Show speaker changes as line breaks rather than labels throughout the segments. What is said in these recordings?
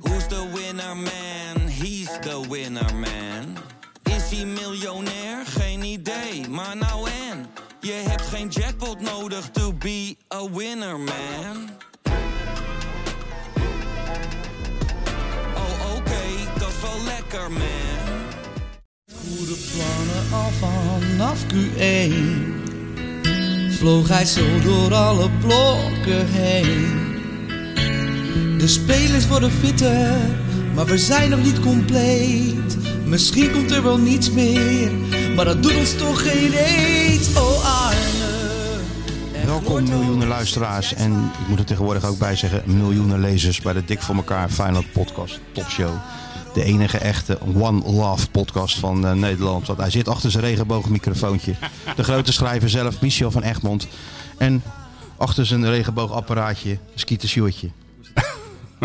Who's the winner man? He's the winner man. Is hij miljonair? Geen idee, maar nou en. Je hebt geen jackpot nodig to be a winner man. Oh oké, dat is wel lekker man.
Goede plannen al vanaf Q1 Vloog hij zo door alle blokken heen De spelers worden fitter Maar we zijn nog niet compleet Misschien komt er wel niets meer Maar dat doet ons toch geen eet Oh Arne er
Welkom
gloort
miljoenen
ook-
luisteraars en ik moet er tegenwoordig ook bij zeggen miljoenen lezers bij de Dik voor elkaar Feyenoord podcast topshow. De enige echte One Love podcast van eh, Nederland. Want hij zit achter zijn regenboogmicrofoontje. De grote schrijver zelf, Michel van Egmond. En achter zijn regenboogapparaatje, Skeeter Sjoertje.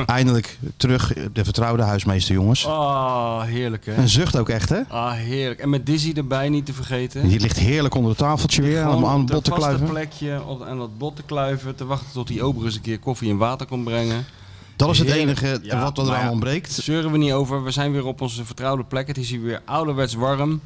Eindelijk terug, de vertrouwde huismeester jongens.
Ah, heerlijk hè.
En zucht ook echt hè.
Ah, heerlijk. En met Dizzy erbij niet te vergeten.
Die ligt heerlijk onder het tafeltje weer
Gewoon
aan, aan bot
op
te
een vaste
kluiven.
plekje op, aan dat bot te kluiven. Te wachten tot die ober eens een keer koffie en water komt brengen.
Dat is het
Heerlijk.
enige
Ja,
wat
maar
er aan
ja,
ontbreekt.
Zeuren we niet over. We zijn weer op onze vertrouwde plek. Het is hier weer ouderwets warm.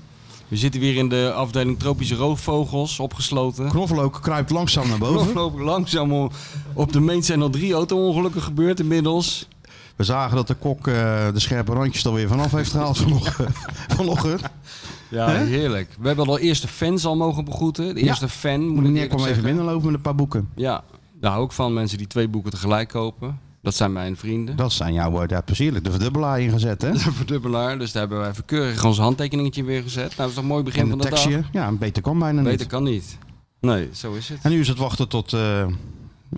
We zitten weer in de afdeling tropische roofvogels opgesloten.
Knoflook kruipt langzaam naar boven.
We lopen langzaam o- op de main zijn al drie auto-ongelukken gebeurd inmiddels.
We zagen dat de kok eh, de scherpe randjes er weer vanaf heeft gehaald vanochtend. vanochtend.
Ja, heerlijk. We hebben al eerste fans al mogen begroeten. De eerste fan moet ik
Meneer
eerlijk
kwam even
zeggen.
binnenlopen met een paar boeken.
Ja, daar hou ik van. Mensen die twee boeken tegelijk kopen. Dat zijn mijn vrienden.
Dat zijn jouw woorden, ja, plezierlijk. De verdubbelaar ingezet, hè?
De verdubbelaar. Dus daar hebben wij even keurig ons handtekeningetje weer gezet. Nou, dat is toch een mooi begin
En
van
een
de dag.
tekstje. Ja, beter kan bijna niet.
Beter kan niet. Nee, zo is het.
En nu is het wachten tot eh,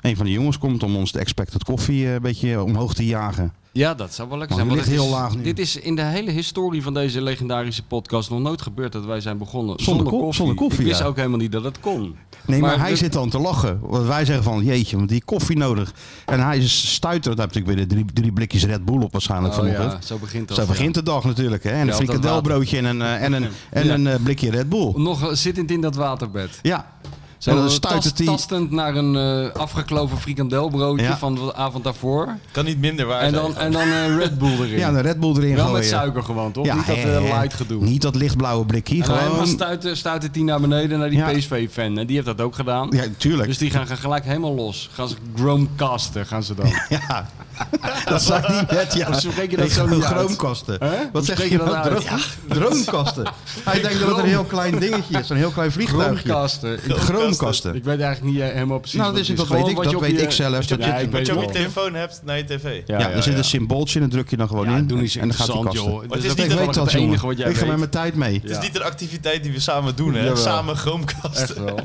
een van de jongens komt om ons de expected koffie eh, een beetje omhoog te jagen.
Ja, dat zou wel lekker
Maar
zijn.
die
want
ligt
het
heel
is-
laag nu.
Dit is in de hele historie van deze legendarische podcast nog nooit gebeurd dat wij zijn begonnen
Zonder
zonder,
ko-
koffie.
zonder koffie,
Ik wist
ja.
ook helemaal niet dat het kon.
Nee, maar,
Maar
hij
de-
zit dan te lachen. Want wij zeggen van, jeetje, want die koffie nodig. En hij is stuiterd. Daar heb ik weer de drie, drie blikjes Red Bull op waarschijnlijk
Oh
vanochtend.
ja, zo begint dat.
Zo
ja.
begint de dag natuurlijk, hè? En een
Ja, op dat
frikandelbroodje en een, eh, en een, en
Ja.
een eh, blikje Red Bull.
Nog zittend in dat waterbed.
Ja.
Zo
en dan stuit
tast-
het die...
tastend naar een eh, afgekloven frikandelbroodje
Ja.
van de avond daarvoor.
Kan niet minder waar
En
zijn.
dan, en dan eh, Red Bull erin.
Ja, de Red Bull erin
Wel
gooien.
met suiker gewoon, toch?
Ja,
niet dat
hè,
eh,
hè.
light gedoe.
Niet dat lichtblauwe blikje,
en dan
gewoon...
stuit, stuit het die naar beneden, naar die
Ja.
PSV-fan. En die heeft dat ook gedaan.
Ja, tuurlijk.
Dus die gaan gaan gelijk helemaal los. Gaan ze groomcasten, gaan ze dan.
Ja. dat zei hij net, ja.
Hoe spreek je dat
Ik
zo
wil
niet uit?
Droomkasten.
Hè? Hoe
Wat zeg
spreek
je
je dat
nou?
uit?
Droom- Droomkasten. Hij denkt dat het een heel klein dingetje is. Een heel klein vliegtuigje.
Groomcasten. Ik,
Droomkasten.
ik weet eigenlijk niet eh, helemaal precies
Nou,
wat
dat, is,
het
dat
Gewoon
weet ik,
wat
dat
je op
weet
je-
ik zelf. Dat
Ja,
je-
ik
Wat
weet
je op
het
je
wel.
telefoon hebt naar je tv.
ja, dus er zit een symbooltje en dan druk je dan gewoon
Ja,
in.
doe niet zo
en dan gaat die
interessant,
kasten. Dus
joh. Het is
is niet
Ik
niet
weet dat,
het enige
jongen.
wat jij
Ik ga met
weet.
mijn tijd mee.
Het is
Ja.
niet een activiteit die we samen doen, hè?
Jawel.
Samen Chromecast.
Echt wel.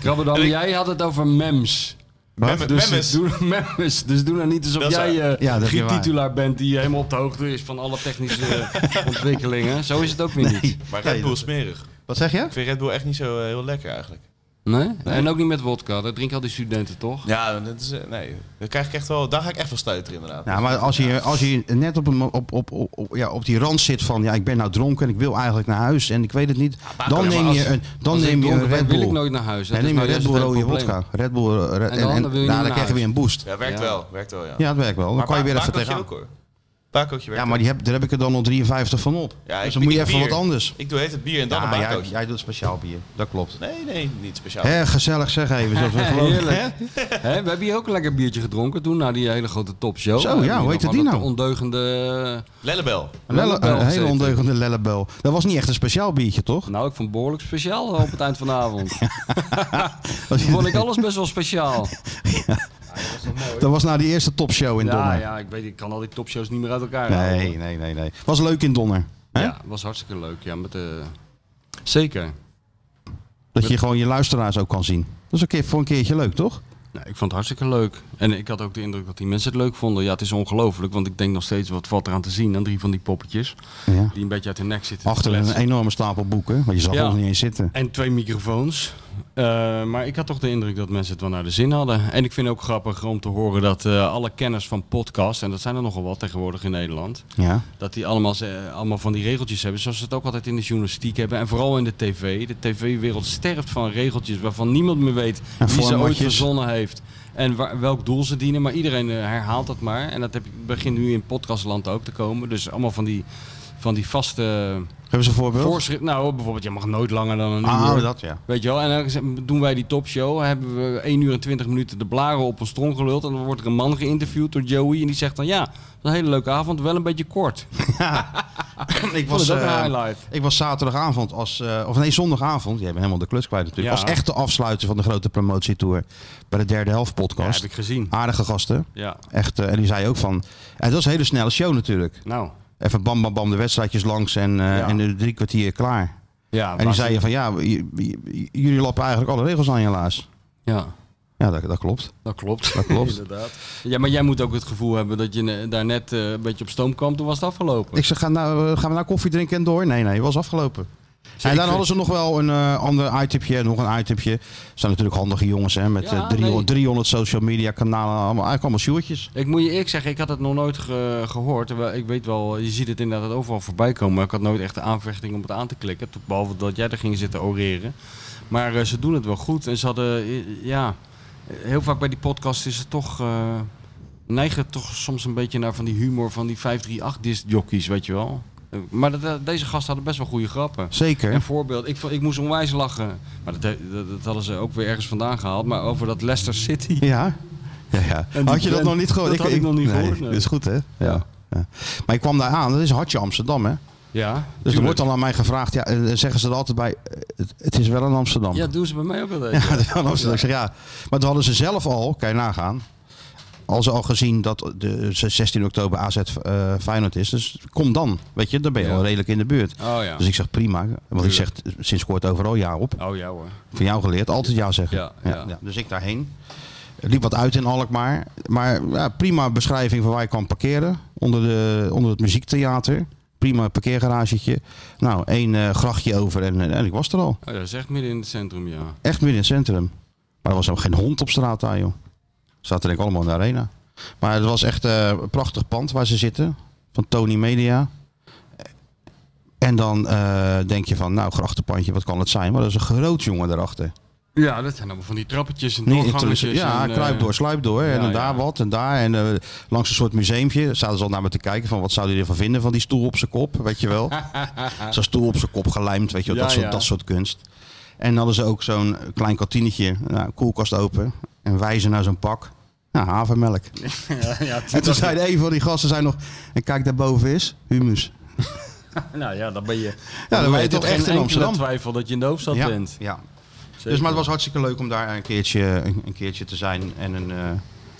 Krabbedam, jij had het over mems.
Mem-
Dus
Memmes.
doe, memes. Dus doe nou niet alsof
Dat is
jij
waar.
eh
Ja, dat is
geen
waar.
titulaar bent die helemaal op de hoogte is van alle technische eh, ontwikkelingen. Zo is het ook weer niet.
Maar Red
Nee,
Bull
dat-
is smerig.
Wat zeg je?
Ik vind Red Bull echt niet zo eh, heel lekker eigenlijk.
Nee? En ook niet met wodka. Dat drinken al die studenten toch?
Ja, dat is, eh, nee. Daar, krijg ik echt wel, daar ga ik echt wel stuiteren inderdaad.
Ja, maar als je, als je net op, een, op, op, op, op- ja, op die rand zit van ja, ik ben nou dronken en ik wil eigenlijk naar huis en ik weet het niet, dan
maar
neem
als-
je een, dan
Als ik
neem je een
dronken ben,
Red Bull.
wil ik nooit naar huis. Dat
Nee,
is
neem je
nou
Red
juist
Bull
het
rode
probleem.
vodka. Red Bull eh, Red, en,
dan
en,
wil je niet
daarna
naar
krijg je weer een boost.
Ja, werkt
Ja.
wel. Werkt wel, ja.
Ja, dat werkt wel. Dan kan je weer even
bakootje
tegenaan.
ook hoor. Bakootje werkt
Ja, maar die heb, daar heb ik er dan al 53 van op.
Ja,
dus
ik
dan moet je
pik
even
een
wat
bier.
anders.
Ik doe heet het bier en dan
Ja,
een
jij,
bakootje.
jij doet speciaal bier. Dat klopt.
Nee, nee, niet speciaal.
Hè, gezellig zeg even. Zoals we gewoon,
Heerlijk. Hè, we hebben hier ook een lekker biertje gedronken toen, na die hele grote topshow.
Zo,
We hebben
ja, hoe
hier
heet
nog
het die
wel
nou?
een Ondeugende...
Lellebel.
Een lelle-
Lellebel
een hele
gezeten.
ondeugende lellebel. Dat was niet echt een speciaal biertje, toch?
Nou, ik vond behoorlijk speciaal eh, op het eind van de avond. vond ik alles best wel speciaal.
Dat was na die eerste topshow in
Ja,
Donner.
ja, ik weet, ik kan al die topshows niet meer uit elkaar halen.
Nee, nee, nee, nee. Was leuk in Donner. Hè?
Ja, was hartstikke leuk. Ja, met de... Zeker.
Dat je gewoon je luisteraars ook kan zien. Dat is een keer, voor een keertje leuk, toch?
Nee, Nou, ik vond het hartstikke leuk. En ik had ook de indruk dat die mensen het leuk vonden. Ja, het is ongelooflijk, want ik denk nog steeds wat valt eraan te zien aan drie van die poppetjes.
Ja.
Die een beetje uit hun nek zitten. te
Achter een
kletsen.
enorme stapel boeken, want je zag
Ja.
ons niet eens zitten.
En twee microfoons. Eh, maar ik had toch de indruk dat mensen het wel naar de zin hadden. En ik vind het ook grappig om te horen dat eh, alle kenners van podcasts, en dat zijn er nogal wat tegenwoordig in Nederland,
Ja.
dat die allemaal, ze- allemaal van die regeltjes hebben. Zoals ze het ook altijd in de journalistiek hebben. En vooral in de tv. De tv-wereld sterft van regeltjes waarvan niemand meer weet wie ze ooit
formatjes.
verzonnen heeft. En waar- welk doel ze dienen. Maar iedereen eh, herhaalt dat maar. En dat heb, begint nu in podcastland ook te komen. Dus allemaal van die, van die vaste
Hebben ze een voorbeeld?
voorschriften. Nou, bijvoorbeeld, je mag nooit langer dan een uur.
Ah, dat ja.
Weet je wel, en dan z- doen wij die topshow. Hebben we 1 uur en 20 minuten de blaren op een strong geluld. En dan wordt er een man geïnterviewd door Joey. En die zegt dan: Ja, dat was een hele leuke avond, wel een beetje kort.
ik,
vond
was,
het ook
eh,
een highlight.
ik was zaterdagavond, als, eh, of nee, zondagavond. Jij bent helemaal de klus kwijt natuurlijk.
Ja.
Als echt de afsluiter van de grote promotietour bij de derde helft
Ja,
podcast.
heb ik gezien.
Aardige gasten.
Ja,
Echt, eh, en die zei ook van... En dat was een hele snelle show natuurlijk.
nou.
Even bam, bam, bam, de wedstrijdjes langs en, eh,
Ja.
en de drie kwartier klaar.
Ja,
En die
maar-
zeiden van ja, j- j- j- jullie lappen eigenlijk alle regels aan je laars.
Ja,
Ja, dat, dat klopt.
dat klopt.
Dat klopt.
Inderdaad. Ja, maar jij moet ook het gevoel hebben dat je eh, daar net eh, een beetje op stoom kwam. Toen was het afgelopen.
Ik zeg, gaan, nou, eh, gaan we nou koffie drinken en door? Nee, nee, was afgelopen.
Zeker.
En dan hadden ze nog wel een eh, ander itempje, nog een itempje. Het zijn natuurlijk handige jongens hè, met
Ja,
eh, 300,
nee.
300 social media kanalen. Allemaal, eigenlijk allemaal sjoertjes.
Ik moet je eerlijk zeggen, ik had het nog nooit ge- gehoord. Terwijl Ik weet wel, je ziet het inderdaad overal voorbij komen. Maar ik had nooit echt de aanvechting om het aan te klikken. Tot- Behalve dat jij er ging zitten oreren. Maar eh, ze doen het wel goed. En ze hadden, eh, ja, heel vaak bij die podcast is het toch... eh, neigen het toch soms een beetje naar van die humor van die 538 discjockeys, weet je wel. Eh, Maar dat- dat- deze gasten hadden best wel goede grappen.
Zeker.
Een voorbeeld, ik, vond- ik moest onwijs lachen. Maar dat, he- dat, dat hadden ze ook weer ergens vandaan gehaald. Maar over dat Leicester City.
Ja. ja, ja.
En die
Had je dat
Glenn-
nog niet gehoord?
dat had ik nog niet
nee,
gehoord, nee.
Dat is goed hè? Ja. Ja. Maar ik kwam daar aan, dat is hartje Amsterdam hè.
Ja,
Dus er
tuurlijk.
wordt al aan mij gevraagd, ja, eh, zeggen ze er altijd bij, eh, het, het is wel in Amsterdam.
Ja, doen ze bij mij ook wel
Ja,
even.
dat is wel lastig. Ik zeg, ja. Maar toen hadden ze zelf al, kan je nagaan, al ze al gezien dat de 16 oktober AZ eh Feyenoord is. Dus kom dan, weet je, dan ben je
Ja.
al redelijk in de buurt.
Oh ja.
Dus ik zeg prima, want ik zeg sinds kort overal ja op.
Oh ja hoor.
Van jou geleerd, altijd ja zeggen.
Ja, ja.
Dus ik daarheen. Liep wat uit in Alkmaar. Maar ja, prima beschrijving van waar je kan parkeren. Onder, de, onder het muziektheater. Prima parkeergaragetje. Nou, één eh, grachtje over en, eh, en ik was er al.
Oh ja, dat is echt midden in het centrum, ja.
Echt midden in het centrum. Maar er was ook geen hond op straat daar, joh. Zaten denk ik allemaal in de arena. Maar het was echt eh, een prachtig pand waar ze zitten. Van Tony Media. En dan eh, denk je van, nou, grachtenpandje, wat kan het zijn? Maar dat is een groot jongen daarachter.
Ja, dat zijn allemaal van die trappetjes en
Nee, in
doorgangetjes.
Toulouse- ja,
en, eh,
kruip door, sluip door. en
ja,
dan daar
ja.
wat en daar. En eh, langs een soort museumpje zaten ze al naar me te kijken van wat zouden jullie ervan vinden van die stoel op zijn kop, weet je wel. Zo'n stoel op zijn kop gelijmd, weet je wel,
Ja,
dat, soort,
ja.
dat soort kunst. En dan hadden ze ook zo'n klein kantinetje, nou, koelkast open en wijzen naar zo'n pak. Nou, havermelk.
ja, ja,
En toen zei een van die gasten zei nog, en kijk daarboven is, humus.
Nou ja, dan ben je...
ben je
dan
toch echt in
geen enkele
Amsterdam.
twijfel dat je in de hoofdstad
ja,
bent.
ja. Dus, maar het was hartstikke leuk om daar een keertje, een, een keertje te zijn en een, eh,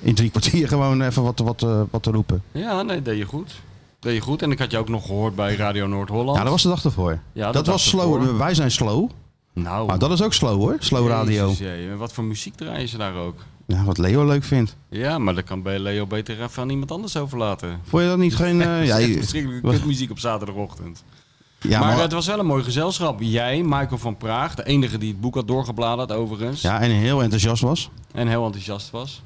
in drie kwartier gewoon even wat, wat, eh, wat te roepen.
Ja, nee, deed je goed. Deed je goed. En ik had je ook nog gehoord bij Radio Noord-Holland.
Ja, dat was de dag ervoor.
Ja,
dat
de dag
was slow.
ervoor.
Wij zijn slow.
Nou,
Maar dat is ook slow hoor. Slow radio.
Jezus, jee. En Wat voor muziek draaien ze daar ook?
Ja, wat Leo leuk vindt.
Ja, maar dat kan bij Leo beter even aan iemand anders overlaten.
Vond je dat niet geen... eh, ja,
Ja,
je-
verschrikkelijke kutmuziek op zaterdagochtend.
ja,
maar,
maar,
het was wel een mooi gezelschap. Jij, Michael van Praag, de enige die het boek had doorgebladerd overigens.
ja, en heel enthousiast was.
En heel enthousiast was.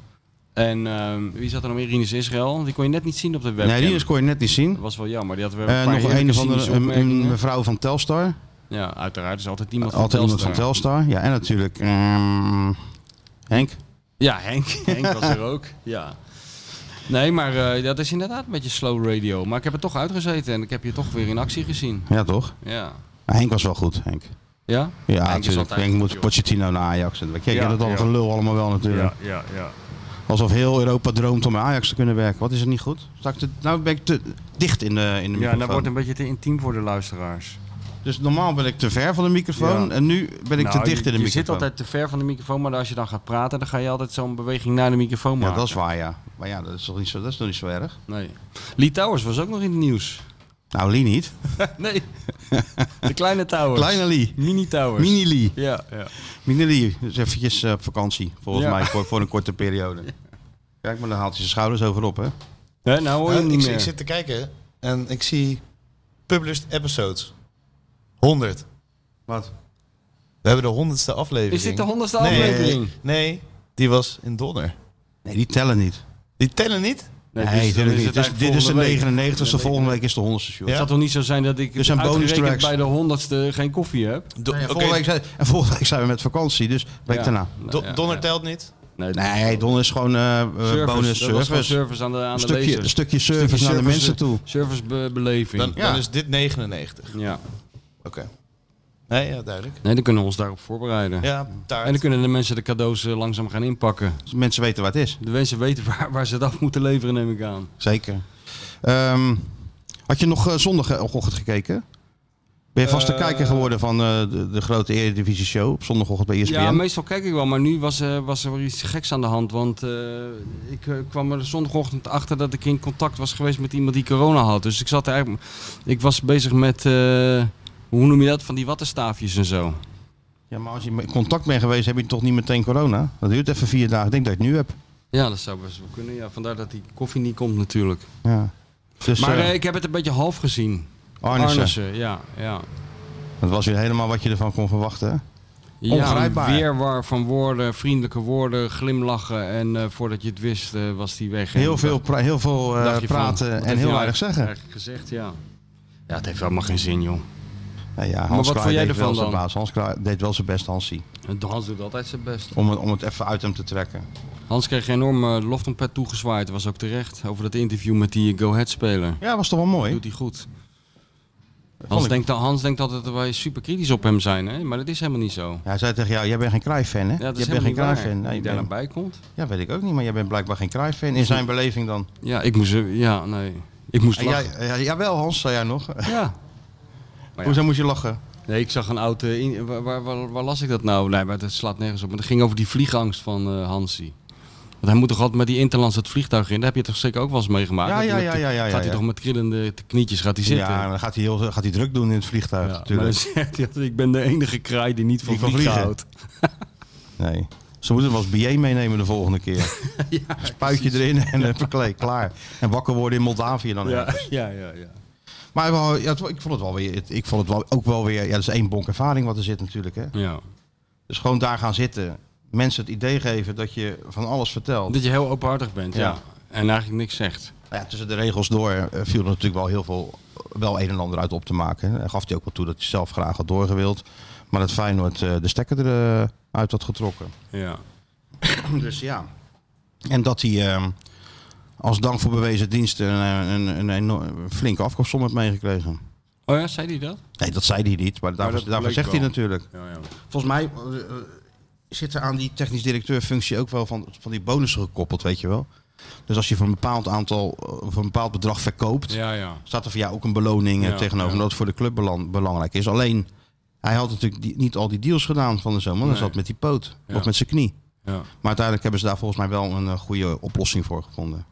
En ehm, wie zat er nog meer? Rinus Israël. Die kon je net niet zien op de webcam.
Nee, die is kon je net niet zien.
Dat was wel jammer. Die had weer een
Eh,
paar
nog een
heerlijke
of andere een,
cynische
een
opmerkingen.
mevrouw van Telstar.
Ja, uiteraard. Er is altijd iemand van
Altijd iemand
Telstar.
van Telstar. Ja, en natuurlijk... ehm, Henk.
Ja, Henk. Henk was er ook. Ja. Nee, maar eh, dat is inderdaad een beetje slow radio. Maar ik heb er toch uitgezeten en ik heb je toch weer in actie gezien.
Ja, toch?
Ja.
Maar Henk was wel goed, Henk.
Ja?
Ja,
is
natuurlijk.
altijd
Henk
goed,
moet
joh.
Pochettino naar Ajax. En, kijk,
Ja,
dat al
ja.
gelul allemaal wel natuurlijk.
ja, ja.
Alsof heel Europa droomt om bij Ajax te kunnen werken. Wat is het niet goed? Sta ik te- nou ben ik te dicht in de, in de
Ja,
microfoon.
dat wordt een beetje te intiem voor de luisteraars.
Dus normaal ben ik te ver van de microfoon
Ja.
en nu ben ik
Nou,
te dicht
je-
in de microfoon.
Je zit altijd te ver van de microfoon, maar als je dan gaat praten, dan ga je altijd zo'n beweging naar de microfoon maken.
Ja, dat is waar, ja. Maar ja, dat is toch niet zo, dat is toch niet zo erg?
Nee. Lee Towers was ook nog in het nieuws.
Nou, Lee niet.
nee. De kleine Towers.
Kleine Lee.
Mini Towers.
Mini Lee.
Ja, ja.
Mini Lee is eventjes eh, op vakantie, volgens
Ja.
mij, voor, voor een korte periode. Kijk, maar dan haalt hij zijn schouders over op, hè?
Nee, nou hoor je hem
Eh, ik,
niet
ik
meer.
zit te kijken en ik zie published episodes. 100.
Wat?
We hebben de honderdste aflevering.
Is dit de honderdste
Nee.
aflevering?
Nee, die was in Donner.
Nee, die tellen niet.
Die tellen niet?
Nee,
dus dan
natuurlijk
is
niet.
het
Dus
eigenlijk
dit is de
volgende week.
99ste, volgende week is de 100ste show.
Ja.
Het zal toch niet zo zijn dat ik
Er zijn bonus
uitgerekend
tracks.
bij de honderdste geen koffie heb?
Do-
Nee, en
oké,
volgende week zijn, en volgende week zijn we met vakantie, dus week
Ja.
daarna.
Nou,
Do-
ja,
Donner
ja.
telt niet.
Nee,
Nee, Don is gewoon eh, eh, bonus
Dat was gewoon
service.
service aan de, aan
Een
de
stukje,
lezer.
een stukje service naar de
service,
mensen toe.
Servicebeleving.
Dan,
Ja.
dan is dit 99.
ja.
Oké. Nee, ja, duidelijk.
Nee, dan kunnen we ons daarop voorbereiden.
Ja, daar.
En dan kunnen de mensen de cadeaus eh, langzaam gaan inpakken.
Dus mensen weten wat het is.
De mensen weten waar, waar ze het af moeten leveren, neem ik aan.
Zeker. Ehm, had je nog eh, zondagochtend gekeken? Ben je vast de
Eh,
kijker geworden van eh, de, de grote Eredivisie show op zondagochtend bij E ESPN?
Ja, meestal kijk ik wel, maar nu was, eh, was er weer iets geks aan de hand. Want eh, ik eh, kwam er zondagochtend achter dat ik in contact was geweest met iemand die corona had. Dus ik zat er eigenlijk. Ik was bezig met. eh, hoe noem je dat? Van die wattenstaafjes en zo.
Ja, maar als je in contact bent geweest, heb je toch niet meteen corona? Dat duurt even vier dagen. Ik denk dat ik het nu heb.
Ja, dat zou best wel kunnen. Ja, vandaar dat die koffie niet komt natuurlijk.
Ja. Dus,
Maar
eh,
eh, ik heb het een beetje half gezien.
Arnissen.
ja. ja.
Dat was weer helemaal wat je ervan kon verwachten. hè?
Ja, een
Ongrijpbaar.
weerwar van woorden, vriendelijke woorden, glimlachen. En eh, voordat je het wist, eh, was die weg.
Heel
En
veel, pra- heel veel eh,
dacht je van,
praten en
wat heeft hij
heel
nou
weinig zeggen.
Eigenlijk gezegd, ja. Ja, het heeft allemaal geen zin, joh.
Nou ja, Hans
wat
Kraaij
vond jij
deed wel
ervan
zijn
dan?
baas. Hans Kraaij deed wel zijn best, Hansie.
Hans doet altijd zijn best.
Om het, om het even uit hem te trekken.
Hans kreeg eh, een enorme loftompet toegezwaaid. Dat was ook terecht. Over dat interview met die Go Ahead speler.
Ja, was toch wel mooi?
Doet hij goed. Hans
ik.
denkt, al- Hans denkt altijd dat wij super kritisch op hem zijn, hè? maar dat is helemaal niet zo.
Hij zei tegen jou, jij bent geen Cruijff-fan, hè?
Ja, dat
jij
is
bent geen
helemaal niet waar.
Cruijff-fan. Nee,
Die
ik
daar
ben-
naar bij komt.
Ja, weet ik ook niet, maar jij bent blijkbaar geen Cruijff-fan. In zijn beleving dan.
Ja, ik moest, eh, ja, nee. Ik moest
En
lachen.
jij, eh, ja, jawel, Hans, zei jij nog.
Oh, Ja. ja.
Hoezo moest je lachen?
Nee, ik zag een oud... eh, in- waar, waar, waar, waar las ik dat nou? Nee, maar dat slaat nergens op. Maar dat ging over die vliegangst van eh, Hansi. Want hij moet toch altijd met die Interlands het vliegtuig in? Daar heb je toch zeker ook wel eens meegemaakt?
Ja,
Dat hij
ja, ja,
met de-
ja, ja, ja,
Gaat
ja.
hij toch met krillende t- knietjes gaat hij zitten?
Ja, dan gaat hij, heel, gaat hij druk doen in het vliegtuig
Ja, maar dus- dan
natuurlijk.
zegt hij altijd, ik ben de enige kraai die niet van
Die van
vliegen
vliegen. Oh,
houdt.
Nee. Ze moeten hem als BA meenemen de volgende keer. Een Spuitje erin en eh, verkleed, klaar. En wakker worden in Moldavië dan.
Ja, ja, ja, ja.
Maar wel, ja, het- ik vond het wel weer, het- ik vond het wel, ook wel weer, ja, dat is één bonk ervaring wat er zit natuurlijk. Hè.
ja.
Dus gewoon daar gaan zitten. Mensen het idee geven dat je van alles vertelt.
Dat je heel openhartig bent, ja.
Ja.
En eigenlijk niks zegt.
Nou ja, tussen de regels door eh, viel er natuurlijk wel heel veel, wel een en ander uit op te maken. Hij gaf hij ook wel toe dat hij zelf graag had doorgewild. Maar dat Feyenoord eh, de stekker eruit uit had getrokken.
Ja.
Dus ja. En dat hij eh, als dank voor bewezen diensten een, een, een, enorm- flinke afkoopsom heeft meegekregen.
Oh ja, zei hij dat?
Nee, dat zei hij niet, maar daarvoor,
dat
daarvoor
bleek
zegt hij
wel.
natuurlijk.
Ja, ja.
Volgens mij eh, eh, zit er aan die technisch directeurfunctie ook wel van, van die bonussen gekoppeld, weet je wel. Dus als je voor een bepaald aantal, eh, voor een bepaald bedrag verkoopt,
Ja, ja.
staat er voor jou ook een beloning eh,
Ja,
tegenover.
ja.
Omdat het voor de club belang- belangrijk is. Alleen, hij had natuurlijk die- niet al die deals gedaan van de zomer. want
Nee.
Hij zat met die poot
Ja.
of met zijn knie.
ja.
Maar uiteindelijk hebben ze daar volgens mij wel een eh, goede oplossing voor gevonden.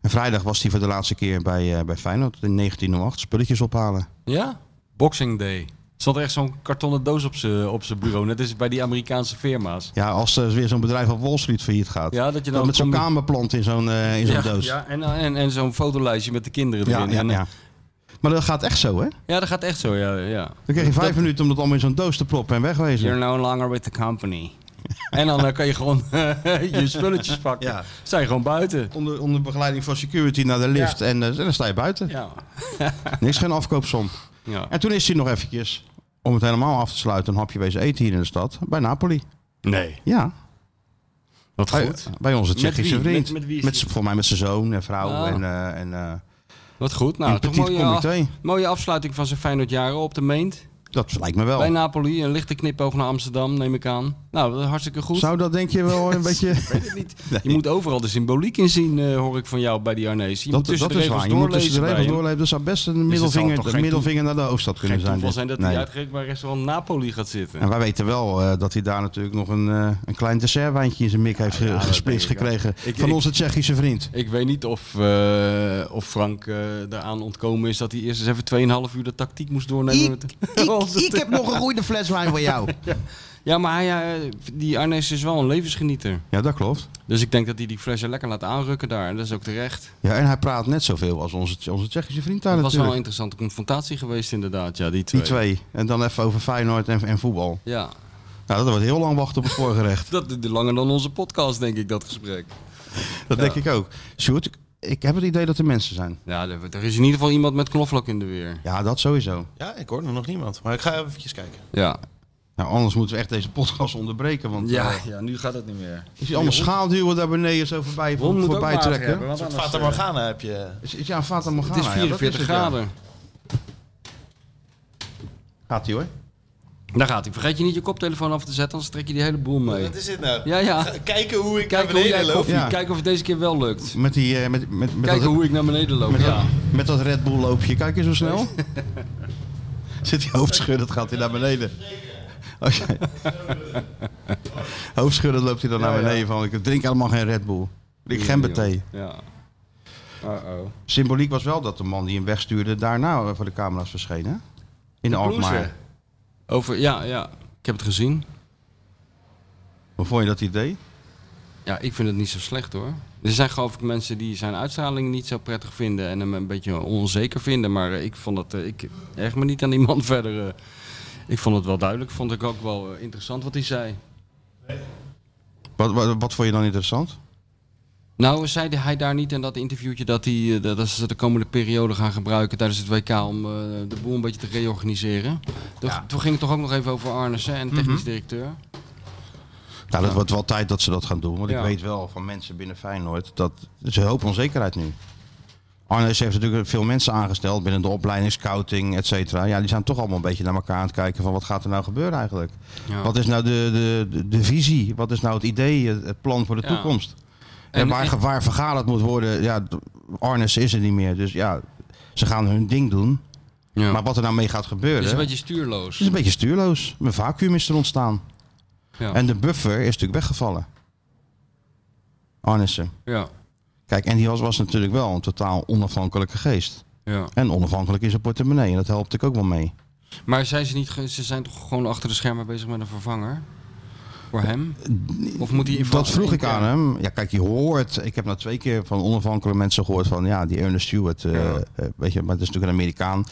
En vrijdag was hij voor de laatste keer bij, eh, bij Feyenoord in 1908 spulletjes ophalen.
Ja? Boxing Day. Er stond echt zo'n kartonnen doos op zijn op z'n bureau. Net is bij die Amerikaanse firma's.
Ja, als er weer zo'n bedrijf op Wall Street failliet gaat.
Ja, dat je
Dan
dan
met zo'n
combi-
kamerplant in zo'n eh, in zo'n
ja,
doos.
Ja, en, en, en zo'n fotolijstje met de kinderen
Ja,
erin.
ja,
en, eh,
ja. Maar dat gaat echt zo, hè?
ja, dat gaat echt zo. Ja, ja.
Dan krijg je vijf
Dat-
minuten om dat allemaal in zo'n doos te proppen en wegwezen.
You're no longer with the company. en dan eh, kan je gewoon eh, je spulletjes pakken.
Ja.
Zijn gewoon buiten.
Onder, onder begeleiding van security naar de lift en, eh, en dan sta je buiten.
Ja.
Niks, geen afkoopsom.
ja.
En toen is hij nog eventjes, om het helemaal af te sluiten, een hapje wezen eten hier in de stad. Bij Napoli.
Nee.
Ja,
Wat
bij,
goed.
bij onze
Met
Tsjechische
wie?
vriend.
Met- met wie is
met
die?
z'n- Volgens mij met zijn zoon en vrouw
Ah.
en, eh en eh,
Wat goed.
een
Nou, toch
petit
mooie, af-
comité.
mooie afsluiting van zijn Feyenoord jaren op de Meent.
Dat lijkt me wel.
Bij Napoli. Een lichte knipoog naar Amsterdam, neem ik aan. Nou, dat is hartstikke goed.
Zou dat denk je wel een beetje...
Ik weet het niet.
Nee.
Je moet overal de symboliek in zien, eh, hoor ik van jou bij die Arnees. Je moet
Dat,
tussen
dat is
de regels
waar. Je moet tussen
doorlezen
de regels
bij hem.
doorleven. Dat zou best een
dat zal
middelvinger,
toch
een
geen
middelvinger naar de hoofdstad kunnen
Geen
zijn.
toeval
dit.
zijn dat
Nee.
hij uitgerekend bij restaurant Napoli gaat zitten.
En wij weten wel eh, dat hij daar natuurlijk nog een, eh, een klein dessertwijntje in zijn mik heeft ge-
dat
gesplitst
denk ik, Ah, ja.
gekregen.
Ik-
van
ik-
onze Tsjechische vriend.
Ik weet niet of, eh, of Frank eh, daaraan ontkomen is dat hij eerst eens even 2,5 uur de tactiek moest doornemen.
Ik,
met-
ik,
Onze-
ik heb nog een goede fles wijn voor jou.
Ja, maar hij, eh, die Arnees is wel een levensgenieter.
Ja, dat klopt.
Dus ik denk dat hij die flessen lekker laat aanrukken daar. En dat is ook terecht.
Ja, en hij praat net zoveel als onze, onze Tsjechische vriend daar
Het was wel
natuurlijk.
een interessante confrontatie geweest inderdaad, ja, die twee.
Die twee. En dan even over Feyenoord en, en voetbal.
Ja,
Nou, dat wordt heel lang wachten op het voorgerecht.
dat duurde langer dan onze podcast, denk ik, dat gesprek.
Dat denk ik ook. Sjoerd, ik- ik heb het idee dat er mensen zijn.
Ja, er, er is in ieder geval iemand met knoflook in de weer.
Ja, dat sowieso.
Ja, ik hoorde nog niemand. Maar ik ga eventjes kijken.
Ja.
Nou, anders moeten we echt deze podcast onderbreken. Want eh,
Ja, ja, nu gaat het niet meer.
is die allemaal schaamduwen daar beneden zo voorbij,
Ron moet ook
voorbij
mager
trekken?
hebben, want
Een soort
anders,
Fata
eh,
Morgana heb je.
Is, is- ja, Fata Morgana.
Het is
Ah, ja, dat
44
het, ja.
graden.
Gaat ie hoor.
Daar gaat hij. Vergeet je niet je koptelefoon af te zetten, anders trek je die hele boel mee.
Wat is dit nou?
Ja, ja.
Ga- Kijken hoe ik naar
Kijken hoe jij
beneden loop.
koffie,
Ja.
kijken of het deze keer wel lukt.
Met, die, eh, met, met, met,
Kijken
dat,
hoe ik naar beneden loop.
met,
Ja.
dat, met dat Red Bull loopje. Kijk eens hoe snel. Zit die hoofdschudden, gaat hij naar beneden. Als jij- hoofdschudden loopt hij dan naar beneden. Van, ik drink helemaal geen Red Bull. Ik gemberthee.
Ja. Uh-oh.
Symboliek was wel dat de man die hem wegstuurde daarna eh, voor de camera's verscheen. Hè? In de Alkmaar.
Over, ja, ja. Ik heb het gezien.
Hoe vond je dat idee?
Ja, ik vind het niet zo slecht hoor. Er zijn geloof ik mensen die zijn uitstraling niet zo prettig vinden en hem een beetje onzeker vinden. Maar eh, ik vond dat, eh, ik erg me niet aan die man verder. eh. ik vond het wel duidelijk, vond ik ook wel eh, interessant wat hij zei.
Wat, wat, wat vond je dan interessant?
Nou, zei hij daar niet in dat interviewtje dat, hij, eh, dat dat ze de komende periode gaan gebruiken tijdens het WK om eh, de boel een beetje te reorganiseren? Toch- Toen ging het toch ook nog even over Arnissen en technisch
Mhm.
directeur.
Nou, dat wordt wel tijd dat ze dat gaan doen. Want
Ja.
ik weet wel van mensen binnen Feyenoord dat er is een hoop onzekerheid nu. Arnes heeft natuurlijk veel mensen aangesteld binnen de opleiding, scouting, et cetera. Ja, die zijn toch allemaal een beetje naar elkaar aan het kijken van wat gaat er nou gebeuren eigenlijk?
Ja.
Wat is nou de, de, de, de visie? Wat is nou het idee, het het plan voor de
Ja.
toekomst? En,
En-
waar,
en-
waar vergaderd moet worden, ja, Arnes is er niet meer. Dus ja, ze gaan hun ding doen.
Ja.
Maar wat er nou mee gaat gebeuren,
dus
het
een beetje stuurloos.
is een beetje stuurloos. Een vacuüm is er ontstaan.
Ja.
En de buffer is natuurlijk weggevallen. Arnissen.
ja.
Kijk, en die was, was natuurlijk wel een totaal onafhankelijke geest.
Ja.
En onafhankelijk in zijn portemonnee. En dat helpt ik ook wel mee.
Maar zijn ze, niet, ge- ze zijn toch gewoon achter de schermen bezig met een vervanger? Voor hem? Of moet hij
Dat vroeg ik aan hem. Ja, kijk, je hoort. Ik heb nou twee keer van onafhankelijke mensen gehoord van ja, die Ernest Stewart. eh,
Ja.
eh, weet je, maar dat is natuurlijk een Amerikaan.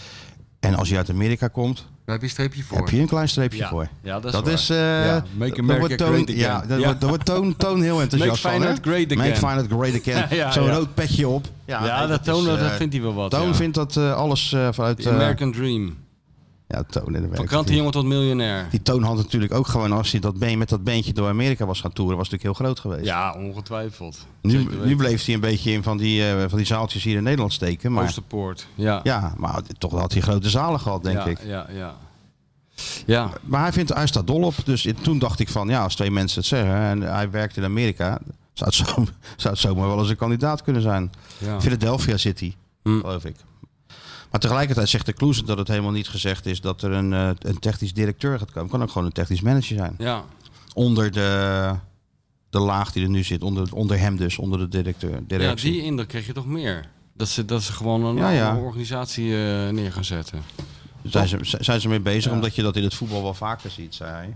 En als je uit Amerika komt,
Daar heb je een streepje voor.
heb je een klein streepje
ja.
voor.
Ja, dat is,
Dat
waar.
is. eh,
Ja, make
dat
America
wordt Toon-
great again.
Ja, dat
Ja.
wordt- dat wordt Toon, toon heel enthousiast van.
Feyenoord
hè?
great again.
Make Feyenoord great again.
Ja, ja,
Zo'n
ja.
rood petje op.
Ja,
nee,
dat,
is,
toon, dat
eh,
vindt hij wel wat.
Toon
ja.
vindt dat eh, alles eh, vanuit...
The
eh,
American Dream.
ja, Toon in de
Van
werk. Die,
krantenjongen tot miljonair.
die Toon had natuurlijk ook gewoon... Als hij dat been, met dat beentje door Amerika was gaan toeren... was het natuurlijk heel groot geweest.
Ja, ongetwijfeld.
nu,
Zeker weten.
nu bleef hij een beetje in van die, eh, van die zaaltjes hier in Nederland steken. Maar,
Oosterpoort. Ja.
ja, maar toch had hij grote zalen gehad, denk
ja,
ik.
Ja, ja. Ja,
Maar hij, vindt, hij staat dol op. Dus i- toen dacht ik van... Ja, als twee mensen het zeggen... En hij werkt in Amerika... Zou het, zo, zou het zomaar wel eens een kandidaat kunnen zijn.
ja.
Philadelphia City,
Hm.
geloof ik. Maar tegelijkertijd zegt de Kloes dat het helemaal niet gezegd is dat er een, eh, een technisch directeur gaat komen. Kan ook gewoon een technisch manager zijn.
Ja.
Onder de, de laag die er nu zit, onder, onder hem dus, onder de directeur.
ja,
Directie.
die indruk kreeg je toch meer. Dat ze, dat ze gewoon een
Ja, ja.
andere organisatie eh, neer gaan zetten.
zijn, ze, z- zijn ze mee bezig, omdat je dat in het voetbal wel vaker ziet, zei hij.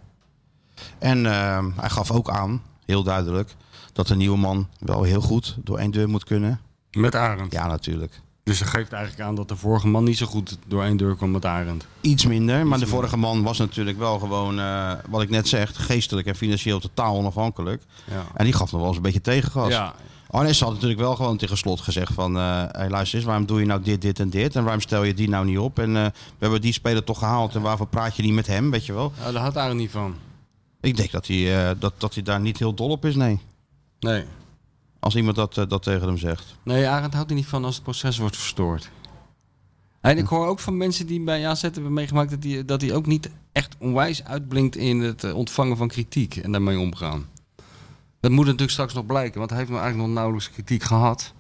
En ehm, hij gaf ook aan, heel duidelijk, dat een nieuwe man wel heel goed door één deur moet kunnen.
Met Arend.
Ja, natuurlijk.
Dus dat geeft eigenlijk aan dat de vorige man niet zo goed door één deur kwam met Arend.
Iets minder, maar de vorige man was natuurlijk wel gewoon, eh, wat ik net zeg, geestelijk en financieel totaal onafhankelijk.
Ja.
En die gaf nog wel eens een beetje tegengas.
Ja,
Arnes had natuurlijk wel gewoon tegen slot gezegd van, eh hey, luister eens, waarom doe je nou dit, dit en dit? En waarom stel je die nou niet op? En eh, we hebben die speler toch gehaald en waarvoor praat je niet met hem, weet je wel?
ja, nou, daar had Arend niet van.
Ik denk dat hij, eh, dat, dat hij daar niet heel dol op is, nee.
Nee.
Als iemand dat, eh, dat tegen hem zegt.
Nee, Arend houdt er niet van als het proces wordt verstoord. En ik hoor ook van mensen die bij AZ hebben meegemaakt dat die, dat die ook niet echt onwijs uitblinkt in het eh, ontvangen van kritiek en daarmee omgaan. Dat moet natuurlijk straks nog blijken, want hij heeft nog eigenlijk nog nauwelijks kritiek gehad.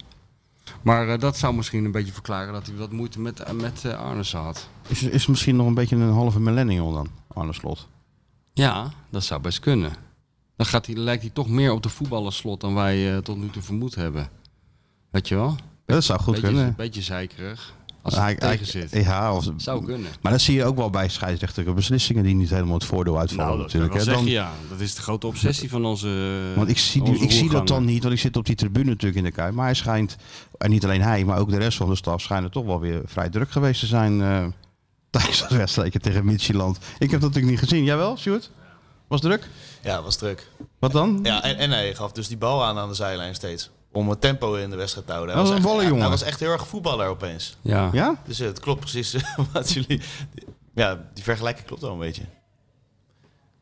Maar eh, dat zou misschien een beetje verklaren dat hij wat moeite met, eh, met eh, Arnissen had.
Is, is misschien nog een beetje een halve millennial dan, Arne Slot?
Ja, dat zou best kunnen. Dan gaat hij, lijkt hij toch meer op de voetballerslot dan wij eh, tot nu toe vermoed hebben. Weet je wel?
Ja, dat zou goed
beetje,
kunnen. Nou,
beetje zeikerig. Als hij
Hij- hij-
tegen zit.
Ja, of,
Zou kunnen.
Maar dat zie je ook wel bij scheidsrechtelijke beslissingen die niet helemaal het voordeel uitvallen Nou, natuurlijk.
kan ik
hè.
wel
Dan,
zeggen, ja. Nou, Dat eh, is de grote obsessie van onze
Want ik zie, die,
onze
ik zie dat
roerganger.
dan niet, want ik zit op die tribune natuurlijk in de kuip. Maar hij schijnt, en niet alleen hij, maar ook de rest van de staf schijnen toch wel weer vrij druk geweest te zijn eh, tijdens dat wedstrijdje tegen Midtjylland. Ik heb dat natuurlijk niet gezien. Jij wel, Sjoerd? Was druk?
Ja, was druk.
Wat dan?
Ja, en, en hij gaf dus die bal aan aan de zijlijn steeds. Om het tempo in de wedstrijd te houden. Hij
Dat was
echt-
een ballen,
ja,
jongen.
Hij was echt heel erg voetballer opeens.
Ja.
Ja?
Dus eh, het klopt precies wat jullie... Ja, die vergelijking klopt wel een beetje.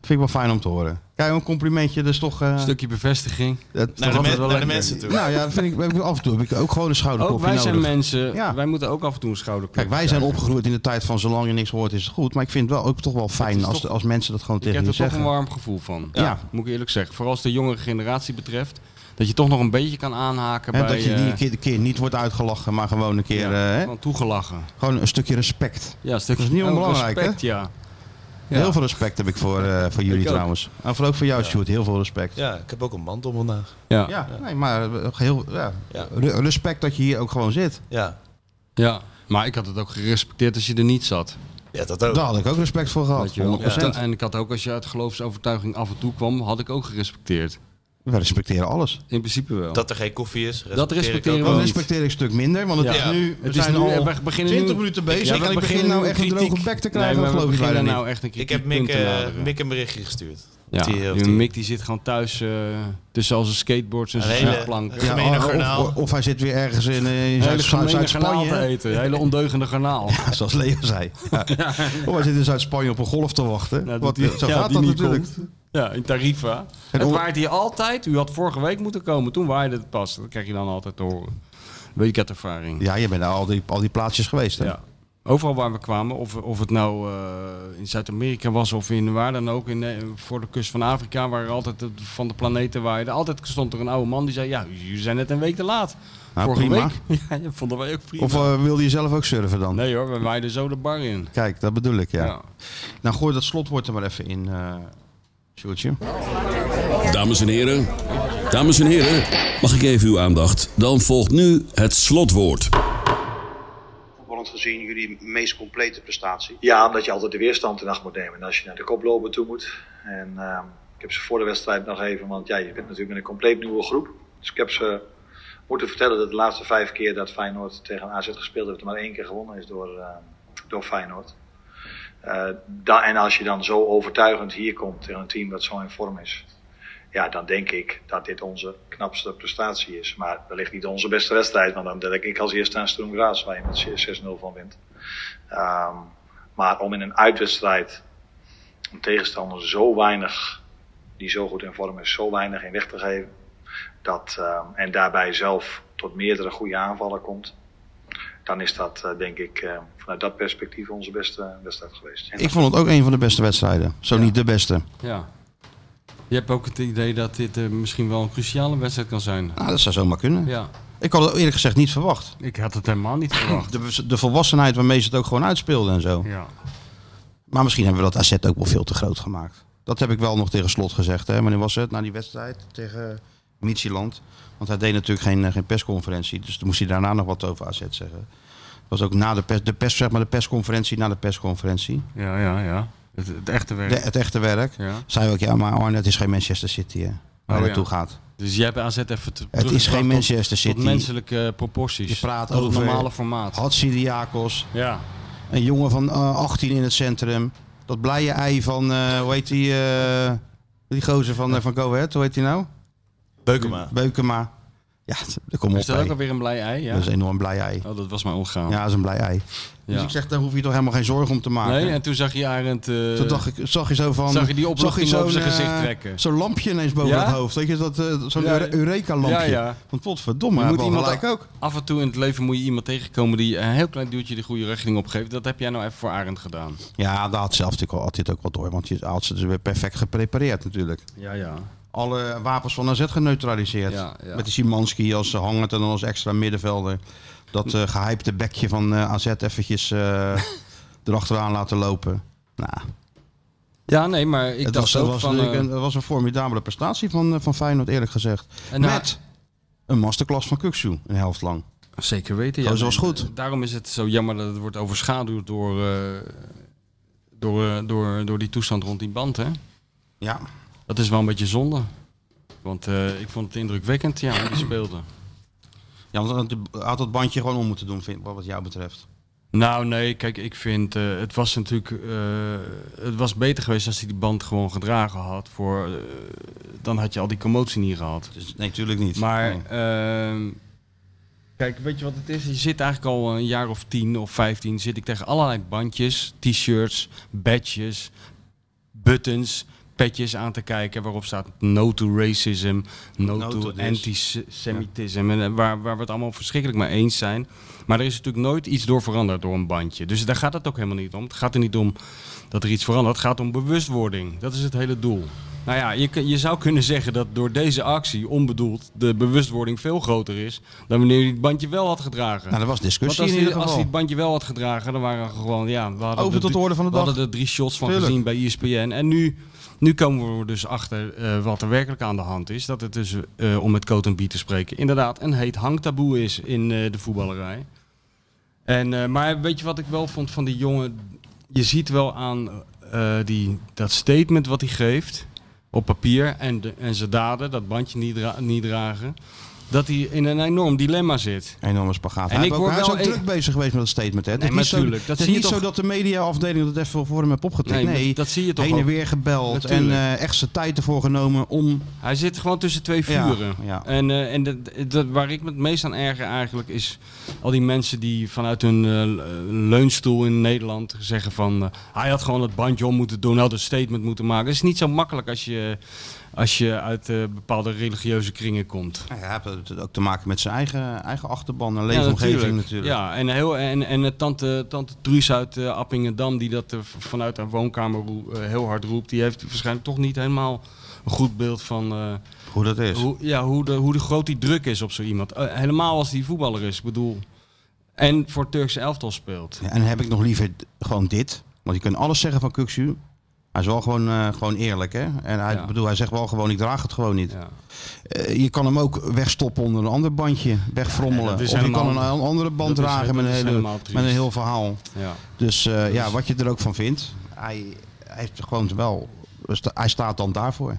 Vind ik wel fijn om te horen. Kijk, een complimentje, dus toch... eh,
Een stukje bevestiging.
dat is
Naar
toch
altijd
de,
wel
men- naar de
lekker.
mensen toe.
Nou ja, dat vind ik, heb ik af en toe heb ik ook gewoon een
Ook
schouderklopje
wij
nodig.
zijn mensen.
Ja.
Wij moeten ook af en toe een schouderklopje
Kijk, wij zijn opgegroeid in de tijd van zolang je niks hoort is het goed. Maar ik vind het wel ook toch wel fijn
is
als,
toch-
als mensen dat gewoon
Ik
tegen
heb
je
er toch een
zeggen.
warm gevoel van.
Ja.
Moet ik eerlijk zeggen. Vooral als de jongere generatie betreft. Dat je toch nog een beetje kan aanhaken
Hè,
bij...
dat je die een
eh,
keer, een keer niet wordt uitgelachen, maar gewoon een keer
ja,
eh, hè,
gewoon toegelachen.
gewoon een stukje respect.
Ja, een stukje
Dat is niet
oh,
onbelangrijk, hè?
respect, ja. Ja.
Heel veel respect heb ik voor, eh, voor jullie
ook.
trouwens. En vooral ook voor jou, Stuart. Heel veel respect.
Ja, ik heb ook een mand om vandaag.
Ja.
Ja, Nee, maar eh, heel, ja.
Ja.
Re- respect dat je hier ook gewoon zit.
Ja,
Ja. Maar ik had het ook gerespecteerd als je er niet zat.
ja dat ook.
Daar had ik ook respect voor gehad. 100%.
Weet je wel. Ja. En ik had ook als je uit geloofsovertuiging af en toe kwam, had ik ook gerespecteerd.
We respecteren alles.
In principe wel.
Dat er geen koffie is.
Dat respecteren we
Dat
niet.
respecteer ik een stuk minder, want het
Ja.
is nu, we
Het is
zijn
nu,
al
we beginnen
20
nu-
minuten
Ja,
bezig
we
en ik begin
beginnen
nou
nu
echt een
kritiek.
droge bek te
Nee,
krijgen.
maar
dat
we
geloof ik bijna
beginnen
niet.
nou echt een keer
Ik heb Mick, eh, Mick een berichtje gestuurd.
Ja,
die, of
die
die-
Mick die zit gewoon thuis eh, tussen al zijn skateboards en
Een
zijn
hele-
snelplank.
een
Een
gemene
of-
garnaal.
oh, Of, of hij zit weer ergens in, eh, in
hele
Zuid-
gemene garnaal te
Zuid-Spanje.
eten. Een hele ondeugende garnaal.
Zoals Leo zei. Ja. Of hij zit in Zuid-Spanje op een golf te wachten.
Nou,
Wat,
die-
zo
ja,
gaat
die
dat
niet
natuurlijk.
Ja, in Tarifa.
En
Het
on-
waait hier altijd. U had vorige week moeten komen. Toen waaide het pas. Dat krijg je dan altijd te horen. Week uit ervaring.
Ja, je bent naar al die, al die plaatsjes geweest. Hè?
Ja. Overal waar we kwamen, of, of het nou eh, in Zuid-Amerika was of in waar dan ook, in, eh, voor de kust van Afrika, waar er altijd het- van de planeten waaide, altijd stond er een oude man die zei: Ja, jullie zijn net een week te laat.
Nou,
Vorige
prima.
week. Ja, dat vonden wij ook prima.
Of eh, wilde je zelf ook surfen dan?
nee hoor, we waaiden zo de bar in.
Kijk, dat bedoel ik, ja.
Ja.
Nou, gooi dat slotwoord er maar even in, eh Sjoerdje.
Dames en heren, dames en heren, mag ik even uw aandacht? Dan volgt nu het slotwoord.
voetballend gezien jullie meest complete prestatie.
Ja, omdat je altijd de weerstand in acht moet nemen. En als je naar de koploper toe moet. En ehm, ik heb ze voor de wedstrijd nog even, want ja, je bent natuurlijk met een compleet nieuwe groep. Dus ik heb ze moeten vertellen dat de laatste vijf keer dat Feyenoord tegen AZ gespeeld heeft, er maar één keer gewonnen is door, ehm, door Feyenoord. Eh, da- en als je dan zo overtuigend hier komt tegen een team dat zo in vorm is. Ja, dan denk ik dat dit onze knapste prestatie is. Maar wellicht niet onze beste wedstrijd, want dan denk ik als eerste aan Sturm Graz, waar je met 6-0 van wint. Ehm, maar om in een uitwedstrijd een tegenstander zo weinig, die zo goed in vorm is, zo weinig in weg te geven. Dat, ehm, en daarbij zelf tot meerdere goede aanvallen komt. Dan is dat, eh, denk ik, eh, vanuit dat perspectief onze beste wedstrijd geweest.
Ik vond het ook een van de beste wedstrijden. Zo niet de beste.
ja. Je hebt ook het idee dat dit eh, misschien wel een cruciale wedstrijd kan zijn.
Nou, dat zou zomaar kunnen.
Ja.
Ik had het eerlijk gezegd niet verwacht.
Ik had het helemaal niet verwacht.
De, de volwassenheid waarmee ze het ook gewoon uitspeelden en zo.
Ja.
Maar misschien hebben we dat AZ ook wel veel te groot gemaakt. Dat heb ik wel nog tegen Slot gezegd. Hè? Wanneer was het? Na die wedstrijd tegen Michieland. Want hij deed natuurlijk geen, eh, geen persconferentie. Dus toen moest hij daarna nog wat over AZ zeggen. Dat was ook na de, pers, de, pers, zeg maar de persconferentie, na de persconferentie.
Ja, ja, ja. Het, het echte werk.
De- het echte werk.
Ja.
Zei ook, ja, maar Arne, het is geen Manchester City hè, waar
Oh,
hij
ja.
naartoe gaat.
Dus jij hebt AZ even te
Het is geen Manchester
Tot
City.
menselijke proporties.
Je praat
tot het
over-
normale formaat.
Had Syriakos,
Ja.
een jongen van eh, 18 in het centrum. Dat blije ei van, eh, hoe heet die, eh, die gozer van, eh, van Go Ahead, hoe heet die nou?
Beukema.
Beukema. Ja, t- kom op.
Is dat
hé.
ook alweer een blij ei? Ja.
Dat is een enorm blij ei.
Oh, dat was mij ontgaan.
Ja, dat is een blij ei.
Ja.
Dus ik zeg, daar hoef je toch helemaal geen zorgen om te maken.
nee, en toen zag je Arend... eh,
Toen dacht ik, zag je zo van...
Zag je die opluchting
zo'n,
over zijn
eh,
gezicht trekken?
Zo'n lampje ineens boven
Ja?
het hoofd. Weet je, dat, eh, zo'n
Ja,
eure- Eureka-lampje.
ja, ja.
Want potverdomme,
je
hij
moet
had wel
iemand
gelijk
af-
ook.
Af en toe in het leven moet je iemand tegenkomen die een heel klein duwtje de goede richting opgeeft. Dat heb jij nou even voor Arend gedaan.
Ja, dat had zelf natuurlijk al, had hij het ook wel door. Want je had ze dus weer perfect geprepareerd natuurlijk.
Ja, ja.
Alle wapens van AZ geneutraliseerd.
Ja, ja.
Met die Simanski als eh, hangend en dan als extra middenvelder. Dat eh gehypte bekje van eh, AZ eventjes eh, erachteraan laten lopen. Nou,
Ja, nee, maar ik
het was,
dacht
het
ook
was
van...
natuurlijk
eh,
een, het was een formidabele prestatie van, eh, van Feyenoord, eerlijk gezegd.
En nou-
Met een masterclass van Kuksu, een helft lang.
Zeker weten, ja.
Gozer Oh, was
Nee,
goed.
eh, Daarom is het zo jammer dat het wordt overschaduwd door, eh, door, eh, door, door die toestand rond die band, hè.
Ja,
Dat is wel een beetje zonde. Want eh, ik vond het indrukwekkend, ja, hoe die speelde.
ja want hij had dat bandje gewoon om moeten doen, vind, wat wat jou betreft.
Nou nee, kijk, ik vind eh, het was natuurlijk eh, het was beter geweest als hij die band gewoon gedragen had. Voor, eh, dan had je al die commotie niet gehad.
Dus, nee, natuurlijk niet.
Maar
Nee.
ehm, kijk, weet je wat het is? Je zit eigenlijk al een jaar of tien of vijftien zit ik tegen allerlei bandjes, t-shirts, badges, buttons, petjes aan te kijken waarop staat no to racism, no,
No
to
to this.
antisemitism. En, eh, waar, waar we het allemaal verschrikkelijk mee eens zijn. Maar er is natuurlijk nooit iets door veranderd door een bandje. Dus daar gaat het ook helemaal niet om. Het gaat er niet om dat er iets verandert. Het gaat om bewustwording. Dat is het hele doel. Nou ja, je, kun- je zou kunnen zeggen dat door deze actie onbedoeld de bewustwording veel groter is dan wanneer je het bandje wel had gedragen.
Nou, er was
Want
discussie
als
in
hij,
ieder
als hij
geval.
het bandje wel had gedragen, dan waren we gewoon, ja, we hadden
Over tot de orde van de
we
dag.
hadden er drie shots van
Tuurlijk.
gezien bij E ESPN. En nu, nu komen we er dus achter eh, wat er werkelijk aan de hand is. Dat het dus, eh, om met Coat en Biet te spreken, inderdaad een heet hangtaboe is in eh, de voetballerij. En, eh, maar weet je wat ik wel vond van die jongen? Je ziet wel aan eh, die, dat statement wat hij geeft op papier en, de, en zijn daden, dat bandje niet, dra- niet dragen, dat hij in een enorm dilemma zit.
Enorme spagaat.
En
hij,
ik
heeft ook-
word
hij is
wel
ook
e-
druk bezig geweest met dat statement. Hè? Het is
maar
niet zo-
tuurlijk, dat
het is
zie je
niet zo
toch-
dat de mediaafdeling dat even voor hem heeft opgetikt.
Nee,
Nee,
maar dat zie je toch
heen en
ook.
weer gebeld en
Natuurlijk.
eh, echt zijn tijd ervoor genomen om... Nou
Hij zit gewoon tussen twee
Ja,
vuren.
ja.
En, eh, en dat, dat, waar ik me het meest aan erger eigenlijk is al die mensen die vanuit hun eh, leunstoel in Nederland zeggen van eh, hij had gewoon het bandje om moeten doen, had een statement moeten maken. Het is niet zo makkelijk als je, als je uit eh, bepaalde religieuze kringen komt.
Nou ja, hij heeft het ook te maken met zijn eigen, eigen achterban en
Ja,
leefomgeving natuurlijk.
Ja, en, heel, en, en eh, tante, tante Truus uit eh, Appingedam, die dat eh, v- vanuit haar woonkamer roe- eh, heel hard roept, die heeft waarschijnlijk toch niet helemaal een goed beeld van... eh,
Hoe dat is.
Hoe, ja, hoe, de, hoe de groot die druk is op zo iemand. Eh, helemaal als die voetballer is, ik bedoel. En voor het Turkse elftal speelt.
Ja, en heb ik nog liever d- gewoon dit. Want je kunt alles zeggen van Kuksu. Hij is wel gewoon, eh, gewoon eerlijk. Hè? En hij,
Ja.
ik bedoel, hij zegt wel gewoon, ik draag het gewoon niet.
Ja.
Eh, je kan hem ook wegstoppen onder een ander bandje. Wegfrommelen.
dat
of
is
je
helemaal-
kan een an- andere band
dat is-
dragen
dat
met, een
is
hele,
helemaal
met
triest.
een heel verhaal.
Ja.
Dus eh, ja, wat je er ook van vindt. Hij, hij heeft gewoon wel... Hij staat dan daarvoor.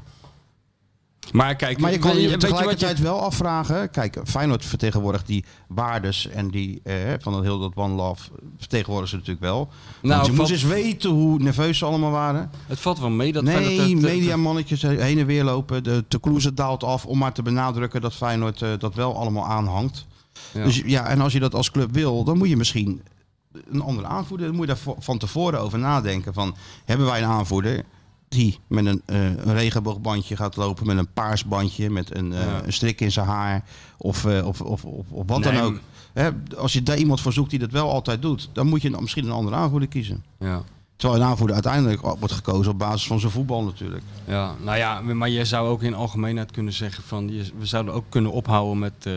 Maar kijk,
Maar je kan
weet-
je
weet wat
tegelijkertijd wel afvragen. Kijk, Feyenoord vertegenwoordigt die waardes en die eh, van dat heel dat One Love vertegenwoordigen ze natuurlijk wel.
Nou,
Want je moet
valt-
eens weten hoe nerveus ze allemaal waren.
het valt wel mee dat Feyenoord het-
nee,
het-
mediamannetjes heen en weer lopen. De Teclouse daalt af om maar te benadrukken dat Feyenoord eh, dat wel allemaal aanhangt.
Ja.
Dus ja, en als je dat als club wil, dan moet je misschien een andere aanvoerder. Dan moet je daar vo- van tevoren over nadenken. Van, hebben wij een aanvoerder die met een, eh, een regenboogbandje gaat lopen, met een paars bandje, met een, eh,
Ja.
een strik in zijn haar of, eh, of, of, of, of wat
Nee,
dan ook.
maar-
Hè, als je daar iemand voor zoekt die dat wel altijd doet, dan moet je een- misschien een andere aanvoerder kiezen.
ja.
Terwijl een aanvoerder uiteindelijk wordt gekozen op basis van zijn voetbal natuurlijk.
Ja, nou ja, maar je zou ook in algemeenheid kunnen zeggen van je, we zouden ook kunnen ophouden met eh,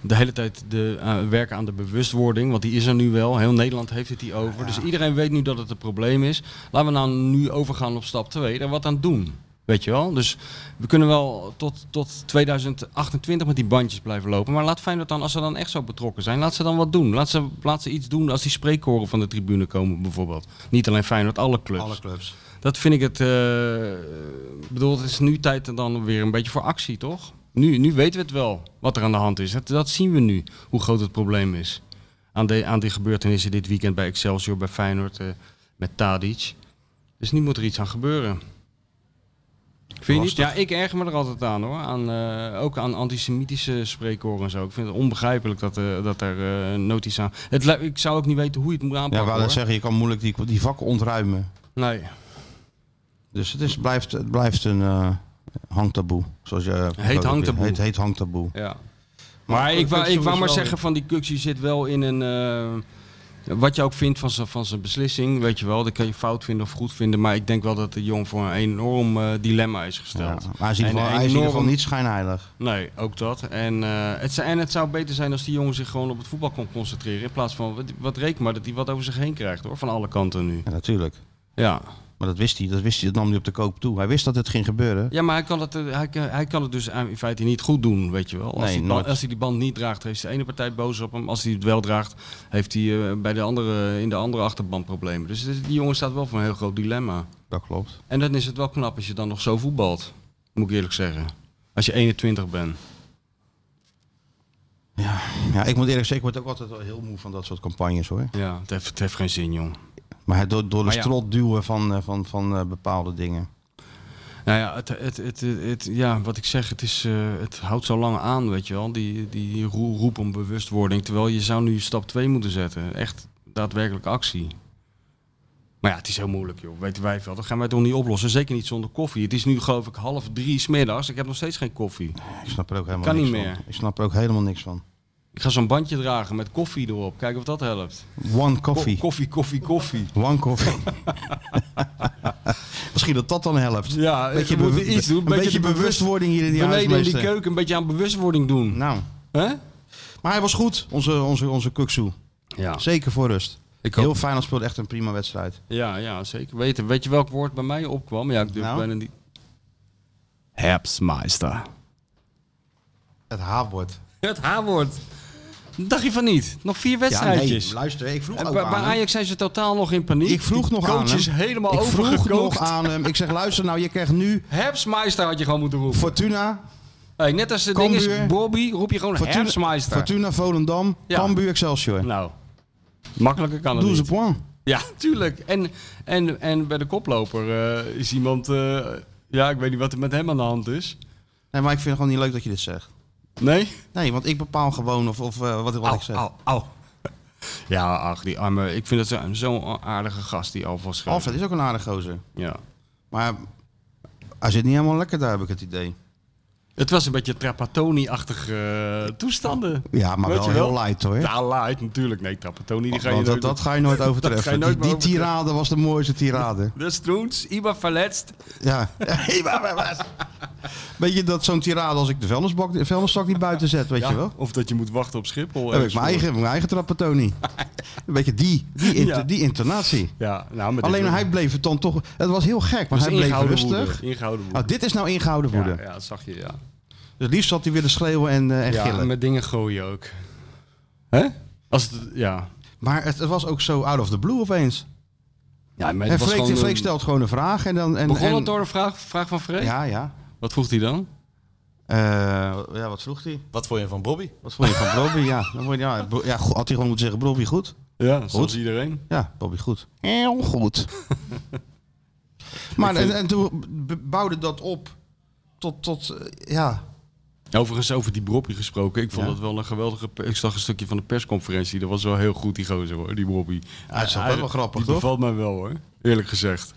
de hele tijd de, eh, werken aan de bewustwording. Want die is er nu wel. Heel Nederland heeft het hier over. Dus iedereen weet nu dat het een probleem is. Laten we nou nu overgaan op stap 2 en wat aan doen. Weet je wel? Dus we kunnen wel tot, tot 2028 met die bandjes blijven lopen. Maar laat Feyenoord dan, als ze dan echt zo betrokken zijn, laat ze dan wat doen. Laat ze, laat ze iets doen als die spreekkoren van de tribune komen bijvoorbeeld. Niet alleen Feyenoord, alle clubs.
Alle clubs.
Dat vind ik het. eh, Ik bedoel, het is nu tijd dan weer een beetje voor actie, toch? Nu, nu weten we het wel wat er aan de hand is. Dat, dat zien we nu, hoe groot het probleem is. Aan, de, aan die gebeurtenissen dit weekend bij Excelsior, bij Feyenoord, eh, met Tadic. Dus nu moet er iets aan gebeuren. Vind je niet? Ja, ik erger me er altijd aan hoor. Aan, eh, ook aan antisemitische spreekkoren en zo. Ik vind het onbegrijpelijk dat, eh, dat er eh, noties aan. Het, li- ik zou ook niet weten hoe je het moet
Ja,
aanpakken.
waar dat
hoor.
zeggen, je kan moeilijk die, die vakken ontruimen.
Nee.
Dus het, is, blijft, het blijft een eh, hangtaboe. Zoals je,
Heet hangtaboe.
Heet, heet hangtaboe.
Ja. Maar, ik wou, ik wou maar zeggen van die Kuxie zit wel in een... eh, wat je ook vindt van zijn, van zijn beslissing, weet je wel. Dat kan je fout vinden of goed vinden. Maar ik denk wel dat de jong voor een enorm eh, dilemma is
Ja, maar
gesteld.
hij is in ieder
En
geval- hij is in ieder geval
enorm-
niet schijnheilig.
Nee, ook dat. En, eh, het, zou- en het zou beter zijn als die jongen zich gewoon op het voetbal kon concentreren. In plaats van, wat, wat reken maar dat hij wat over zich heen krijgt hoor. Van alle kanten nu.
Ja, natuurlijk.
Ja.
Maar dat wist hij, dat wist hij, dat nam hij op de koop toe. Hij wist dat het ging gebeuren.
Ja, maar hij kan, het, eh, hij, kan- hij kan het dus eh, in feite niet goed doen, weet je wel. Als,
Nee,
die,
nooit.
band, als hij die band niet draagt, heeft de ene partij boos op hem. Als hij het wel draagt, heeft hij eh, bij de andere, in de andere achterband problemen. Dus dit- die jongen staat wel voor een heel groot dilemma.
Dat klopt.
En dan is het wel knap als je dan nog zo voetbalt, moet ik eerlijk zeggen. Als je 21 bent.
Ja, ik moet eerlijk zeggen, ik word ook altijd wel heel moe van dat soort campagnes hoor.
Ja, het heeft, het heeft geen zin, jong.
Maar het door, door de
Maar ja.
strot duwen van, eh, van, van eh, bepaalde dingen.
Nou ja, het, het, het, het- het- ja wat ik zeg, het, is, eh, het houdt zo lang aan, weet je wel. Die, die roe- roep om bewustwording. Terwijl je zou nu stap 2 moeten zetten. Echt daadwerkelijk actie. Maar ja, het is heel moeilijk, joh. Weten wij veel. Dat gaan wij toch niet oplossen. Zeker niet zonder koffie. Het is nu, geloof ik, half drie smiddags. Ik heb nog steeds geen koffie.
Ik snap er ook helemaal
Kan
niks
niet meer.
van. Ik snap er ook helemaal niks van.
Ik ga zo'n bandje dragen met koffie erop. Kijken of dat helpt.
One
Ko-
coffee.
koffie, koffie, koffie.
One coffee. Misschien dat dat dan helpt.
Ja, we
bewust-
moeten iets doen.
Een beetje,
de bewust-
bewustwording hier in die
Beneden in die
huismeester.
keuken een beetje aan bewustwording doen.
Nou,
Hè?
maar hij was goed, onze, onze, onze Kuksu.
Ja.
Zeker voor rust.
Ik
Heel
hoop,
fijn, speelde echt een prima wedstrijd.
ja, ja, zeker. Weet, je- weet je welk woord bij mij opkwam? Ja, ik durf
Nou?
bijna niet. Herbstmeister.
Het haatwoord.
Het H-woord. Dacht je van niet? Nog vier
Ja,
wedstrijdjes.
nee, luister, ik vroeg
en
ook
bij,
aan
bij
hem.
Ajax zijn ze totaal nog in paniek.
Ik vroeg
Die
nog aan
coach is
hem.
helemaal
Ik vroeg
overgekookt.
nog aan hem. Ik zeg, luister nou, je krijgt nu
Herbstmeister had je gewoon moeten roepen.
Fortuna,
Hey, net als het ding is,
Cambuur.
Bobby, roep je gewoon
Fortuna,
Herbstmeister.
Fortuna Volendam,
Ja.
Cambuur Excelsior.
Nou, makkelijker kan het
Doe ze
niet.
point.
Ja, tuurlijk. En, en, en bij de koploper eh, is iemand... eh, ja, ik weet niet wat er met hem aan de hand is.
Nee, maar ik vind het gewoon niet leuk dat je dit zegt.
Nee?
Nee, want ik bepaal gewoon of, of eh, wat, wat
Oh,
ik zeg.
au. Ja, ach, die arme... Ik vind dat zo- zo'n aardige gast, die Alfred Schreuder.
Alfred is ook een aardige gozer.
Ja.
Maar hij zit niet helemaal lekker daar, heb ik het idee.
Het was een beetje Trapattoni-achtige eh, toestanden.
Ja, maar
Weet
wel,
je wel?
heel light hoor.
Ja, light natuurlijk. Nee, Trapattoni, die ga je
Want Oh, dat,
nooit...
dat ga je nooit overtreffen.
Dat ga je nooit
die,
meer
die tirade was de mooiste tirade.
De Stroens, Iba verletst.
Ja. Hey, maar- maar- maar. Weet je dat zo'n tirade als ik de vuilnisbak, de vuilniszak niet buiten zet, weet je wel?
Of dat je moet wachten op Schiphol.
Dan heb
ergens
ik mijn
voor.
eigen, mijn eigen trappatoni. Een beetje die, die, inter-
Ja.
die intonatie.
Ja, nou, maar dit
Alleen
was-
hij bleef het dan toch. Het was heel gek, want
was
hij bleef
ingehouden
rustig.
woede, Ingehouden woede.
Nou, dit is nou ingehouden woede.
Ja, ja, dat zag je, ja.
Dus liefst had hij willen schreeuwen en, eh, en
Ja,
gillen.
met dingen gooien ook. Hè? Als het, ja.
Maar het, het was ook zo out of the blue opeens.
Ja, maar
En
het was
Freek,
gewoon,
Freek
een-
stelt gewoon een vraag en dan. En,
Begon
en-
het door een vraag, vraag van Freek?
Ja, ja.
Wat vroeg hij dan?
Eh, ja, wat vroeg hij?
Wat vond je van Bobby?
Wat vond je van Bobby? Ja, dan vond je- ja, Bro- ja, go- had hij gewoon moeten zeggen: Bobby goed?
Ja, zoals iedereen.
Ja, Bobby goed. Heel goed. maar en, en toen b- bouwde dat op tot. tot eh, ja.
Overigens, over die Brobby gesproken. Ik vond
Ja.
dat wel een geweldige... pe- Ik zag een stukje van de persconferentie. Dat was wel heel goed, die gozer, hoor. Die Brobby.
Hij is ook wel grappig,
Die
toch?
bevalt mij wel, hoor. Eerlijk gezegd.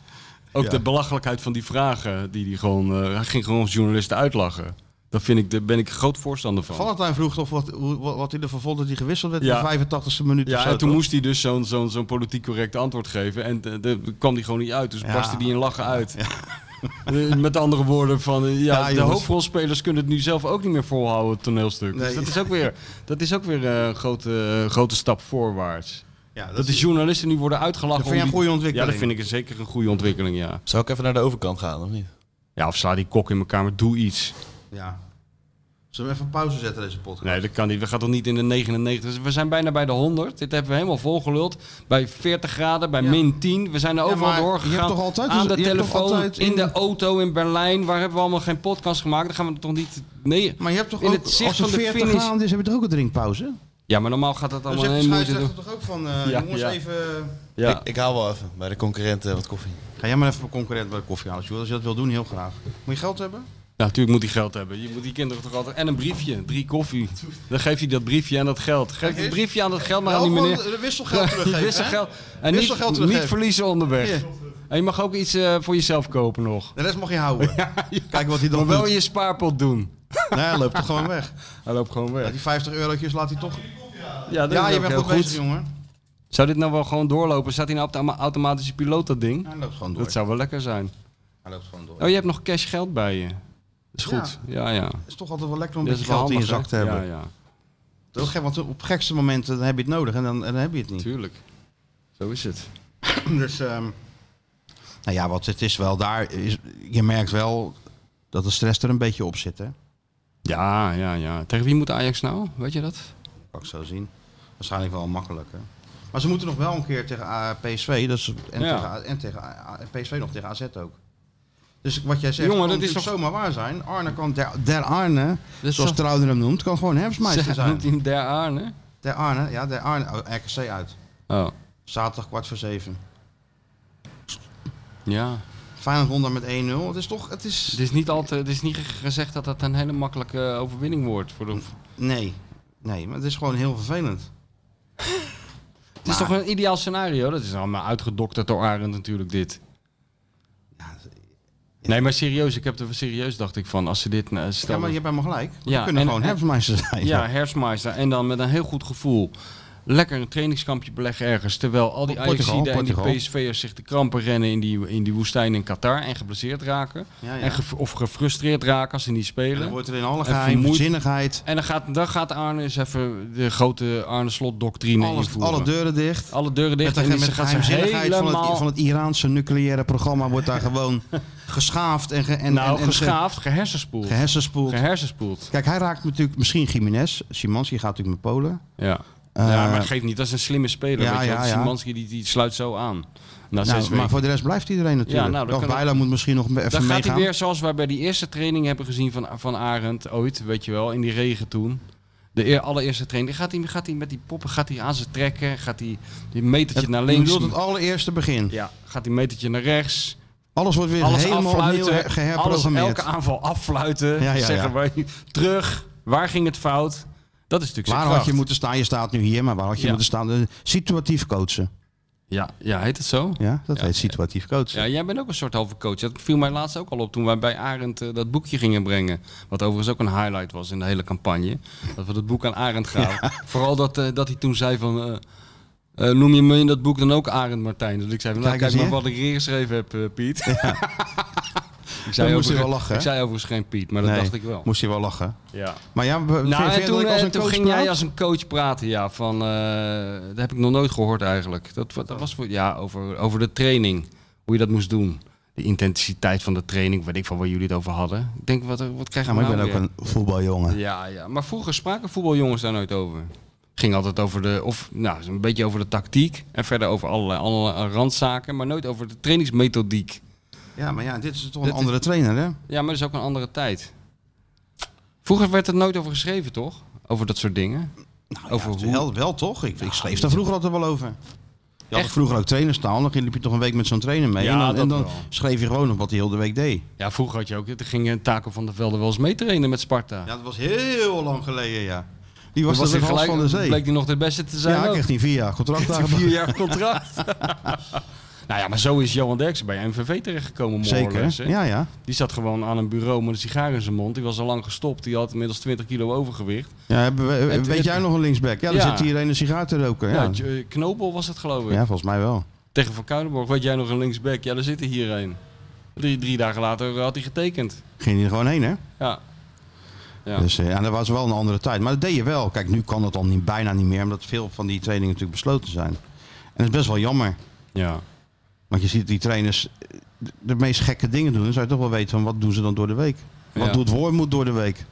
Ook de belachelijkheid van die vragen. Die die gewoon, eh, hij ging gewoon journalisten uitlachen. Daar vind ik, daar ben ik groot voorstander van.
Valentijn vroeg toch wat, hoe- wat, wat hij ervan vond dat hij gewisseld werd
Ja.
in de 85e minuut. of
Ja,
zo,
en toen
toch?
moest hij dus zo'n zo'n zo'n politiek correct antwoord geven. En de, de- kwam die gewoon niet uit. Dus
Ja.
barstte die in lachen uit. Eh, Met andere woorden, van, eh,
Ja,
ja, de
jongens.
hoofdrolspelers kunnen het nu zelf ook niet meer volhouden, het toneelstuk. Dus
Nee.
dat is ook weer, dat is ook weer eh, een grote, grote stap voorwaarts.
Ja, dat,
Dat de
is.
journalisten nu worden uitgelachen.
Dat vind jij
om
een goede
die-
ontwikkeling?
Ja, dat vind ik zeker een goede ontwikkeling, ja.
Zou ik even naar de overkant gaan, of niet?
Ja, of sla die kok in elkaar, maar doe iets.
Ja. Zullen we even pauze zetten deze podcast?
Nee, dat kan niet. We gaan toch niet in de 99. We zijn bijna bij de 100. Dit hebben we helemaal volgeluld. Bij 40 graden, bij
Ja.
min 10. We zijn er overal
maar je
doorgegaan.
hebt toch altijd
aan
een-
de
je hebt toch
telefoon,
altijd
in de
een-
auto, in Berlijn. Waar hebben we allemaal geen podcast gemaakt? Dan gaan we toch niet... Nee.
Maar je hebt toch
In
ook,
het zicht
als er
van de
40
finish-
graden is, heb je toch ook een drinkpauze?
Ja, maar normaal gaat dat
Dan
allemaal
zegt de
heel moeite doen.
scheidsrechter toch ook van, eh,
Ja,
jongens
ja.
even...
Ja.
Ik, ik haal wel even bij de concurrenten wat koffie.
Ga jij maar even concurrent bij de koffie halen, Sjoerd. Als je dat wil doen, heel graag. Moet je geld hebben?
Nou, natuurlijk moet hij geld hebben. Je moet die kinderen toch altijd... En een briefje. Drie koffie. Dan geeft hij dat briefje en dat geld. Geef het briefje aan dat geld maar aan die meneer.
de wisselgeld eh, teruggeven,
Wisselgeld. En
Wisselgeld
niet, niet
teruggeven.
verliezen onderweg.
Hier.
En je mag ook iets eh, voor jezelf kopen nog.
De rest mag je houden. Kijk wat hij
Maar
dan
wel
doet.
in je spaarpot doen.
Nee, hij loopt toch gewoon weg.
Hij loopt gewoon
Ja,
weg.
die 50 eurotjes laat hij toch...
Ja, dat
Ja,
is
je
ook
bent
heel
goed bezig, jongen.
Zou dit nou wel gewoon doorlopen? Staat hij nou op de ama- automatische piloot, dat ding?
Hij loopt gewoon door.
Dat zou wel lekker zijn.
Hij loopt gewoon door.
Oh, je hebt nog cash geld bij je. Is goed. Ja, ja.
Het is toch altijd wel lekker om een
Dat is
beetje
wel
geld in je
handig,
zak
hè?
te hebben.
Ja, ja.
Dat is gek, want op gekste momenten dan heb je het nodig en dan, en dan heb je het niet.
Tuurlijk. Zo is het.
Dus, ehm, nou ja, wat het is wel daar. Is, je merkt wel dat de stress er een beetje op zit, hè?
Ja, ja, ja. Tegen wie moet Ajax nou? Weet je dat?
Kan ik zo zien. Waarschijnlijk wel makkelijk, hè? Maar ze moeten nog wel een keer tegen eh, PSV. Dus, en,
Ja.
tegen, A- en tegen A- en PSV nog tegen AZ ook. Dus wat jij zegt,
Jongen,
kan
dat is
natuurlijk zomaar waar zijn. Arne kan, der, der Arne,
Dus
zoals
dat-
Trouwder hem noemt, kan gewoon
Ze-
herfstmeister zijn.
Noemt hij hem daar aan, hè?
Der Arne, ja, der Arne, oh, RKC uit.
Oh,
Zaterdag kwart voor zeven.
ja.
Feyenoord won daar met 1-0. Het is toch, het is...
Het is niet, altijd, het is niet gezegd dat dat een hele makkelijke eh, overwinning wordt. Voor de,
Nee, nee, maar het is gewoon heel vervelend.
Het is toch een ideaal scenario? Dat is allemaal uitgedokterd door Arend natuurlijk, dit. Nee, maar serieus, ik heb er serieus dacht ik van, als ze dit... nou, stel
Ja, maar je
dat-
hebt helemaal gelijk. We
Ja,
kunnen
en-
gewoon
en-
herfstmeisjes zijn.
ja, herfstmeister. En dan met een heel goed gevoel lekker een trainingskampje beleggen ergens. Terwijl al die
Portugal,
Ajaxiden en die
Portugal.
PSV'ers zich de krampen rennen in die, in die woestijn in Qatar. En geblesseerd raken.
Ja, ja.
En ge- of gefrustreerd raken als ze niet
En
spelen.
dan wordt er in alle
En
geheimzinnigheid
En dan gaat, dan gaat Arne eens even de grote Arne Slot-doctrine
alles,
invoeren.
alle deuren dicht.
Alle deuren dicht.
Met de, met
en ze
de
gaat ze
geheimzinnigheid van
helemaal...
het, van het Iraanse nucleaire programma wordt daar gewoon geschaafd en, ge, en,
nou,
en, en ge-
geschaafd, gehersenspoeld.
gehersenspoeld.
Gehersenspoeld.
Kijk, hij raakt natuurlijk misschien Jiménez. Simons, die gaat natuurlijk met Polen.
Ja.
Eh,
ja, maar geeft niet. Dat is een slimme speler.
ja,
weet je. wel.
ja, ja.
Simanski die, die sluit zo aan. Na
Nou,
zes
maar
weken.
voor de rest blijft iedereen natuurlijk.
Ja, nou, dan
Dag
kan het-
Bijlo moet misschien nog even
Dan
meegaan.
gaat hij weer zoals wij bij die eerste training hebben gezien van, van Arend ooit, weet je wel, in die regen toen. De eer- allereerste training. Gaat hij, gaat hij met die poppen, gaat hij aan ze trekken, gaat hij die metertje
het,
naar
Je
links.
bedoelt het allereerste begin.
Ja, gaat hij metertje naar rechts.
Alles wordt weer
Alles
helemaal opnieuw he-
afluiten. Alles,
geherprogrammeerd.
elke aanval affluiten.
Ja, ja,
zeggen
ja.
wij terug. Waar ging het fout? Dat is natuurlijk zijn
Waar had je
kracht.
moeten staan? Je staat nu hier, maar waar had je
Ja.
moeten staan? Eh, Situatief coachen.
Ja, ja, heet het zo?
Ja, dat
Ja.
heet situatief coachen.
Ja, jij bent ook een soort halve coach. Dat viel mij laatst ook al op toen wij bij Arend eh, dat boekje gingen brengen. Wat overigens ook een highlight was in de hele campagne. Dat we dat boek aan Arend gaven. Vooral dat, eh, dat hij toen zei van... eh, eh, noem je me in dat boek dan ook Arend Martijn? Dat ik zei van, nou,
Kijk
kijk
eens
maar
hier.
wat ik hier geschreven heb, eh, Piet. ik,
je
zei overigens,
wel lachen, hè?
ik zei overigens geen Piet, maar dat
Nee,
dacht ik wel.
Moest je wel lachen.
Ja.
Maar ja, we- vind-
Nou,
vind
en
je
toen,
dat ik als
eh,
een
toen
coach
ging
praat?
jij als een coach praten, ja, van, eh, dat heb ik nog nooit gehoord eigenlijk. Dat, wa- dat was voor, ja, over, over de training, hoe je dat moest doen. De intensiteit van de training, weet ik van waar jullie het over hadden. Ik denk, wat, wat krijg
Ja,
je
maar ik
nou
ben ook
weer?
een voetbaljongen.
Ja, ja, maar vroeger spraken voetbaljongens daar nooit over. Ging altijd over de, of nou, een beetje over de tactiek en verder over allerlei, andere randzaken, maar nooit over de trainingsmethodiek.
Ja, maar ja, dit Nou is toch
Dit
een
is-
andere trainer, hè?
Ja, maar dat is ook een andere tijd. Vroeger werd er nooit over geschreven, toch? Over dat soort dingen.
Nou
over hoe, Nou,
Wel, wel toch? Ik, ik schreef daar vroeger altijd wel over. Je had
Echt?
vroeger ook trainers staan, dan liep je toch een week met zo'n trainer mee.
Ja,
en dan, en
dat
dan
wel.
schreef je gewoon op wat hij heel de week deed.
Ja, vroeger had je ook, er gingen Taco van der Velde wel eens meetrainen met Sparta.
Ja, dat was heel lang geleden, ja. Die
Toen
was, was
hij
de gelijk, van de zee.
Bleek hij nog de beste te zijn
ja, ik
ook.
kreeg die vier jaar contract
Een
daar.
vier jaar contract. nou ja, maar zo is Johan Derksen bij MVV terechtgekomen. more or less, hè.
Zeker, ja, ja.
Die zat gewoon aan een bureau met een sigaar in zijn mond. Die was al lang gestopt. Die had inmiddels 20 kilo overgewicht.
ja hebben we-
Het-
weet
het-
jij nog een linksback? Ja, er
Ja.
zit hier een sigaar te roken.
Ja.
Ja.
Knopel was het geloof ik.
ja, volgens mij wel.
Tegen Van Kuilenborg. Weet jij nog een linksback? Ja, daar zit er hier een. Drie, drie dagen later eh, had hij getekend.
Ging hij er gewoon heen, hè?
Ja. Ja.
Dus, eh, ja, dat was wel een andere tijd. Maar dat deed je wel. Kijk, nu kan dat al niet, bijna niet meer, omdat veel van die trainingen natuurlijk besloten zijn. En dat is best wel jammer.
ja.
Want je ziet die trainers eh, de- de meest gekke dingen doen. Dan zou je toch wel weten van wat doen ze dan door de week. Wat
Ja.
doet Wormoed door de week?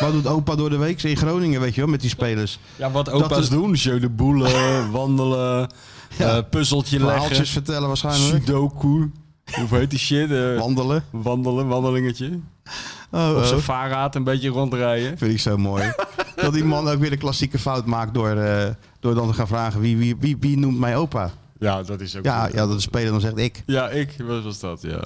wat doet opa door de week? In Groningen, weet je wel, met die spelers.
Ja, wat opa's
is-
doen. Jeu de boelen, wandelen,
Ja.
eh, puzzeltje leggen,
Verhaaltjes vertellen waarschijnlijk.
sudoku. Hoe heet die shit? eh,
Wandelen.
wandelen, wandelingetje.
Oh,
Op
oh.
zijn vaarraad een beetje rondrijden.
Vind ik zo mooi. dat die man ook weer de klassieke fout maakt door, eh, door dan te gaan vragen wie, wie, wie, wie noemt mij opa.
Ja, dat is ook...
Ja, ja, dat de speler dan zegt ik.
Ja, ik. Wat was dat, ja. Ja,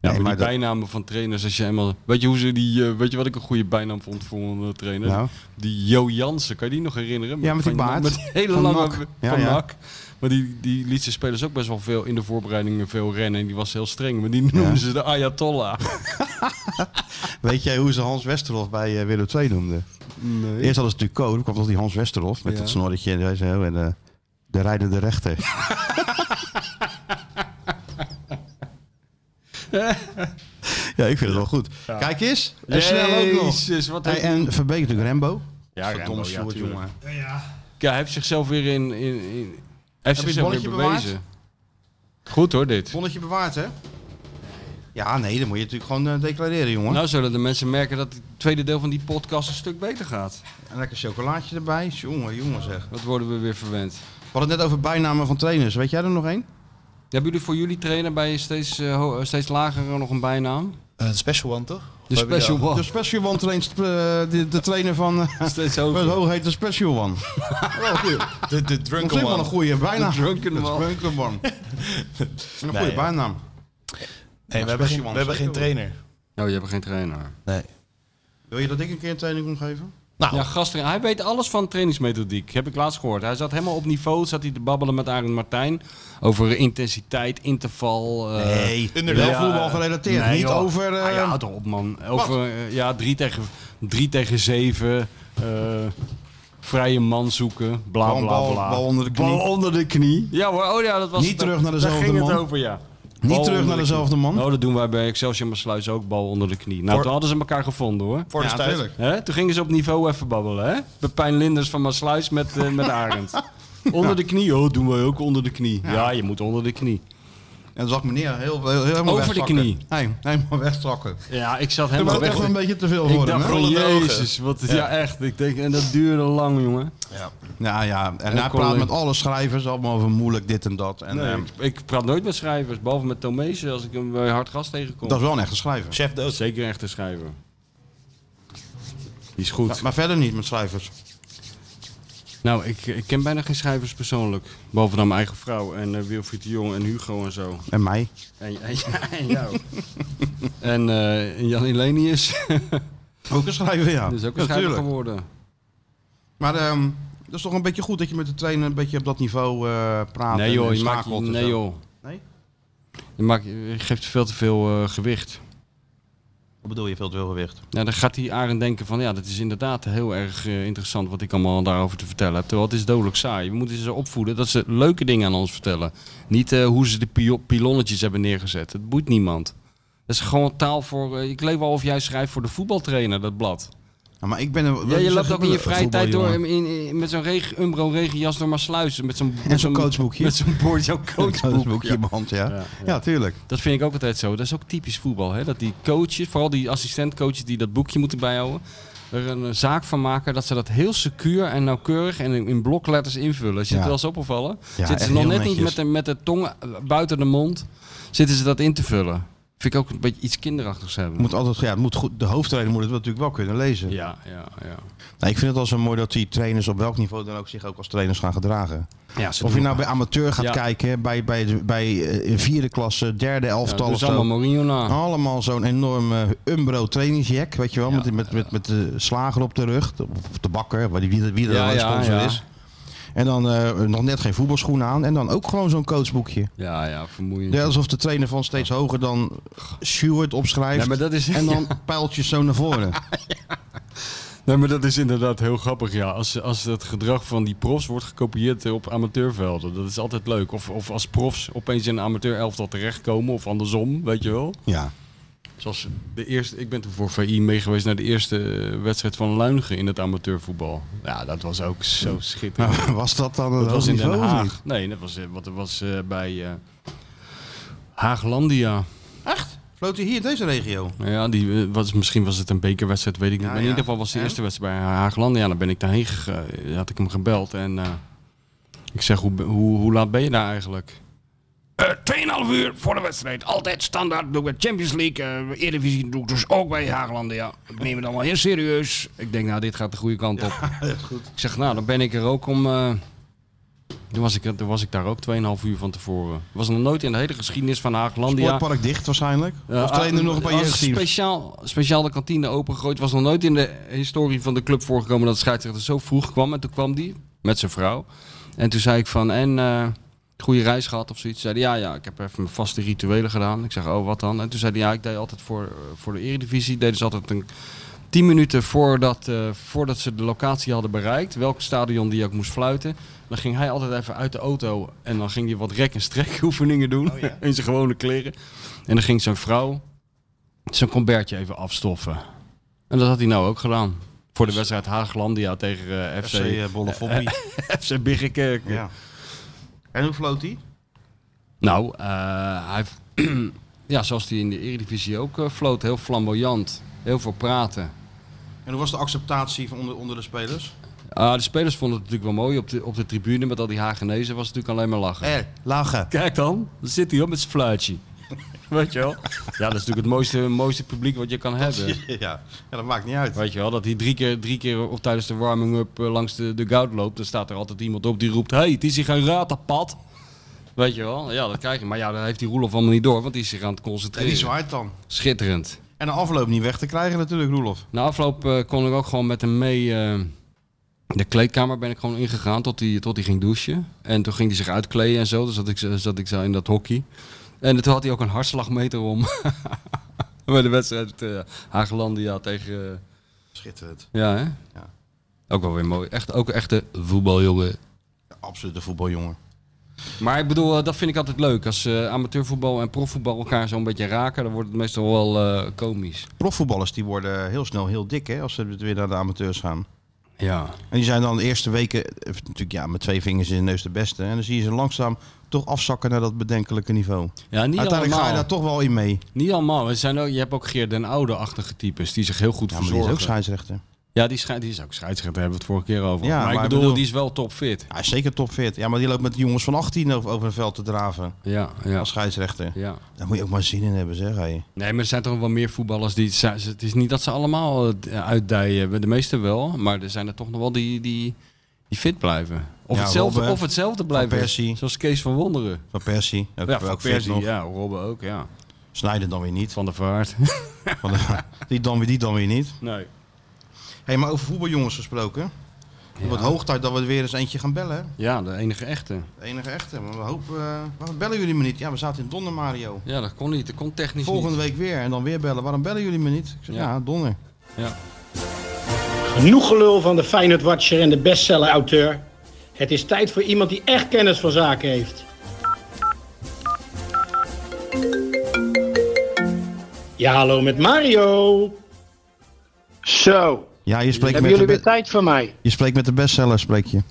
maar die
maar dat-
bijnamen van trainers, als je eenmaal... Weet je, hoe ze die, eh, weet je wat ik een goede bijnaam vond voor een eh, trainer?
Nou.
Die Jo Jansen, kan je die nog herinneren?
Ja, met die
Van-
baard.
Met die hele
Van
lange...
NAC. Ja,
van
ja.
NAC. Maar die, die liet zijn spelers ook best wel veel in de voorbereidingen veel rennen. En die was heel streng. Maar die noemden ze de Ayatollah.
Weet jij hoe ze Hans Westerhof bij eh, Willem II noemden?
Nee.
Eerst hadden ze natuurlijk Ko, toen kwam toch die Hans Westerhof met
Ja.
dat snorretje en zo. En eh, de rijdende rechter. ja, ik vind het wel goed. Kijk eens. En snel ook nog.
Jezus, wat
Hey,
heeft-
en Verbeek natuurlijk Rembo.
Ja,
Verdomme
Rembo, ja,
Sjoerd,
tuurlijk.
jongen.
Ja, hij heeft zichzelf weer in... in, in hij heeft
het
zichzelf weer
bonnetje
bewezen. Goed hoor, dit.
Bonnetje bewaard, hè? Ja, nee, dan moet je natuurlijk gewoon eh, declareren, jongen.
Nou zullen de mensen merken dat het tweede deel van die podcast een stuk beter gaat.
Een lekker chocolaatje erbij. Jongen, jongen zeg.
Wat worden we weer verwend.
We hadden het net over bijnamen van trainers. Weet jij er nog één?
Hebben jullie voor jullie trainer bij een steeds, eh, ho- eh, steeds lager nog een bijnaam?
Eh, Een special one, toch? Of
De
heb je die
Special
De
al?
One.
special one traint eh, de, de trainer van... eh,
Oh. Steeds
Hoe
hoger.
hoog heet de special one?
De, de
Dat
drunken
is wel
one.
een goede bijnaam.
De drunken
Dat is
man.
drunken one. Een goede
Nee, ja.
bijnaam.
Nee,
Ja,
we hebben
special
geen,
one,
we hebben geen
zeker
trainer.
Oh, je hebt geen trainer.
Nee.
Wil je dat ik een keer een training omgeven?
Nou,
Ja, gasten. Hij weet alles van trainingsmethodiek. Heb ik laatst gehoord. Hij zat helemaal op niveau. Zat hij te babbelen met Arend Martijn. Over intensiteit, interval. eh,
Nee, wel
ja,
voetbal
eh,
gerelateerd.
nee,
Niet
joh.
over... eh,
Ah, ja, houd toch op, man. Over eh, ja, drie, tegen, drie tegen zeven. eh, vrije man zoeken. Bla,
Gewoon
bla,
bal-
bla.
bal onder de knie.
Bal onder de knie. Ja hoor. Oh ja, dat was
Niet
het.
terug naar dezelfde
Daar ging
man.
het over, ja.
Niet
Bal
terug
onder
naar
de
dezelfde
knie.
man.
Nou, dat doen wij bij Excelsior Maasluis ook. Bal onder de knie. Nou,
Voor-
toen hadden ze elkaar gevonden, hoor.
voor de
Ja,
tijd.
tuurlijk.
Hè? Toen gingen ze op niveau even babbelen, hè? Pepijn Linders van Maasluis met, eh, met Arend. Onder de knie, oh, doen wij ook onder de knie. Ja, je moet onder de knie.
En dan zag meneer heel, heel, helemaal
Over de
wegzakken.
knie.
Nee, helemaal wegstrakken.
Ja, ik zat
Dat was
helemaal weg.
echt een beetje te veel
Ik
voor hem.
dacht
hè? Oh,
van,
Rollende ogen.
jezus, wat, ja. echt. Ik denk, en dat duurde lang, jongen.
Ja, Nou ja. En hij
kon
praat
ik-
met alle schrijvers allemaal over moeilijk dit en dat. En,
Nee,
ehm,
ik, ik praat nooit met schrijvers, behalve met Tomezen als ik hem bij hard gas tegenkom.
dat is wel een echte schrijver.
Chef
Dat
dood.
is zeker echt een schrijver. Die is goed.
Maar, maar verder niet met schrijvers.
Nou, ik, ik ken bijna geen schrijvers persoonlijk. Behalve dan mijn eigen vrouw en eh, Wilfried de Jong en Hugo en zo.
En mij.
En, en, en jou. en eh, en Jan Elenius.
Ook een schrijver, ja.
Dat is Dus ook een
Ja,
schrijver
tuurlijk.
geworden.
Maar ehm, dat is toch een beetje goed dat je met de trainer een beetje op dat niveau eh, praat.
Nee
en-
joh,
en
je maakt,
schakelt en
nee
zo.
joh.
Nee?
Je, maakt, je geeft veel te veel eh, gewicht.
Wat bedoel je, veel te veel gewicht?
Nou, dan gaat die Arend denken van ja, dat is inderdaad heel erg eh, interessant wat ik allemaal daarover te vertellen heb. Terwijl het is dodelijk saai. We moeten ze opvoeden dat ze leuke dingen aan ons vertellen. Niet eh, hoe ze de pio- pilonnetjes hebben neergezet. Het boeit niemand. Dat is gewoon taal voor... eh, ik leef wel of jij schrijft voor de voetbaltrainer, dat blad.
Ja, maar ik ben een,
Ja,
wat is
je
er
loopt ook in je
gebeurd,
vrije tijd door
voetbaljongen?
in, in- in- met zo'n regen, Umbro regenjas door maar sluizen. Met zo'n
En
met
zo'n coachboekje.
Met zo'n boord, zo'n
Een
coachboek.
coachboekje in mijn hand, ja. Ja, tuurlijk.
Dat vind ik ook altijd zo. Dat is ook typisch voetbal. Hè? Dat die coaches, vooral die assistentcoaches die dat boekje moeten bijhouden, er een eh, zaak van maken dat ze dat heel secuur en nauwkeurig en in in blokletters invullen. Is je
Ja.
het wel eens opgevallen? Zitten
echt
ze nog
heel
net niet
netjes.
met de, met de tong eh, buiten de mond, zitten ze dat in te vullen. Vind ik ook een beetje iets kinderachtigs hebben.
Moet altijd, ja, het moet goed, de hoofdtrainer moet het natuurlijk wel kunnen lezen.
Ja, ja, ja.
Nou, ik vind het al zo mooi dat die trainers op welk niveau dan ook zich ook als trainers gaan gedragen.
ja ze
Of je
doen-
nou bij amateur gaat
Ja.
kijken, bij, bij, bij eh, vierde klasse, derde
ja,
elftal
dat
of
is
zo.
allemaal Mourinho na.
Allemaal zo'n enorme Umbro trainingsjack, weet je wel,
Ja,
met, met, met, met de slager op de rug, de- of de bakker, waar die- wie, wie er
Ja,
wel een
ja,
sponsor
ja.
is. En dan eh, nog net geen voetbalschoenen aan en dan ook gewoon zo'n coachboekje.
Ja, ja, vermoeiend.
Ja, alsof de trainer van steeds hoger dan Stewart opschrijft
Nee, maar dat is-
en dan pijltjes zo naar voren.
Nee, maar dat is inderdaad heel grappig, ja. Als, als het gedrag van die profs wordt gekopieerd eh, op amateurvelden. Dat is altijd leuk. Of, of als profs opeens in een amateurelftal terechtkomen of andersom, weet je wel.
ja.
Zoals de eerste, ik ben toen voor VI meegeweest naar de eerste eh, wedstrijd van Luinigen in het amateurvoetbal. Ja, dat was ook zo schitterend.
Maar was dat dan het
dat was in Den
niveau of niet?
Haag. Nee, dat was, eh, wat, dat was eh, bij eh, Haaglandia.
Echt? Floot hij hier in deze regio?
Nou Ja, die, eh, was, misschien was het een bekerwedstrijd, weet ik niet.
Ja,
maar in
ja.
ieder geval was de
En?
eerste wedstrijd bij Haagland. Ja, dan ben ik daarheen gegaan. Had ik hem gebeld en eh, ik zeg, hoe, hoe, hoe laat ben je daar eigenlijk? Eh, Tweeënhalf uur voor de wedstrijd. Altijd standaard. Doe ik bij Champions League. eh Eredivisie doe ik dus ook bij Haagland. Ja. Ik neem het allemaal heel serieus. Ik denk, nou, dit gaat de goede kant op. Ik zeg, nou, dan ben ik er ook om... eh, toen was, ik, toen was ik daar ook 2,5 uur van tevoren. Was nog nooit in de hele geschiedenis van Haaglandia...
Sportpark dicht waarschijnlijk?
Ja,
of trainen er nog een paar
Eh, ah, als
jeugdteams?
Speciaal, speciaal de kantine opengegooid. Was nog nooit in de historie van de club voorgekomen dat de scheidsrechter zo vroeg kwam. En toen kwam die met zijn vrouw. En toen zei ik van, en eh, goede reis gehad of zoiets. Zei die, ja, ja, ik heb even mijn vaste rituelen gedaan. Ik zeg, oh, wat dan? En toen zei hij, ja, ik deed altijd voor, eh, voor de eredivisie. Deed dus altijd een... 10 minuten voordat, eh, voordat ze de locatie hadden bereikt, welk stadion die ook moest fluiten, dan ging hij altijd even uit de auto en dan ging hij wat rek- en strekoefeningen doen in zijn gewone kleren. En dan ging zijn vrouw zijn combertje even afstoffen. En dat had hij nou ook gedaan. Voor de wedstrijd Haaglandia tegen eh, FC,
FC Dus- eh, Bolle Foppie.
FC Biggenkerk.
Ja. En hoe floot hij?
Nou, eh, hij, ja, zoals hij in de Eredivisie ook eh, floot, heel flamboyant, heel veel praten.
En hoe was de acceptatie van onder, onder de spelers?
Ah, de spelers vonden het natuurlijk wel mooi op de, op de tribune met al die Hagenezen was het natuurlijk alleen maar lachen.
Eh, lachen.
Kijk dan, dan zit hij op met zijn fluitje. Weet je wel? Ja, dat is natuurlijk het mooiste, mooiste publiek wat je kan hebben.
Ja, ja, dat maakt niet uit.
Weet je wel, dat hij drie keer, drie keer op, tijdens de warming-up eh, langs de, de goud loopt. Dan staat er altijd iemand op die roept, hey, het is hier geen ratapad. Weet je wel? Ja, dat krijg je. Maar ja, dat heeft die Roelof allemaal niet door, want die is zich aan het
En
concentreren.
die zwaait dan.
Schitterend.
En de afloop niet weg te krijgen natuurlijk, Roelof.
Na afloop eh, kon ik ook gewoon met hem mee. eh, de kleedkamer ben ik gewoon ingegaan tot hij tot hij ging douchen. En toen ging hij zich uitkleden en zo. Dus zat ik, zo- zat ik zo in dat hockey. En toen had hij ook een hartslagmeter om. Bij de wedstrijd eh Hagelandia tegen... eh,
Schitterend.
ja, hè?
Ja.
Ook wel weer mooi. Echt, ook een echte voetbaljongen.
Ja, absolute voetbaljongen.
Maar ik bedoel, eh, dat vind ik altijd leuk. Als eh, amateurvoetbal en profvoetbal elkaar zo'n beetje raken... dan wordt het meestal wel eh, komisch.
Profvoetballers die worden heel snel heel dik hè, als ze weer naar de amateurs gaan.
Ja.
En die zijn dan de eerste weken eh, natuurlijk ja, met twee vingers in de neus de beste. En dan zie je ze langzaam toch afzakken naar dat bedenkelijke niveau.
Ja, niet
Uiteindelijk
allemaal.
ga je daar toch wel in mee.
Niet allemaal. Er zijn ook, je hebt ook Geert den Oude-achtige types die zich heel goed
Ja, maar die is
verzorgen.
ook scheidsrechter.
ja, die, schei- die is ook scheidsrechter, daar hebben we het vorige keer over.
Ja,
maar, ik
maar ik
bedoel,
bedoel-
die is wel topfit.
Hij is zeker top 40. Ja, maar die loopt met jongens van 18 over over een veld te draven
Ja, ja,
als scheidsrechter.
ja.
Daar moet je ook maar zin in hebben, zeg hij.
Nee, maar er zijn toch wel meer voetballers die... ze- Het is niet dat ze allemaal eh, uitdijen hebben. De meeste wel, maar er zijn er toch nog wel die, die, die fit blijven. Of,
Ja,
hetzelfde,
Robben,
of hetzelfde blijven.
Persie.
Zoals Kees van Wonderen.
Van Persie. Ook,
Ja,
ook
van
fit
Persie,
nog.
ja. Robben ook, ja.
Snijden dan weer niet.
Van der Vaart.
Van de- die, dan weer, die dan weer niet.
nee.
hey, maar over voetbaljongens gesproken. Het wordt hoog tijd dat we er weer eens eentje gaan bellen. hè?
Ja, de enige echte.
De enige echte. Maar we hopen, eh, waarom bellen jullie me niet? Ja, we zaten in Donner, Mario.
Ja, dat kon niet. Dat kon technisch
Volgende
niet.
week weer en dan weer bellen. Waarom bellen jullie me niet? Ik zeg,
Ja.
ja, Donner.
Genoeg gelul van de Feyenoord Watcher en de bestseller auteur. Het is tijd voor iemand die echt kennis van zaken heeft. Ja, hallo met Mario. Zo,
Ja, je spreekt, met
hebben
de,
jullie weer
be-
tijd voor mij?
je spreekt met de bestseller, spreek je.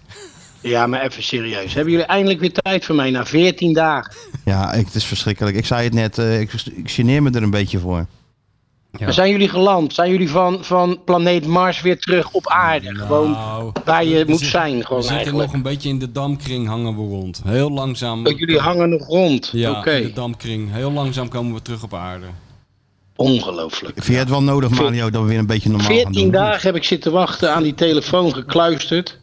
Ja, maar even serieus. Hebben jullie eindelijk weer tijd voor mij na 14 dagen?
Ja, ik, het is verschrikkelijk. Ik zei het net, eh, ik, ik geneer me er een beetje voor.
Ja.
Maar zijn jullie geland? Zijn jullie van, van planeet Mars weer terug op aarde? Gewoon
Nou,
waar je
we
moet
zit-
zijn,
We
gewoon
zitten
eigenlijk.
nog een beetje in de damkring hangen we rond. Heel langzaam.
Dat jullie hangen nog rond.
Ja,
Oké,
in de damkring. Heel langzaam komen we terug op aarde.
ongelooflijk.
Vind je het wel nodig, Mario, dat we weer een beetje normaal gaan doen?
14 dagen heb ik zitten wachten aan die telefoon gekluisterd.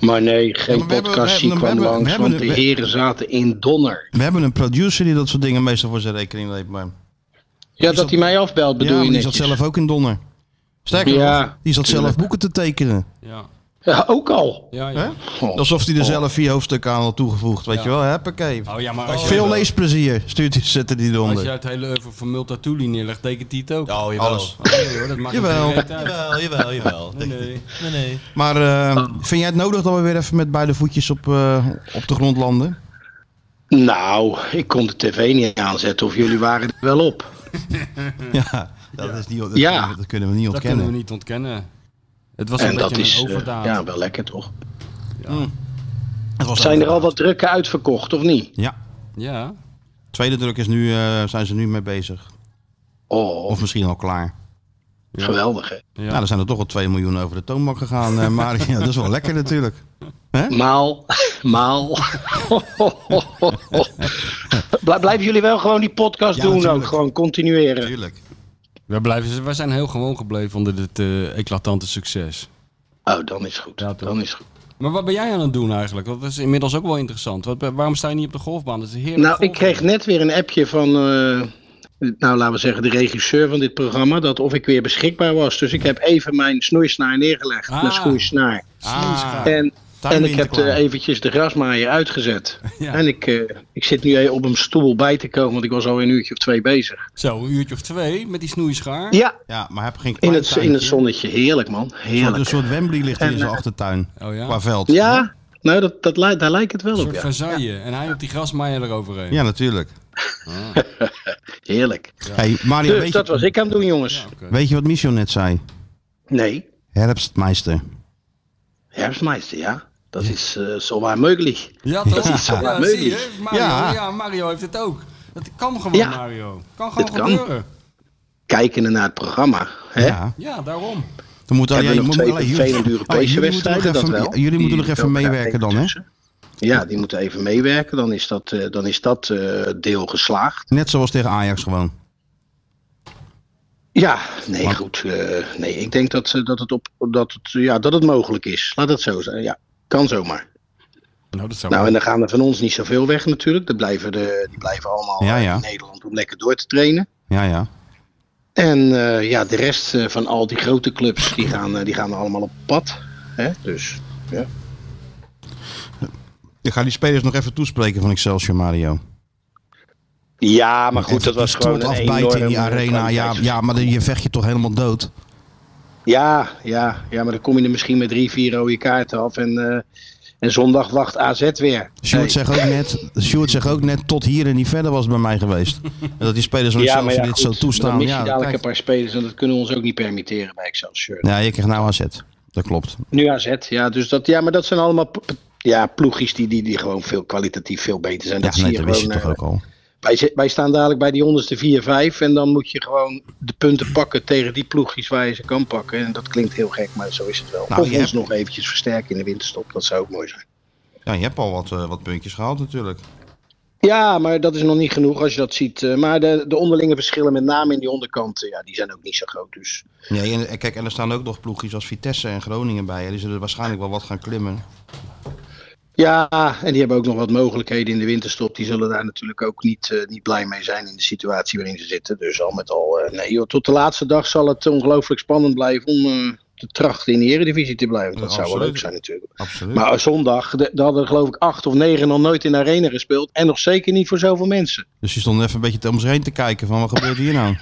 Maar nee, geen
Ja, maar we hebben- we
podcast
hebben-
kwam
we hebben-
langs,
we hebben-
want de
we-
heren zaten in donner.
We hebben een producer die dat soort dingen meestal voor zijn rekening neemt. Maar...
Ja, dat hij mij afbelt
Ja,
bedoel
maar
je
die zat
netjes.
zelf ook in Donner. Sterker
Ja,
nog, die zat zelf
tuurlijk.
boeken te tekenen.
Ja,
Ja, ook al.
ja,
Hè?
ja.
Oh.
Alsof hij er zelf vier hoofdstukken aan had toegevoegd. Weet
Ja.
je wel, huppakee.
Oh ja, maar als je,
Veel leesplezier stuurt hij, zet hij die
als
eronder.
je het hele oeuvre van Multatuli neerlegt, tekent hij het ook.
Oh, jawel.
Alles.
Oh, nee hoor, dat maakt
Jawel.
geen reet uit.
Jawel, jawel, jawel.
Nee, nee.
Nee, nee.
Maar eh, vind jij het nodig dat we weer even met beide voetjes op, eh, op de grond landen?
Nou, ik kon de tv niet aanzetten of jullie waren er wel op.
Ja, dat, Is niet, dat,
Ja.
kunnen, we- dat kunnen we niet
Hmm. Dat kunnen
ontkennen.
we niet ontkennen. Het was
En
een
dat
beetje
is
een
eh,
overdaad.
ja, wel lekker toch.
Het was
Zijn er al
overdaad.
wat drukken uitverkocht of niet?
Ja,
Ja.
tweede druk is nu, eh, zijn ze nu mee bezig.
Oh,
Of misschien al klaar.
geweldig hè.
Ja.
Nou, er zijn er toch al 2 miljoen over de toonbank gegaan, eh Mario. Dat is wel lekker natuurlijk.
Maal, maal. Blij- Blijven jullie wel gewoon die podcast
Ja,
doen ook,
natuurlijk.
gewoon continueren.
Tuurlijk.
We, blijven, we zijn heel gewoon gebleven onder dit eh, eclatante succes.
Oh, dan is goed.
Ja, toch?
dan is goed.
Maar wat ben jij aan het doen eigenlijk? Dat is inmiddels ook wel interessant. Wat, eh, waarom sta je niet op de golfbaan? Dat is een heerlijke
Nou, ik kreeg
golfbaan.
net weer een appje van, eh, nou laten we zeggen, de regisseur van dit programma, dat of ik weer beschikbaar was. Dus ik heb even mijn snoeisnaar neergelegd,
Ah.
mijn schoeisnaar.
Ah,
en, en
timing
ik heb
te
eh,
klaar.
eventjes de grasmaaier uitgezet.
Ja.
En ik, eh, ik zit nu op een stoel bij te komen, want ik was al een uurtje of twee bezig.
Zo, een uurtje of twee met die snoeischaar.
Ja,
Ja, maar heb geen
in
klein
het, in het
tuintje.
zonnetje. Heerlijk man,
Een soort-
heerlijk.
Een soort Wembley ligt hier in
En,
zijn
eh,
achtertuin.
Oh ja.
Qua veld.
Ja, nou dat, dat, li- daar lijkt het wel
Een
op
soort
ja.
Versailles. En hij op die grasmaaier eroverheen.
Ja, natuurlijk.
Heerlijk.
Hey, Mario,
Dus
weet,
dat
je,
was ik aan het doen jongens.
Oké.
weet je wat Michel net zei?
Nee,
Herbstmeister.
Herbstmeister ja. Dat is eh zomaar mogelijk.
Ja, toch?
is zo
ja,
leuk.
zie je? Mario, ja.
Ja.
Mario heeft het ook. Dat kan gewoon,
Ja.
Mario. Kan gewoon
Het kan.
gebeuren.
kijkende naar het programma. Hè?
Ja.
Ja, daarom.
Dan moet
Hebben
alleen,
we nog
moet-
twee
alleen-
vervelende
Oh,
Europese
jullie moeten nog
wedstrijden, dat
even-
wel.
Jullie moeten nog
Die
even
lopen daar
meewerken dan, hè?
tussen. Ja, die moeten even meewerken. Dan is dat, eh, dan is dat eh, deel geslaagd.
Net zoals tegen Ajax gewoon.
Ja, nee, goed. eh, nee, ik denk dat, eh, dat, het op, dat, het, ja, dat het mogelijk is. Laat het zo zijn. Ja, kan zomaar.
Nou, dat zou
Nou, en dan gaan er van ons niet zoveel weg natuurlijk. Dan blijven de, die blijven allemaal
Ja,
eh,
ja.
in Nederland om lekker door te trainen.
Ja, ja.
En eh, ja, de rest eh, van al die grote clubs, die gaan, eh, die gaan allemaal op pad. Hè? Dus ja.
Ik ga die spelers nog even toespreken van Excelsior, Mario.
ja, maar goed, dat was
Die
gewoon
stoot
een
afbijten in die
enorm, eh,
arena. Ja,
kwaliteits-
ja, maar dan- je vecht je toch helemaal dood.
Ja, ja, ja, maar dan kom je er misschien met drie, vier rode kaarten af. En, eh, en zondag wacht AZ weer.
Sjoerd,
Nee.
zegt ook net, Sjoerd zegt ook net tot hier en niet verder was het bij mij geweest. En dat die spelers van
ja,
Excelsior
maar ja,
dit
goed,
zo toestaan.
Dan mis je
ja,
dadelijk
kijk.
een paar spelers en dat kunnen we ons ook niet permitteren bij Excelsior.
ja, je krijgt nou AZ. Dat klopt.
Nu AZ, ja, dus dat, ja, maar dat zijn allemaal p- p- ja, ploegjes die, die, die gewoon veel kwalitatief veel beter zijn.
Ja,
dat
nee,
zie je
dat wist je
gewoon.
toch
eh,
ook al.
wij, zi- wij staan dadelijk bij die onderste 4-5 en dan moet je gewoon de punten pakken tegen die ploegjes waar je ze kan pakken. En dat klinkt heel gek, maar zo is het wel.
Nou,
of
je
ons
hebt-
nog eventjes versterken in de winterstop, dat zou ook mooi zijn.
Ja, je hebt al wat, eh, wat puntjes gehaald natuurlijk.
Ja, maar dat is nog niet genoeg als je dat ziet. Eh, Maar de, de onderlinge verschillen, met name in die onderkant, eh, ja, die zijn ook niet zo groot. Dus
Nee, en, en kijk, en er staan ook nog ploegjes als Vitesse en Groningen bij. hè. Die zullen waarschijnlijk wel wat gaan klimmen.
Ja, en die hebben ook nog wat mogelijkheden in de winterstop. Die zullen daar natuurlijk ook niet, eh, niet blij mee zijn in de situatie waarin ze zitten. Dus al met al, eh, nee joh, tot de laatste dag zal het ongelooflijk spannend blijven om eh, te trachten in de Eredivisie te blijven. Dat
Ja,
zou wel
absoluut.
leuk zijn natuurlijk.
Absoluut.
Maar zondag, de- daar hadden er geloof ik acht of negen nog nooit in de arena gespeeld. En nog zeker niet voor zoveel mensen.
Dus je stond even een beetje om zich heen te kijken van wat gebeurt hier nou?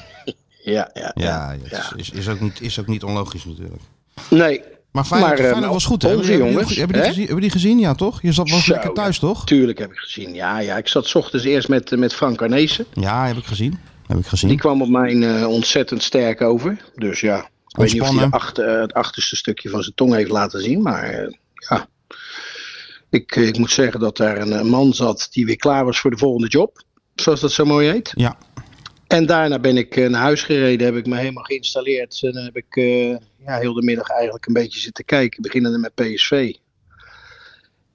Ja, ja, ja.
Ja,
ja.
het is, is, ook niet, is ook niet onlogisch natuurlijk.
Nee,
Maar Feyenoord,
Maar, eh,
Feyenoord was goed hè?
onze
Hebben jullie-
jongens,
hebben jullie,
hè?
gezien, hebben jullie gezien? Ja toch? Je zat was
Zo,
lekker thuis toch?
tuurlijk heb ik gezien. Ja, ja, ik zat 's ochtends eerst met, eh, met Frank Arnezen.
Ja, heb ik gezien. Heb ik
Die
gezien.
kwam op mijn eh, ontzettend sterk over. Dus ja, ik weet niet of hij
Ontspannen.
de achter, eh, het achterste stukje van zijn tong heeft laten zien. Maar eh, ja, ik, eh, ik moet zeggen dat daar een eh, man zat die weer klaar was voor de volgende job. Zoals dat zo mooi heet.
Ja.
En daarna ben ik eh, naar huis gereden, heb ik me helemaal geïnstalleerd. En dan heb ik eh, ja, heel de middag eigenlijk een beetje zitten kijken, beginnende met PSV.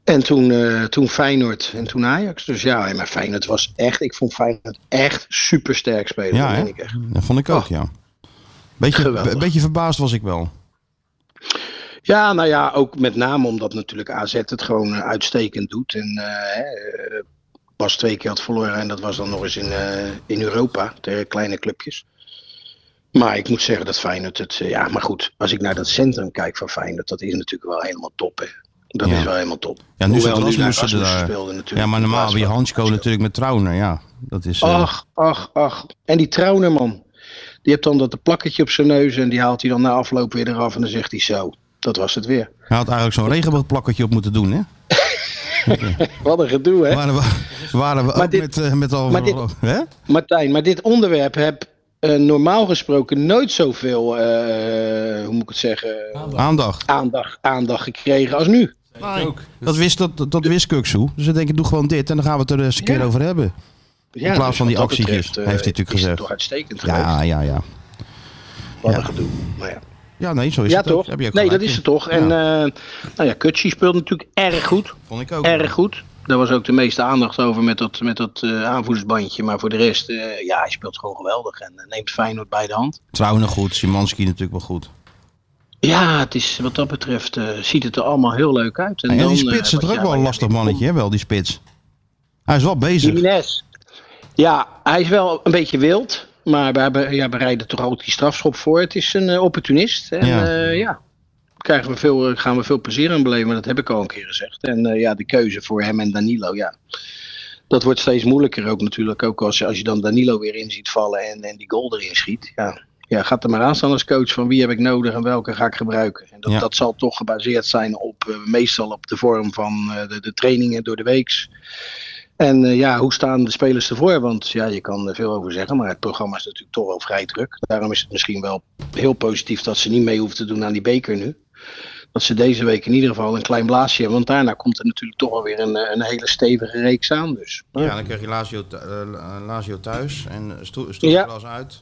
En toen, eh, toen Feyenoord en toen Ajax. Dus ja, maar Feyenoord was echt, ik vond Feyenoord echt super sterk spelen.
Ja,
dat
hè?
meen ik echt.
Dat vond ik ook,
Oh.
ja. Beetje,
Geweldig.
be- beetje verbaasd was ik wel.
Ja, nou ja, ook met name omdat natuurlijk AZ het gewoon eh, uitstekend doet. En eh, hè, eh, pas twee keer had verloren en dat was dan nog eens in, eh, in Europa, tegen kleine clubjes. Maar ik moet zeggen dat Feyenoord het... eh, ja, maar goed, als ik naar dat centrum kijk van Feyenoord, dat is natuurlijk wel helemaal top, hè. Dat
Ja.
is wel helemaal top.
Ja, nu zat
Hoewel, nu daar
Rasmussen
Rasmussen
er
speelde
daar.
natuurlijk.
Ja, maar normaal
Plaats
hebben je
van
Hansko
Rasmussen.
natuurlijk met Trauner, ja. Dat is... eh,
Ach, ach, ach. En die Traunerman, die heeft dan dat een plakketje op zijn neus en die haalt hij dan na afloop weer eraf en dan zegt hij zo, dat was het weer.
Hij had eigenlijk zo'n regenboogplakketje op moeten doen, hè?
Wat een gedoe, hè?
Waren we, waren we
Maar
ook
dit-
met, eh, met al...
maar dit-
hè?
Martijn, maar dit onderwerp heb eh, normaal gesproken nooit zoveel, eh, hoe moet ik het zeggen,
Aandacht.
aandacht, aandacht gekregen als nu.
ook.
Dat wist, dat, dat wist Kuksu. Dus we denken, doe gewoon dit en dan gaan we het er eens een keer over hebben.
Ja,
plaats van
wat
die
dat
actietjes,
betreft, eh,
heeft hij natuurlijk
is het
gezegd.
toch uitstekend
Ja,
geweest.
ja, ja.
Wat
ja.
een gedoe. Maar ja.
Ja, nee, zo is
ja,
het ook.
toch?
Heb je ook
Nee, dat
gelijk
is
in.
het toch. En eh, nou ja, Kutsi speelt natuurlijk erg goed.
Vond ik ook.
Erg goed. Daar was ook de meeste aandacht over met dat, met dat eh, aanvoersbandje. Maar voor de rest, eh, ja, hij speelt gewoon geweldig. En eh, neemt Feyenoord bij de hand.
Trauner goed, Simanski natuurlijk wel goed.
Ja, het is, wat dat betreft eh, ziet het er allemaal heel leuk uit.
En,
dan,
die
eh,
spits is
wat
toch ook wel
jij- wat
een
jij
lastig
weer
mannetje, hè? Wel, die spits. Hij is wel bezig.
Jiménez. Ja, hij is wel een beetje wild. Maar we, hebben, ja, we rijden toch altijd die strafschop voor. Het is een eh, opportunist. En
Ja.
ja, ja krijgen we veel, eh, gaan we veel plezier aan beleven. Maar dat heb ik al een keer gezegd. En eh, ja, de keuze voor hem en Danilo, ja. Dat wordt steeds moeilijker ook natuurlijk. Ook als, je- als je dan Danilo weer in ziet vallen en, en die goal erin schiet. Ja. ja, gaat er maar aan staan als coach van wie heb ik nodig en welke ga ik gebruiken. En dat,
Ja.
dat zal toch gebaseerd zijn op eh, meestal op de vorm van eh, de, de trainingen door de weeks. En eh, ja, hoe staan de spelers ervoor? Want ja, je kan er veel over zeggen, maar het programma is natuurlijk toch wel vrij druk. Daarom is het misschien wel heel positief dat ze niet mee hoeven te doen aan die beker nu. Dat ze deze week in ieder geval een klein blaasje hebben. Want daarna komt er natuurlijk toch wel weer een, eh, een hele stevige reeks aan. Dus.
Ja, dan krijg je Lazio, thu- eh, Lazio thuis en eh, Stoelglas
Ja.
uit.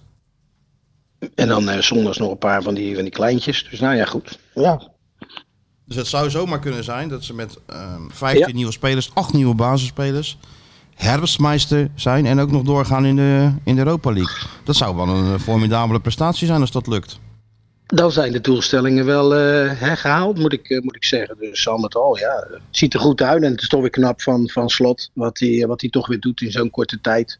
En dan eh, zondags nog een paar van die, van die kleintjes. Dus nou ja, goed. Ja.
Dus het zou zomaar kunnen zijn dat ze met ehm 15
Ja.
nieuwe spelers, 8 nieuwe basisspelers, herfstmeister zijn en ook nog doorgaan in de, in de Europa League. Dat zou wel een eh, formidabele prestatie zijn als dat lukt.
Dan zijn de doelstellingen wel eh, hè, gehaald, moet ik, eh, moet ik zeggen. Dus al met al, ja, het ziet er goed uit. En het is toch weer knap van, van Slot, wat hij wat hij toch weer doet in zo'n korte tijd.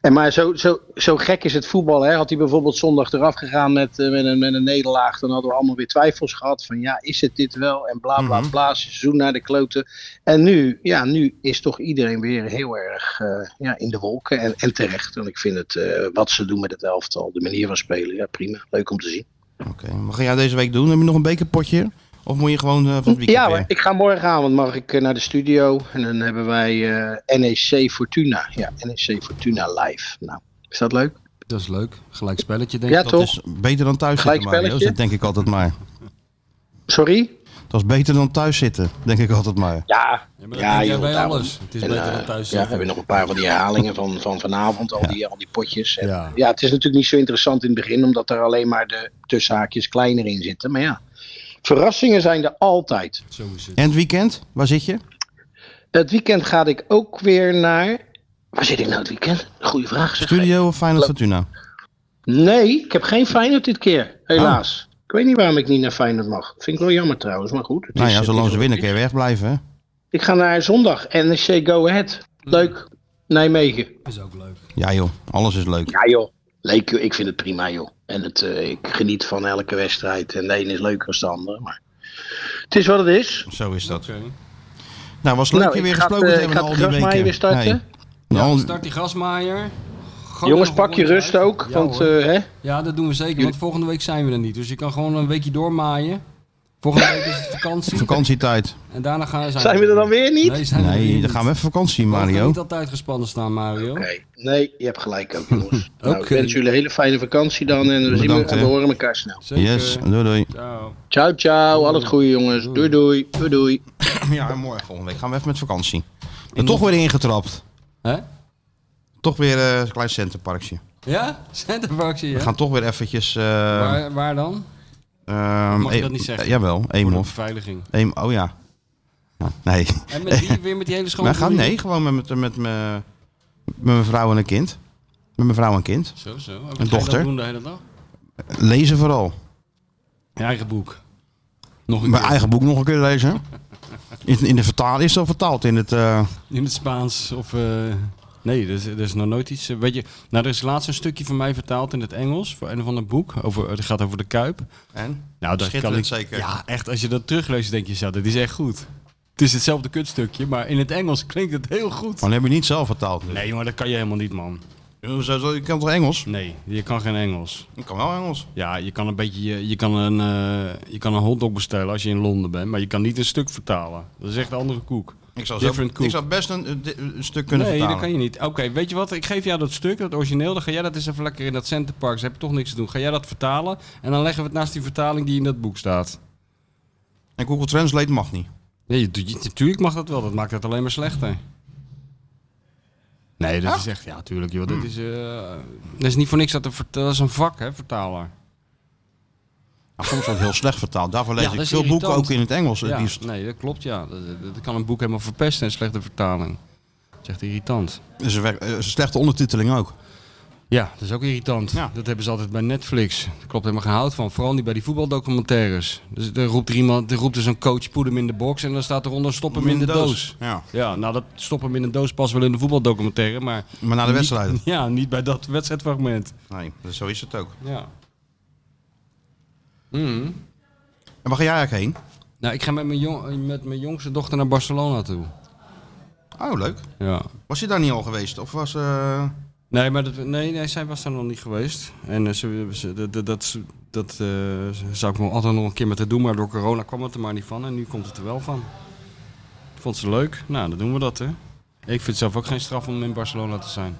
En maar zo, zo, zo gek is het voetbal. Hè? Had hij bijvoorbeeld zondag eraf gegaan met, eh, met, een, met een nederlaag, dan hadden we allemaal weer twijfels gehad. Van ja, is het dit wel? En bla bla bla, seizoen naar de kloten. En nu, ja, nu is toch iedereen weer heel erg eh, ja, in de wolken. En, en terecht. En ik vind het, eh, wat ze doen met het elftal, de manier van spelen, ja prima. Leuk om te zien.
Oké, wat ga jij deze week doen? Heb je nog een bekerpotje? Of moet je gewoon eh, van het weekend
Ja,
weer?
hoor, ik ga morgenavond mag ik eh, naar de studio en dan hebben wij eh, NEC Fortuna. Ja, NEC Fortuna live. Nou, is dat leuk?
Dat is leuk. Gelijk spelletje, denk ik.
Ja,
Dat
toch?
is beter dan thuis zitten, Mario.
Gelijkspelletje?
Dat denk ik altijd maar.
Sorry?
Dat is beter dan thuis zitten, denk ik altijd maar.
Ja,
Ja,
ja,
maar dat doe jij
joh,
bij
daarom.
alles. Het is
En,
beter
eh,
dan thuis
Ja, we
zitten.
hebben nog een paar van die herhalingen van, van vanavond, al, die, al die potjes. En,
Ja.
ja. het is natuurlijk niet zo interessant in het begin, omdat er alleen maar de tussenhaakjes kleiner in zitten. Maar ja, verrassingen zijn er altijd.
Zo is het.
En het weekend? Waar zit je?
Het weekend ga ik ook weer naar... Waar zit ik nou het weekend? Goeie vraag. Zeg.
Studio of Final Fortuna?
Nee, ik heb geen Feyenoord dit keer,
Ah.
helaas. Ik weet niet waarom ik niet naar Feyenoord mag. Vind ik wel jammer trouwens, maar goed. het
Nou
is-
ja,
het
zolang
is
ze
wat
winnen
het
kun je wegblijven. hè?
is. Ik ga naar zondag, NEC Go Ahead.
Hmm.
Leuk, Nijmegen.
is ook leuk.
Ja joh, alles is leuk.
Ja joh, leuk joh. Ik vind het prima joh. En het, eh, ik geniet van elke wedstrijd. En de ene is leuker dan de andere. Maar het is wat het is.
Zo is dat.
Oké.
Nou, was leuk
Nou,
je
ik
weer
ga het,
gesproken te
eh,
hebben na
ik ga
al
het
die weken.
grasmaaier weer starten.
Nee. Nou,
Start die grasmaaier. Gooi
Jongens,
er nog een
pak je
rondje
rust
uit.
ook.
Ja,
want
hoor.
eh, hè?
ja, dat doen we zeker. Want volgende week zijn we er niet. Dus je kan gewoon een weekje doormaaien. Volgende week is het vakantie.
vakantietijd.
En daarna gaan zijn,
zijn we er dan weer niet?
Nee, zijn we er
Nee,
weer
dan
niet.
gaan we even vakantie,
We gaan
Mario.
niet altijd gespannen staan, Mario.
Oké. Nee, je hebt gelijk ook jongens. nou, ik
Oké.
wens jullie een hele fijne vakantie dan. En we, zien we,
Bedankt,
en we
hè.
horen elkaar snel.
Zeker.
Yes, doei doei.
Ciao.
Ciao, ciao. Al het goede jongens. Doei, doei. Doei, doei.
Ja, en morgen volgende week gaan we even met vakantie. En toch weer ingetrapt.
Hè?
Toch weer eh, een klein centerparkje.
Ja? Centerparkje, ja.
We gaan toch weer eventjes... eh,
Waar, waar dan?
ehm,
Mag je
eh,
dat niet zeggen?
Jawel,
Voor de
Eemhof.
beveiliging.
Eem, oh ja. Ja, Nee.
En met die, weer met die hele schone
Maar gaan,
familie?
nee, gewoon met, met, met, me- met mijn vrouw en een kind. Met mijn vrouw en kind.
Zo, zo. En wat ga je
dochter.
dan doen de hele dag?
Lezen vooral.
Je eigen boek. Nog een
Mijn
keer.
eigen boek nog een keer lezen. In, in de vertaal is dat vertaald in het... eh,
In het Spaans of... eh, Nee, er is, er is nog nooit iets. eh, Weet je, nou, er is laatst een stukje van mij vertaald in het Engels. Voor een of ander boek. Over, het gaat over de Kuip.
en?
Nou, dat kan ik,
Schitterend zeker.
Ja, echt. Als je dat terugleest, denk je zo, dat is echt goed. Het is hetzelfde kutstukje, maar in het Engels klinkt het heel goed.
Maar dat heb je niet zelf vertaald. nu.
Nee, maar dat kan je helemaal niet, man.
Hoezo, zo- Je kan toch Engels?
Nee, je kan geen Engels.
Ik kan wel Engels.
Ja, je kan een beetje, je, je kan een, eh, je kan een hotdog bestellen als je in Londen bent, maar je kan niet een stuk vertalen. Dat is echt een andere koek.
Ik zou, zo-
Different cook.
ik zou best een, een- een stuk kunnen
nee, dat
vertalen.
kan je niet. Oké, weet je wat? Ik geef jou dat stuk, dat origineel. Dan ga jij dat eens even lekker in dat centerpark. Ze hebben toch niks te doen. Ga jij dat vertalen en dan leggen we het naast die vertaling die in dat boek staat.
En Google Translate mag niet.
Nee, je doet- je- natuurlijk mag dat wel. Dat maakt het alleen maar slechter. Nee,
Ah.
dat is echt... Ja, tuurlijk. Joh, dat, is, eh, dat is niet voor niks. Dat, er vert- dat is een vak, hè, vertaler.
Nou, soms wordt heel slecht vertaald. Daarvoor lees
Ja, dat
ik
is
veel boeken
irritant.
ook in het Engels. het
Ja,
liefst.
nee, dat klopt, ja. Dat, dat- dat kan een boek helemaal verpesten, een slechte vertaling. Dat is echt irritant.
Dus er werkt- eh, is een slechte ondertiteling ook.
Ja, dat is ook irritant.
Ja.
Dat hebben ze altijd bij Netflix. Daar klopt helemaal geen hout van. Vooral niet bij die voetbaldocumentaires. Dus er roept er iemand, er roept dus een coach, poed hem in de box en dan staat eronder stop hem in de doos.
Ja.
Ja, nou dat stop hem in de doos past wel in de voetbaldocumentaire, maar...
Maar na de
niet-
wedstrijd.
Ja, niet bij dat wedstrijdfragment.
Nee, dus zo is het ook.
Ja.
En waar ga jij eigenlijk heen?
Nou, ik ga met mijn, jong, met mijn jongste dochter naar Barcelona toe.
Oh, leuk.
Ja.
Was je daar niet al geweest? Of was... eh,
Nee, maar dat, nee, nee, zij was daar nog niet geweest. En eh, ze, ze- dat, dat, dat, dat, eh, zou ik nog altijd nog een keer met haar doen, maar door corona kwam het er maar niet van. En nu komt het er wel van. Vond ze leuk? Nou, dan doen we dat, hè. Ik vind zelf ook geen straf om in Barcelona te zijn.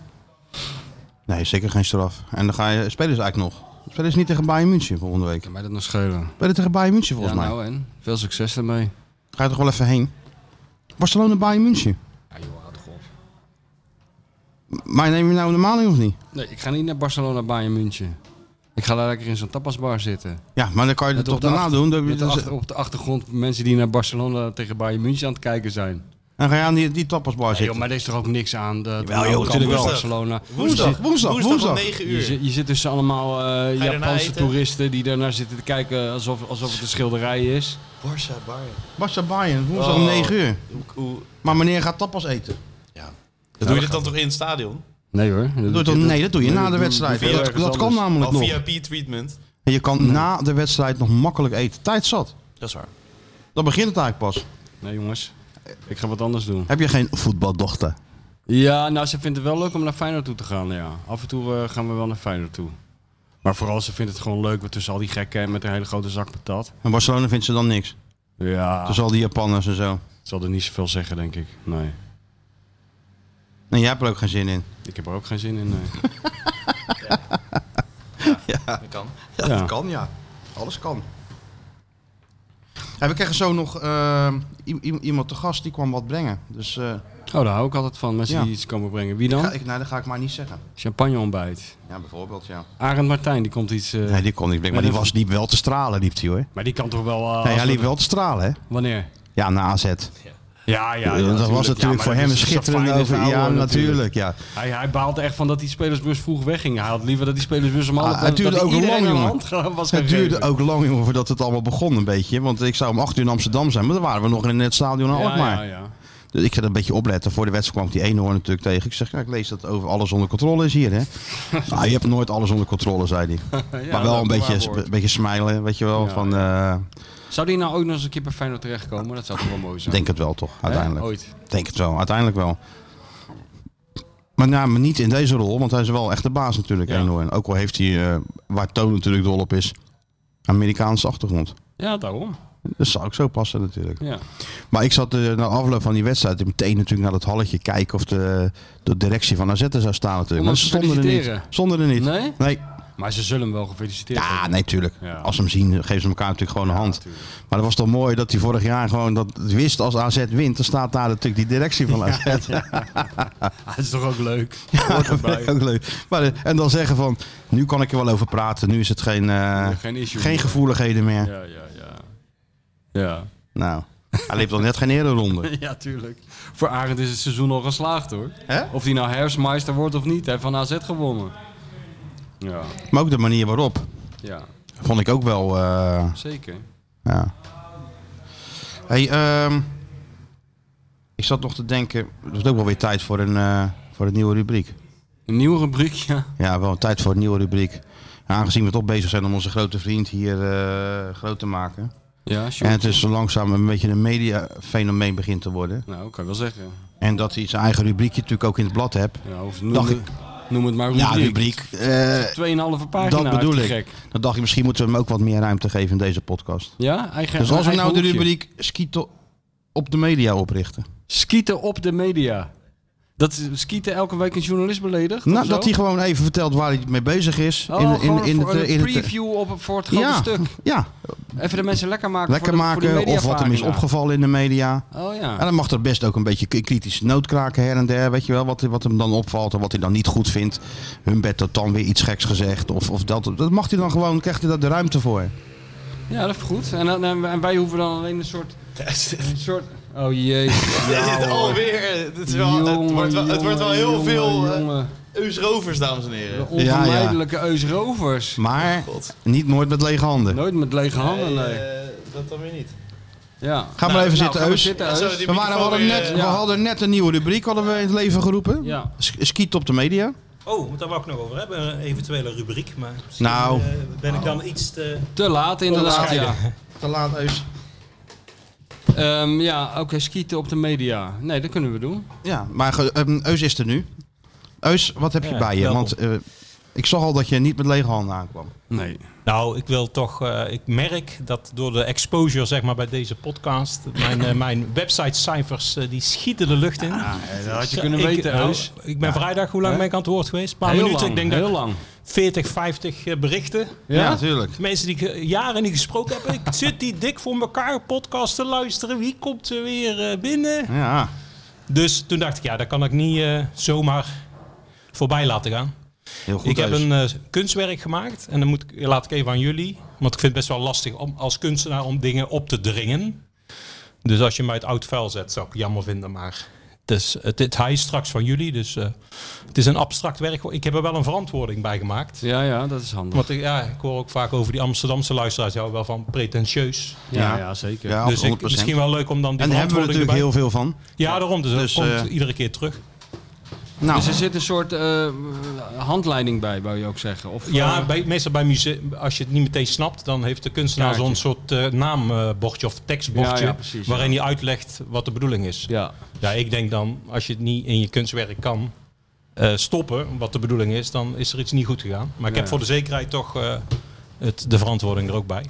Nee, zeker geen straf. En dan ga je... Spelen ze eigenlijk nog? Spelen ze niet tegen Bayern München volgende week?
Kan mij dat nog schelen?
Spelen tegen Bayern München
Ja,
volgens mij.
nou en? Veel succes daarmee.
Ga je toch wel even heen? Barcelona, Bayern München.
Ja, joh, houd toch op.
Maar neem je nou normaal in of niet?
Nee, ik ga niet naar Barcelona, Bayern München. Ik ga daar lekker in zo'n tapasbar zitten.
Ja, maar dan kan je het
Met
toch
op de
daarna
achter-
doen. Dan, dus-
Met de
dan-
achter- op de achtergrond mensen die naar Barcelona tegen Bayern München aan het kijken zijn.
dan ga je aan die, die tapasbar
Nee, Ah, joh,
zitten.
maar er is toch ook niks aan. De,
Jawel, joh, natuurlijk wel.
Barcelona.
Woensdag, woensdag,
Woensdag om
woensdag.
9
Je,
uur.
zit- je zit tussen allemaal eh,
daarna
Japanse
eten?
toeristen die daarnaar zitten te kijken alsof, alsof het een schilderij is.
Barça, Bayern.
Barca Bayern, woensdag om
Oh.
9 uur.
Hoe- hoe-
Maar meneer gaat tapas eten.
Dat doe je dit dan toch in het stadion?
Nee hoor.
Dat doe je toch- nee, dat doe je na de wedstrijd.
doe je
Dat,
ergens
dat kan
anders.
namelijk
Al
nog.
VIP-treatment.
En je kan na de wedstrijd nog makkelijk eten. Tijd zat.
Dat is waar.
Dan begint het eigenlijk pas.
Nee jongens, ik ga wat anders doen.
Heb je geen voetbaldochter?
Ja, nou ze vindt het wel leuk om naar Feyenoord toe te gaan, ja. Af en toe eh, gaan we wel naar Feyenoord toe. Maar vooral ze vindt het gewoon leuk met tussen al die gekken en met een hele grote zak patat.
En Barcelona vindt ze dan niks.
Ja,
Dus al die Japanners en zo.
zal er niet zoveel zeggen denk ik. Nee,
En jij hebt er ook geen zin in.
ik heb er ook geen zin in. nee.
Dat kan.
Ja. dat
kan ja. Alles kan. En we kregen zo nog eh, i- i- iemand te gast die kwam wat brengen. Dus eh,
Oh, daar hou ik altijd van, mensen
Ja.
die iets komen brengen. Wie dan?
ga ik, nee, dat ga ik maar niet zeggen.
Champagne ontbijt.
Ja, bijvoorbeeld, ja.
Arend Martijn, die komt iets... eh,
Nee, die kon niet brengen. Maar die was diep wel te stralen, diep die hoor.
Maar die kan toch wel... eh,
Nee,
als
hij liep
we-
wel te stralen, hè?
Wanneer?
Ja, na AZ.
Ja, ja,
dat was natuurlijk voor hem een schitterende over. Ja, natuurlijk, ja.
Hij, hij baalde echt van dat die spelersbus vroeg wegging. Hij had liever dat die spelersbus hem
Ah,
had.
het duurde
dat
ook
iedereen
lang,
aan de
jongen.
hand ge- was
Het
gegeven.
duurde ook lang jongen, voordat het allemaal begon een beetje. Want ik zou om 8 uur in Amsterdam zijn, maar dan waren we nog in het stadion
Ja,
in Alkmaar.
ja, ja.
Dus ik ga er een beetje opletten. Voor de wedstrijd kwam ik die eenhoorn natuurlijk tegen. Ik zeg, ja, ik lees dat over alles onder controle is hier, hè. nou, je hebt nooit alles onder controle, zei hij.
Ja,
maar wel
dat
een beetje,
waar
sp-
woord.
een beetje smilen, weet je wel.
Ja,
van, eh,
Zou die nou ook nog eens een keer bij Feyenoord terechtkomen? Dat zou toch wel mooi zijn?
denk het wel toch,
Hè? Oh.
uiteindelijk.
Ooit.
Denk het wel, uiteindelijk wel. Maar, nou, maar niet in deze rol, want hij is wel echt de baas natuurlijk,
Ja.
Eenhoorn. Ook al heeft hij, eh, waar Toon natuurlijk dol op is, Amerikaanse achtergrond.
Ja, daarom.
Dat zou ook zo passen natuurlijk.
Ja.
Maar ik zat eh, na afloop van die wedstrijd meteen natuurlijk naar dat halletje kijken of de, de directie van AZ er zou staan natuurlijk. Maar
Om hem
ze
te
stonden er niet.
feliciteren.
Stonden er niet.
Nee?
Nee.
Maar ze zullen hem wel gefeliciteerd
Ja,
hebben.
nee, tuurlijk.
Ja.
Als ze hem zien, geven ze elkaar natuurlijk gewoon een hand.
tuurlijk.
Maar dat was toch mooi dat hij vorig jaar gewoon dat wist als AZ wint, dan staat daar natuurlijk die directie van AZ.
Dat is toch ook leuk? Hoort
Dat vind
erbij.
ik ook leuk. Maar, eh, en dan zeggen van, nu kan ik er wel over praten. Nu is het geen, eh,
geen issue
geen
meer.
gevoeligheden meer.
Ja, ja, ja. Ja.
Nou, hij liep dan net geen ereronde.
Ja, tuurlijk. Voor Arend is het seizoen al geslaagd hoor.
Hè?
Of hij nou herfstmeister wordt of niet, hij heeft van AZ gewonnen. Ja,
Maar ook de manier waarop,
ja,
vond ik ook wel... eh,
zeker.
Ja. Hey, ehm, ik zat nog te denken, er is ook wel weer tijd voor een, eh, voor een nieuwe rubriek.
Een nieuwe rubriek, ja.
Ja, wel tijd voor een nieuwe rubriek. Aangezien we toch bezig zijn om onze grote vriend hier eh, groot te maken.
Ja,
En
sure.
het is zo langzaam een beetje een mediafenomeen begint te worden.
Nou, kan ik wel zeggen.
En dat hij zijn eigen rubriekje natuurlijk ook in het blad hebt.
Ja, of noem,
Dacht
het, noem het maar rubriek.
Ja, rubriek. eh,
Tweeënhalve pagina,
dat bedoel
heeft
ik.
die gek.
Dan dacht je, misschien moeten we hem ook wat meer ruimte geven in deze podcast.
Ja, eigen
Dus als we
eigen
nou de
hoekje.
rubriek Skito op de media oprichten.
Skieten op de media. Dat is- skieten elke week een journalist beledigt? of
Nou,
zo?
dat hij gewoon even vertelt waar hij mee bezig is.
Oh, gewoon voor
het,
een
in het-
preview op, voor het grote
ja,
stuk.
Ja,
Even de mensen lekker maken
lekker
voor de, voor die
maken of wat hem is
mediapagina.
opgevallen in de media.
Oh ja.
En dan mag er best ook een beetje k- kritische noot kraken her en der. Weet je wel, wat, wat hem dan opvalt en wat hij dan niet goed vindt. Humbert had dan weer iets geks gezegd. Of, of dat, dat mag hij dan gewoon, krijgt hij daar de ruimte voor.
Ja, dat is goed. En, dan- en, en wij hoeven dan alleen een soort... Een soort... Oh jee. Ja,
Dit
hoor.
alweer. Dit is wel, het,
Nou, Jongen,
wordt wel, het wordt wel heel
jongen,
veel eh,
jongen.
Eusrovers, dames en heren.
De onvermijdelijke Eusrovers.
Maar
God.
niet nooit met lege handen.
Nooit met lege handen, nee.
Eh, dat dan weer niet.
Ja.
Ga maar even
Nou,
zitten,
gaan we
Eus.
zitten,
Zo,
Eus.
die
We, waren, we,
microfoon
hadden
weer, eh,
net, we hadden net een nieuwe rubriek hadden we in het leven geroepen.
Ja.
S- Skiet op de media.
Oh, want daar wou ik nog over hebben. Een eventuele rubriek. Maar misschien,
Nou.
eh, ben ik dan iets te...
Te laat inderdaad, ja.
Te laat, Eus.
Ehm, ja, oké, skieten op de media. Nee, dat kunnen we doen.
Ja, maar ge- ehm, Eus is er nu. Eus, wat heb je
Ja,
bij je?
welkom.
Want eh, ik zag al dat je niet met lege handen aankwam.
Nee.
Nou, ik wil toch... eh, ik merk dat door de exposure zeg maar, bij deze podcast... mijn, eh, mijn websitecijfers eh, die schieten de lucht in.
dat had je
Ja,
kunnen
ik,
weten,
nou,
Eus.
ik ben vrijdag, hoe lang
Hè?
ben ik aan het woord geweest? Een paar
Heel
minuten.
lang,
ik denk
heel
dat
lang.
40, 50 eh, berichten.
Ja, natuurlijk.
Mensen die ik eh, jaren niet gesproken heb. Ik zit die dik voor elkaar podcast te luisteren. Wie komt er weer eh, binnen?
Ja.
Dus toen dacht ik, ja, dat kan ik niet eh, zomaar voorbij laten gaan.
Heel goed,
ik heb
Eus.
een eh, kunstwerk gemaakt en dan moet ik, laat ik even aan jullie. Want ik vind het best wel lastig om als kunstenaar om dingen op te dringen. Dus als je mij het oud vuil zet, zou ik het jammer vinden. Maar het, is, het, het hij is straks van jullie. Dus eh, het is een abstract werk. Ik heb er wel een verantwoording bij gemaakt.
Ja, ja, dat is handig.
Want ik, ja, ik hoor ook vaak over die Amsterdamse luisteraars. Die houden wel van pretentieus.
Ja,
Ja.
ja, zeker.
Ja,
dus ik,
100%.
misschien wel leuk om dan die
en daar hebben we
verantwoording
natuurlijk
erbij...
heel veel van.
Ja, daarom. Dus,
Dus,
dat komt
eh,
iedere keer terug.
Nou. Dus er zit een soort eh, handleiding bij, wou je ook zeggen? Of,
Ja,
eh,
bij, nou, meestal bij museum, als je het niet meteen snapt, dan heeft de kunstenaar
Kaartje.
zo'n soort eh, naambordje of tekstbordje.
Ja, ja, precies,
waarin
ja.
hij uitlegt wat de bedoeling is.
Ja.
ja, ik denk dan, als je het niet in je kunstwerk kan eh, stoppen, wat de bedoeling is, dan is er iets niet goed gegaan. Maar ik
Ja.
heb voor de zekerheid toch eh, het, de verantwoording er ook bij.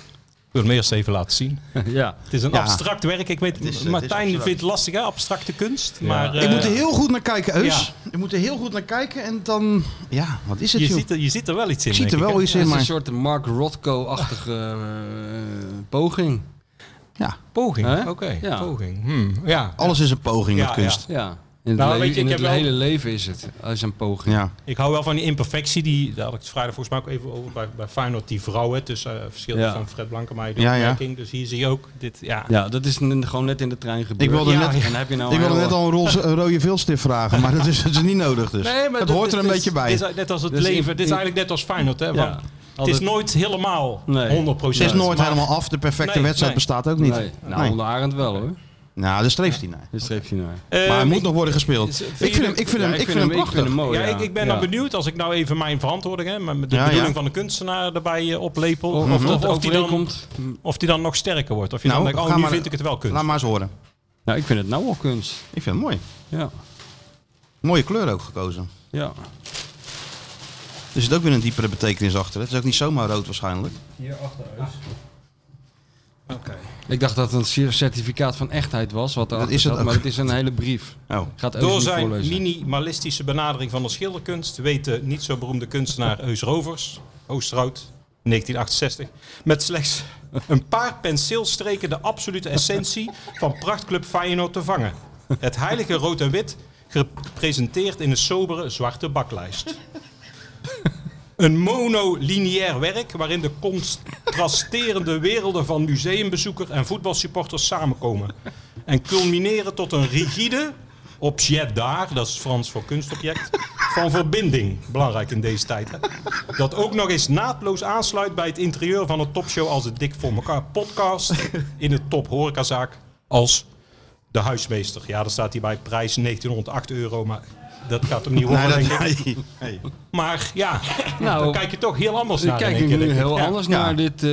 Ik wil hem eerst even laten zien.
ja.
Het is een
Ja.
abstract werk. Ik weet,
Het is, eh, het is
Martijn
abstract.
vindt het lastig, hè? abstracte kunst.
Ja.
Maar,
Ik
eh,
moet er heel goed naar kijken, Heus.
Ja.
Je moet er heel goed naar kijken en dan... Ja, wat is het,
je,
joh?
ziet er, je ziet er wel iets in.
Ik zie er
denk
wel
hè?
iets
Het
in,
is een
maar...
soort Mark Rothko-achtige eh, poging.
Ja,
Poging,
Hè?
oké.
Ja.
Poging. Hmm, Ja.
alles is een poging
Ja,
met kunst.
Ja. In het,
Nou,
le-
weet je,
in
ik
het
heb wel-
hele leven is het is een poging.
Ja.
Ik hou wel van die imperfectie, die, daar had ik het vrijdag volgens mij ook even over bij, bij Feyenoord, die vrouwen, tussen eh, verschil
Ja.
van Fred Blankenmeijer, de
Ja, ja.
opmerking. Dus hier zie je ook, dit, ja.
Ja, dat is n- gewoon net in de trein gebeurd.
Ik wilde
Ja,
net-
ja. En heb je nou
Ik wilde
heel-
net al een, roze, een rode vilstift vragen, maar dat is, dat is niet nodig dus.
Nee, maar
dat,
dat
hoort er
is-
een
dat is-
beetje bij.
Dit is net als het
Dus in-
leven, dit is
in-
eigenlijk net als Feyenoord, hè.
Ja.
want het
Altijd-
is nooit helemaal
Nee.
100%.
Het is nooit
maar-
helemaal af. De perfecte
Nee,
wedstrijd
nee.
bestaat ook niet.
Nee. Nou,
Nee.
onder Arend wel hoor.
Nou, daar streeft hij naar.
Dus schreef je naar.
Eh,
Maar hij moet
ik-
nog worden gespeeld.
Is-
Ik
vind
vind
je
hem,
het-
ik vind hem, ik vind hem
ik vind
prachtig.
hem mooi.
ja, ik, ik ben
Ja.
dan benieuwd als ik nou even mijn verantwoording, hè, maar met de
Ja,
bedoeling
ja.
van de kunstenaar erbij eh, oplepel,
Of,
of,
of
dat-
dat
of, die dan,
overeenkomt.
of die dan nog sterker wordt. Of je
Nou,
dan denkt,
ga
oh, nu
maar-
vind ik het wel kunst.
Laat maar eens horen.
Nou, ik vind het nou al kunst.
Ik vind hem mooi.
Ja.
Mooie kleur ook gekozen.
Ja.
Er zit ook weer een diepere betekenis achter. Het is ook niet zomaar rood waarschijnlijk.
Ik dacht dat het een cer- certificaat van echtheid was, wat dat
is
is
het
maar
ook.
het is een hele brief.
Oh.
Ik ga het
Door
even
zijn
voorlezen.
minimalistische benadering van de schilderkunst weet de niet zo beroemde kunstenaar Eus Rovers, Oosterhout, 1968, met slechts een paar penseelstreken de absolute essentie van prachtclub Feyenoord te vangen. Het heilige rood en wit, gepresenteerd in een sobere zwarte baklijst. Een monolineair werk waarin de contrasterende werelden van museumbezoeker en voetbalsupporters samenkomen. En culmineren tot een rigide objet daar, dat is Frans voor kunstobject, van verbinding. Belangrijk in deze tijd. Hè? Dat ook nog eens naadloos aansluit bij het interieur van een topshow als de Dik voor elkaar podcast. In de top horecazaak als de huismeester. Ja, daar staat hij bij prijs 1908 euro, maar dat gaat hem niet worden.
Nee,
denk ik.
dat, nee.
Maar ja,
Nou,
dan kijk je toch heel anders
Ik
naar. in
kijk
één
ik
keer,
nu
denk ik.
heel
Ja.
anders
Ja.
naar dit, eh,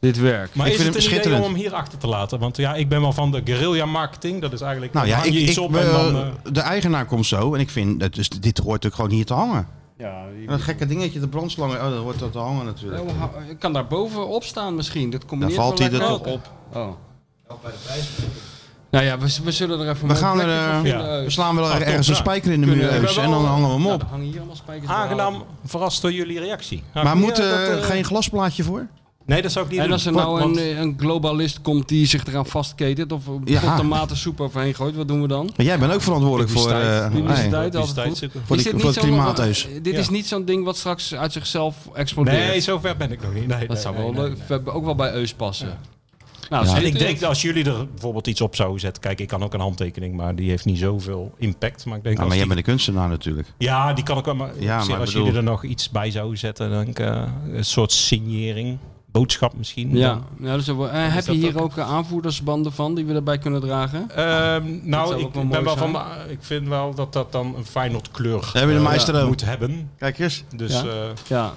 dit werk.
Maar
Ik
is
vind
het een idee
hem
om
schitterend.
hem hier achter te laten? Want ja, ik ben wel van de guerrilla marketing. Dat is eigenlijk.
Nou ja,
hang
ik,
je iets
ik,
op en dan. eh,
eh, de eigenaar komt zo en ik vind, dat is, dit hoort ook gewoon hier te hangen.
ja,
En Dat gekke dingetje, de brandslangen, oh, dat hoort dat te hangen natuurlijk.
ik Nou, kan daar bovenop staan misschien. Dat combineert
Dan valt
wel
hij er
lekker
toch
Oh. Nou ja, we, we zullen er even
We
een
gaan er,
plekje voor
eh,
vinden,
ja.
we
Eus.
slaan wel
Ah, top,
ergens een
ja.
spijker in de
Kunnen
muur
we
Eus,
wel-
en dan hangen we hem
Nou,
op.
er hangen hier allemaal spijkers.
aangenaam verrast door jullie reactie. Nou,
Maar
ik-
moet
ja,
er
dat, eh,
geen glasplaatje voor?
Nee, dat zou ik niet
En
doen.
als er nou
Want-
een, een globalist komt die zich eraan vastketent of een
Ja.
pot tomatensoep overheen gooit, wat doen we dan?
Maar jij bent ook verantwoordelijk voor... eh, nee.
Publiciteit,
nee.
altijd goed.
Publiciteit zit er.
Voor
Is
die-
dit
voor
niet
het
zo'n- eh,
klimaat dus.
Dit is
Ja.
niet zo'n ding wat straks uit zichzelf explodeert.
Nee, zover ben ik nog niet. Nee,
dat zou wel leuk, ook wel bij Eus passen. Nou,
En
schitterend.
ik denk dat als jullie er bijvoorbeeld iets op zouden zetten. Kijk, ik kan ook een handtekening, maar die heeft niet zoveel impact. Maar ik denk
Ja,
als
maar jij
die-
bent een kunstenaar natuurlijk.
Ja, die kan ik wel. Maar,
Ja,
op zich,
maar
als
bedoel-
jullie er nog iets bij zouden zetten, dan denk ik, eh, een soort signering, boodschap misschien.
Ja,
dan.
ja dat is ook wel- eh, heb je
dat
hier ook eh, aanvoerdersbanden van die we erbij kunnen dragen?
Ehm,
zou
nou,
ook
ik,
wel mooi
ben wel
zijn.
van de- ik vind wel dat dat dan een Feyenoord kleur
Hebben we de meester ook?
moet hebben.
Kijk eens.
Dus,
Ja?
eh,
Ja,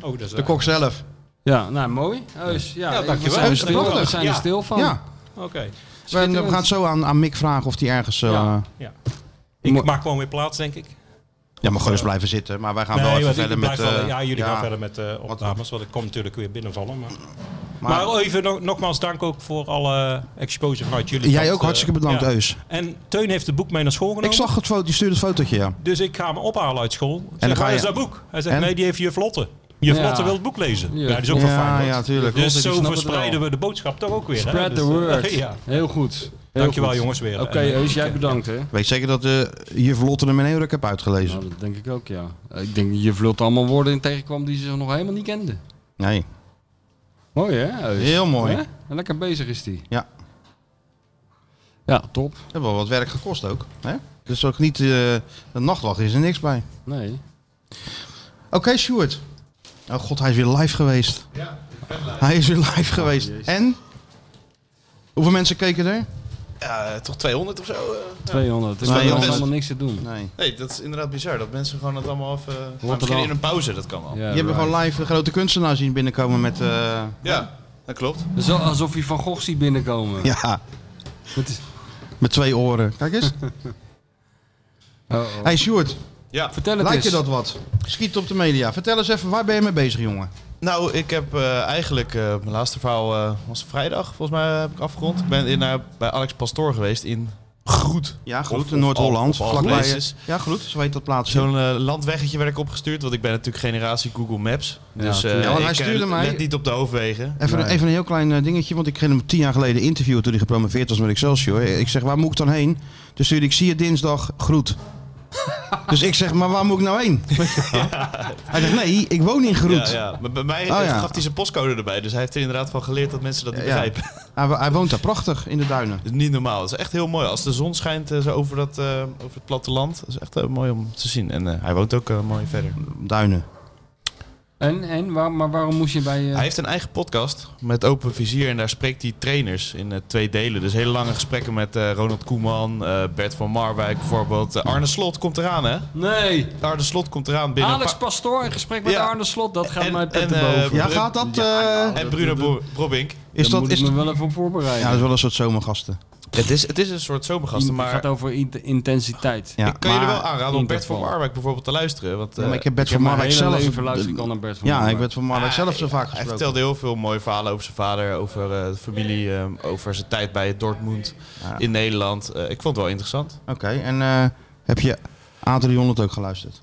oh, dat is
De kok zelf.
ja nou mooi. Eus, ja,
Ja,
ik-
dankjewel.
We zijn, er
Eus,
stil, we
prachtig.
zijn er
Ja.
stil van.
Ja.
Oké.
We, we gaan zo aan, aan Mick vragen of hij ergens... eh,
Ja.
ja.
Ja. Ik
Mo-
maak gewoon weer plaats, denk ik.
maar gewoon eens blijven zitten. Maar wij gaan wel
want
Ah, even
ik
verder met...
blijf wel-
eh,
ja, jullie
ja,
gaan verder met eh opnames, want ik kom natuurlijk weer binnenvallen. Maar,
Maar,
maar, even nog- nogmaals dank ook voor alle exposure vanuit jullie.
jij
kant,
ook
eh,
hartstikke bedankt,
ja.
Eus.
En Teun heeft het boek mee naar school genomen.
Ik zag het foto, je stuurde het fotootje, ja.
Dus ik ga hem ophalen uit school. en
dan
dan
ga
ga
je-
is dat boek? Hij zegt,
En?
nee, die heeft juf Lotte. Juf
Ja.
Lotte wil het boek lezen.
Juf
Ja, die is ook
Ja,
van Feyenoord.
ja, tuurlijk.
Lotte,
Dus
die
zo
snapt het
verspreiden
wel.
we de boodschap toch ook weer. hè?
Spread the
Dus, eh,
word.
ja.
Heel goed. Heel
Dankjewel
goed.
jongens weer.
Oké,
En, eh,
Eus, jij bedankt hè.
Weet zeker dat eh juf Lotte hem in één ruk heb uitgelezen?
Nou, dat denk ik ook, ja. Ik denk dat je vlult allemaal woorden in tegenkwam die ze nog helemaal niet kenden.
Nee.
Mooi hè? Eus?
Heel mooi.
Hè? En lekker bezig is die.
Ja.
Ja, top.
Hebben wel wat werk gekost ook. Hè? Dus ook niet... eh de nachtwacht is er niks bij.
Nee.
Oké, Stuart. Oh god, hij is weer live geweest. Ja, Oh, Hij is weer live geweest. En? Hoeveel mensen keken er?
Ja, toch 200 of zo? eh?
200.
Ja.
Er is
Nee,
helemaal niks te doen.
Nou,
Nee. dat is inderdaad bizar. Dat mensen gewoon het allemaal even... maar
Rotterdam.
misschien in een pauze, dat kan wel.
Ja,
Je hebt gewoon live de grote kunstenaar zien binnenkomen met... eh,
Ja, dat klopt.
Zo, alsof je Van Gogh ziet binnenkomen.
ja, met twee oren. Kijk eens. Oh, Hey Sjoerd,
Ja.
Vertel het
lijkt je
eens.
dat wat? Schiet op de media. Vertel eens even, waar ben je mee bezig, jongen?
Nou, ik heb eh, eigenlijk, eh, mijn laatste verhaal eh, was vrijdag, volgens mij eh, heb ik afgerond. Ik ben in, eh, bij Alex Pastoor geweest in Groet.
Ja,
Of-
Groet,
of
in Noord-Holland.
Al- of
Vlakbij. eh,
Algenesis.
Ja, Groet, zo heet dat plaatsje.
Zo'n eh, landweggetje werd ik opgestuurd, want ik ben natuurlijk generatie Google Maps.
Ja,
Dus eh,
tuurlijk.
Ja, want
ik
hij
eh,
stuurde mij-
let niet op de hoofdwegen.
Even,
Nee.
even een heel klein eh, dingetje, want ik ging hem tien jaar geleden interviewen toen hij gepromoveerd was met Excelsior. Ik zeg, waar moet ik dan heen? Dus Toen stuurde ik, zie je dinsdag, groet. dus ik zeg, maar waar moet ik nou heen? Hij zegt, nee, ik woon in Groet.
Ja, ja. Maar bij mij
Oh,
eh,
ja.
gaf hij zijn postcode erbij, dus hij heeft er inderdaad van geleerd dat mensen dat niet
Ja, ja.
begrijpen.
Hij, wo- hij woont daar prachtig, in de duinen.
Dat is niet normaal. Het is echt heel mooi. Als de zon schijnt eh, zo over, dat, eh, over het platteland, dat is echt eh, mooi om te zien. En eh, hij woont ook eh, mooi verder.
Duinen.
En, en waar, maar waarom moest je bij... eh,
Hij heeft een eigen podcast met Open Vizier en daar spreekt hij trainers in eh, twee delen. Dus hele lange gesprekken met eh, Ronald Koeman, eh, Bert van Marwijk bijvoorbeeld. Eh, Arne Slot komt eraan hè?
Nee!
Arne Slot komt eraan binnen
Alex
een paar-
Pastoor in gesprek met
Ja.
Arne Slot. Dat gaat
En-
mij
en,
petten
eh,
boven.
Ja,
Bru-
gaat dat? eh,
en Bruno Bro- Brobink.
is
Daar
dat,
moet
is,
ik me
ja,
wel even op voorbereiden.
dat is wel een soort zomergasten.
Het is, het is een soort zomergasten,
Het
maar
gaat over int- intensiteit.
Ja,
ik kan je er
maar-
wel aanraden om
in
Bert
dat
van
geval.
Marwijk bijvoorbeeld te luisteren. Want,
Ja,
eh,
maar ik heb Bert
Ik heb
van
mijn
Marwijk
hele
zelf...
leven luister ik al naar Bert van
Ja, ik
Marwijk.
ben van
Ah,
Marwijk zelf zo vaak
Hij
gesproken.
vertelde heel veel mooie verhalen over zijn vader, over eh, de familie, eh, over zijn tijd bij Dortmund
Ja.
in Nederland. Eh, ik vond het wel interessant.
Oké, en eh, heb je Adrian het ook geluisterd?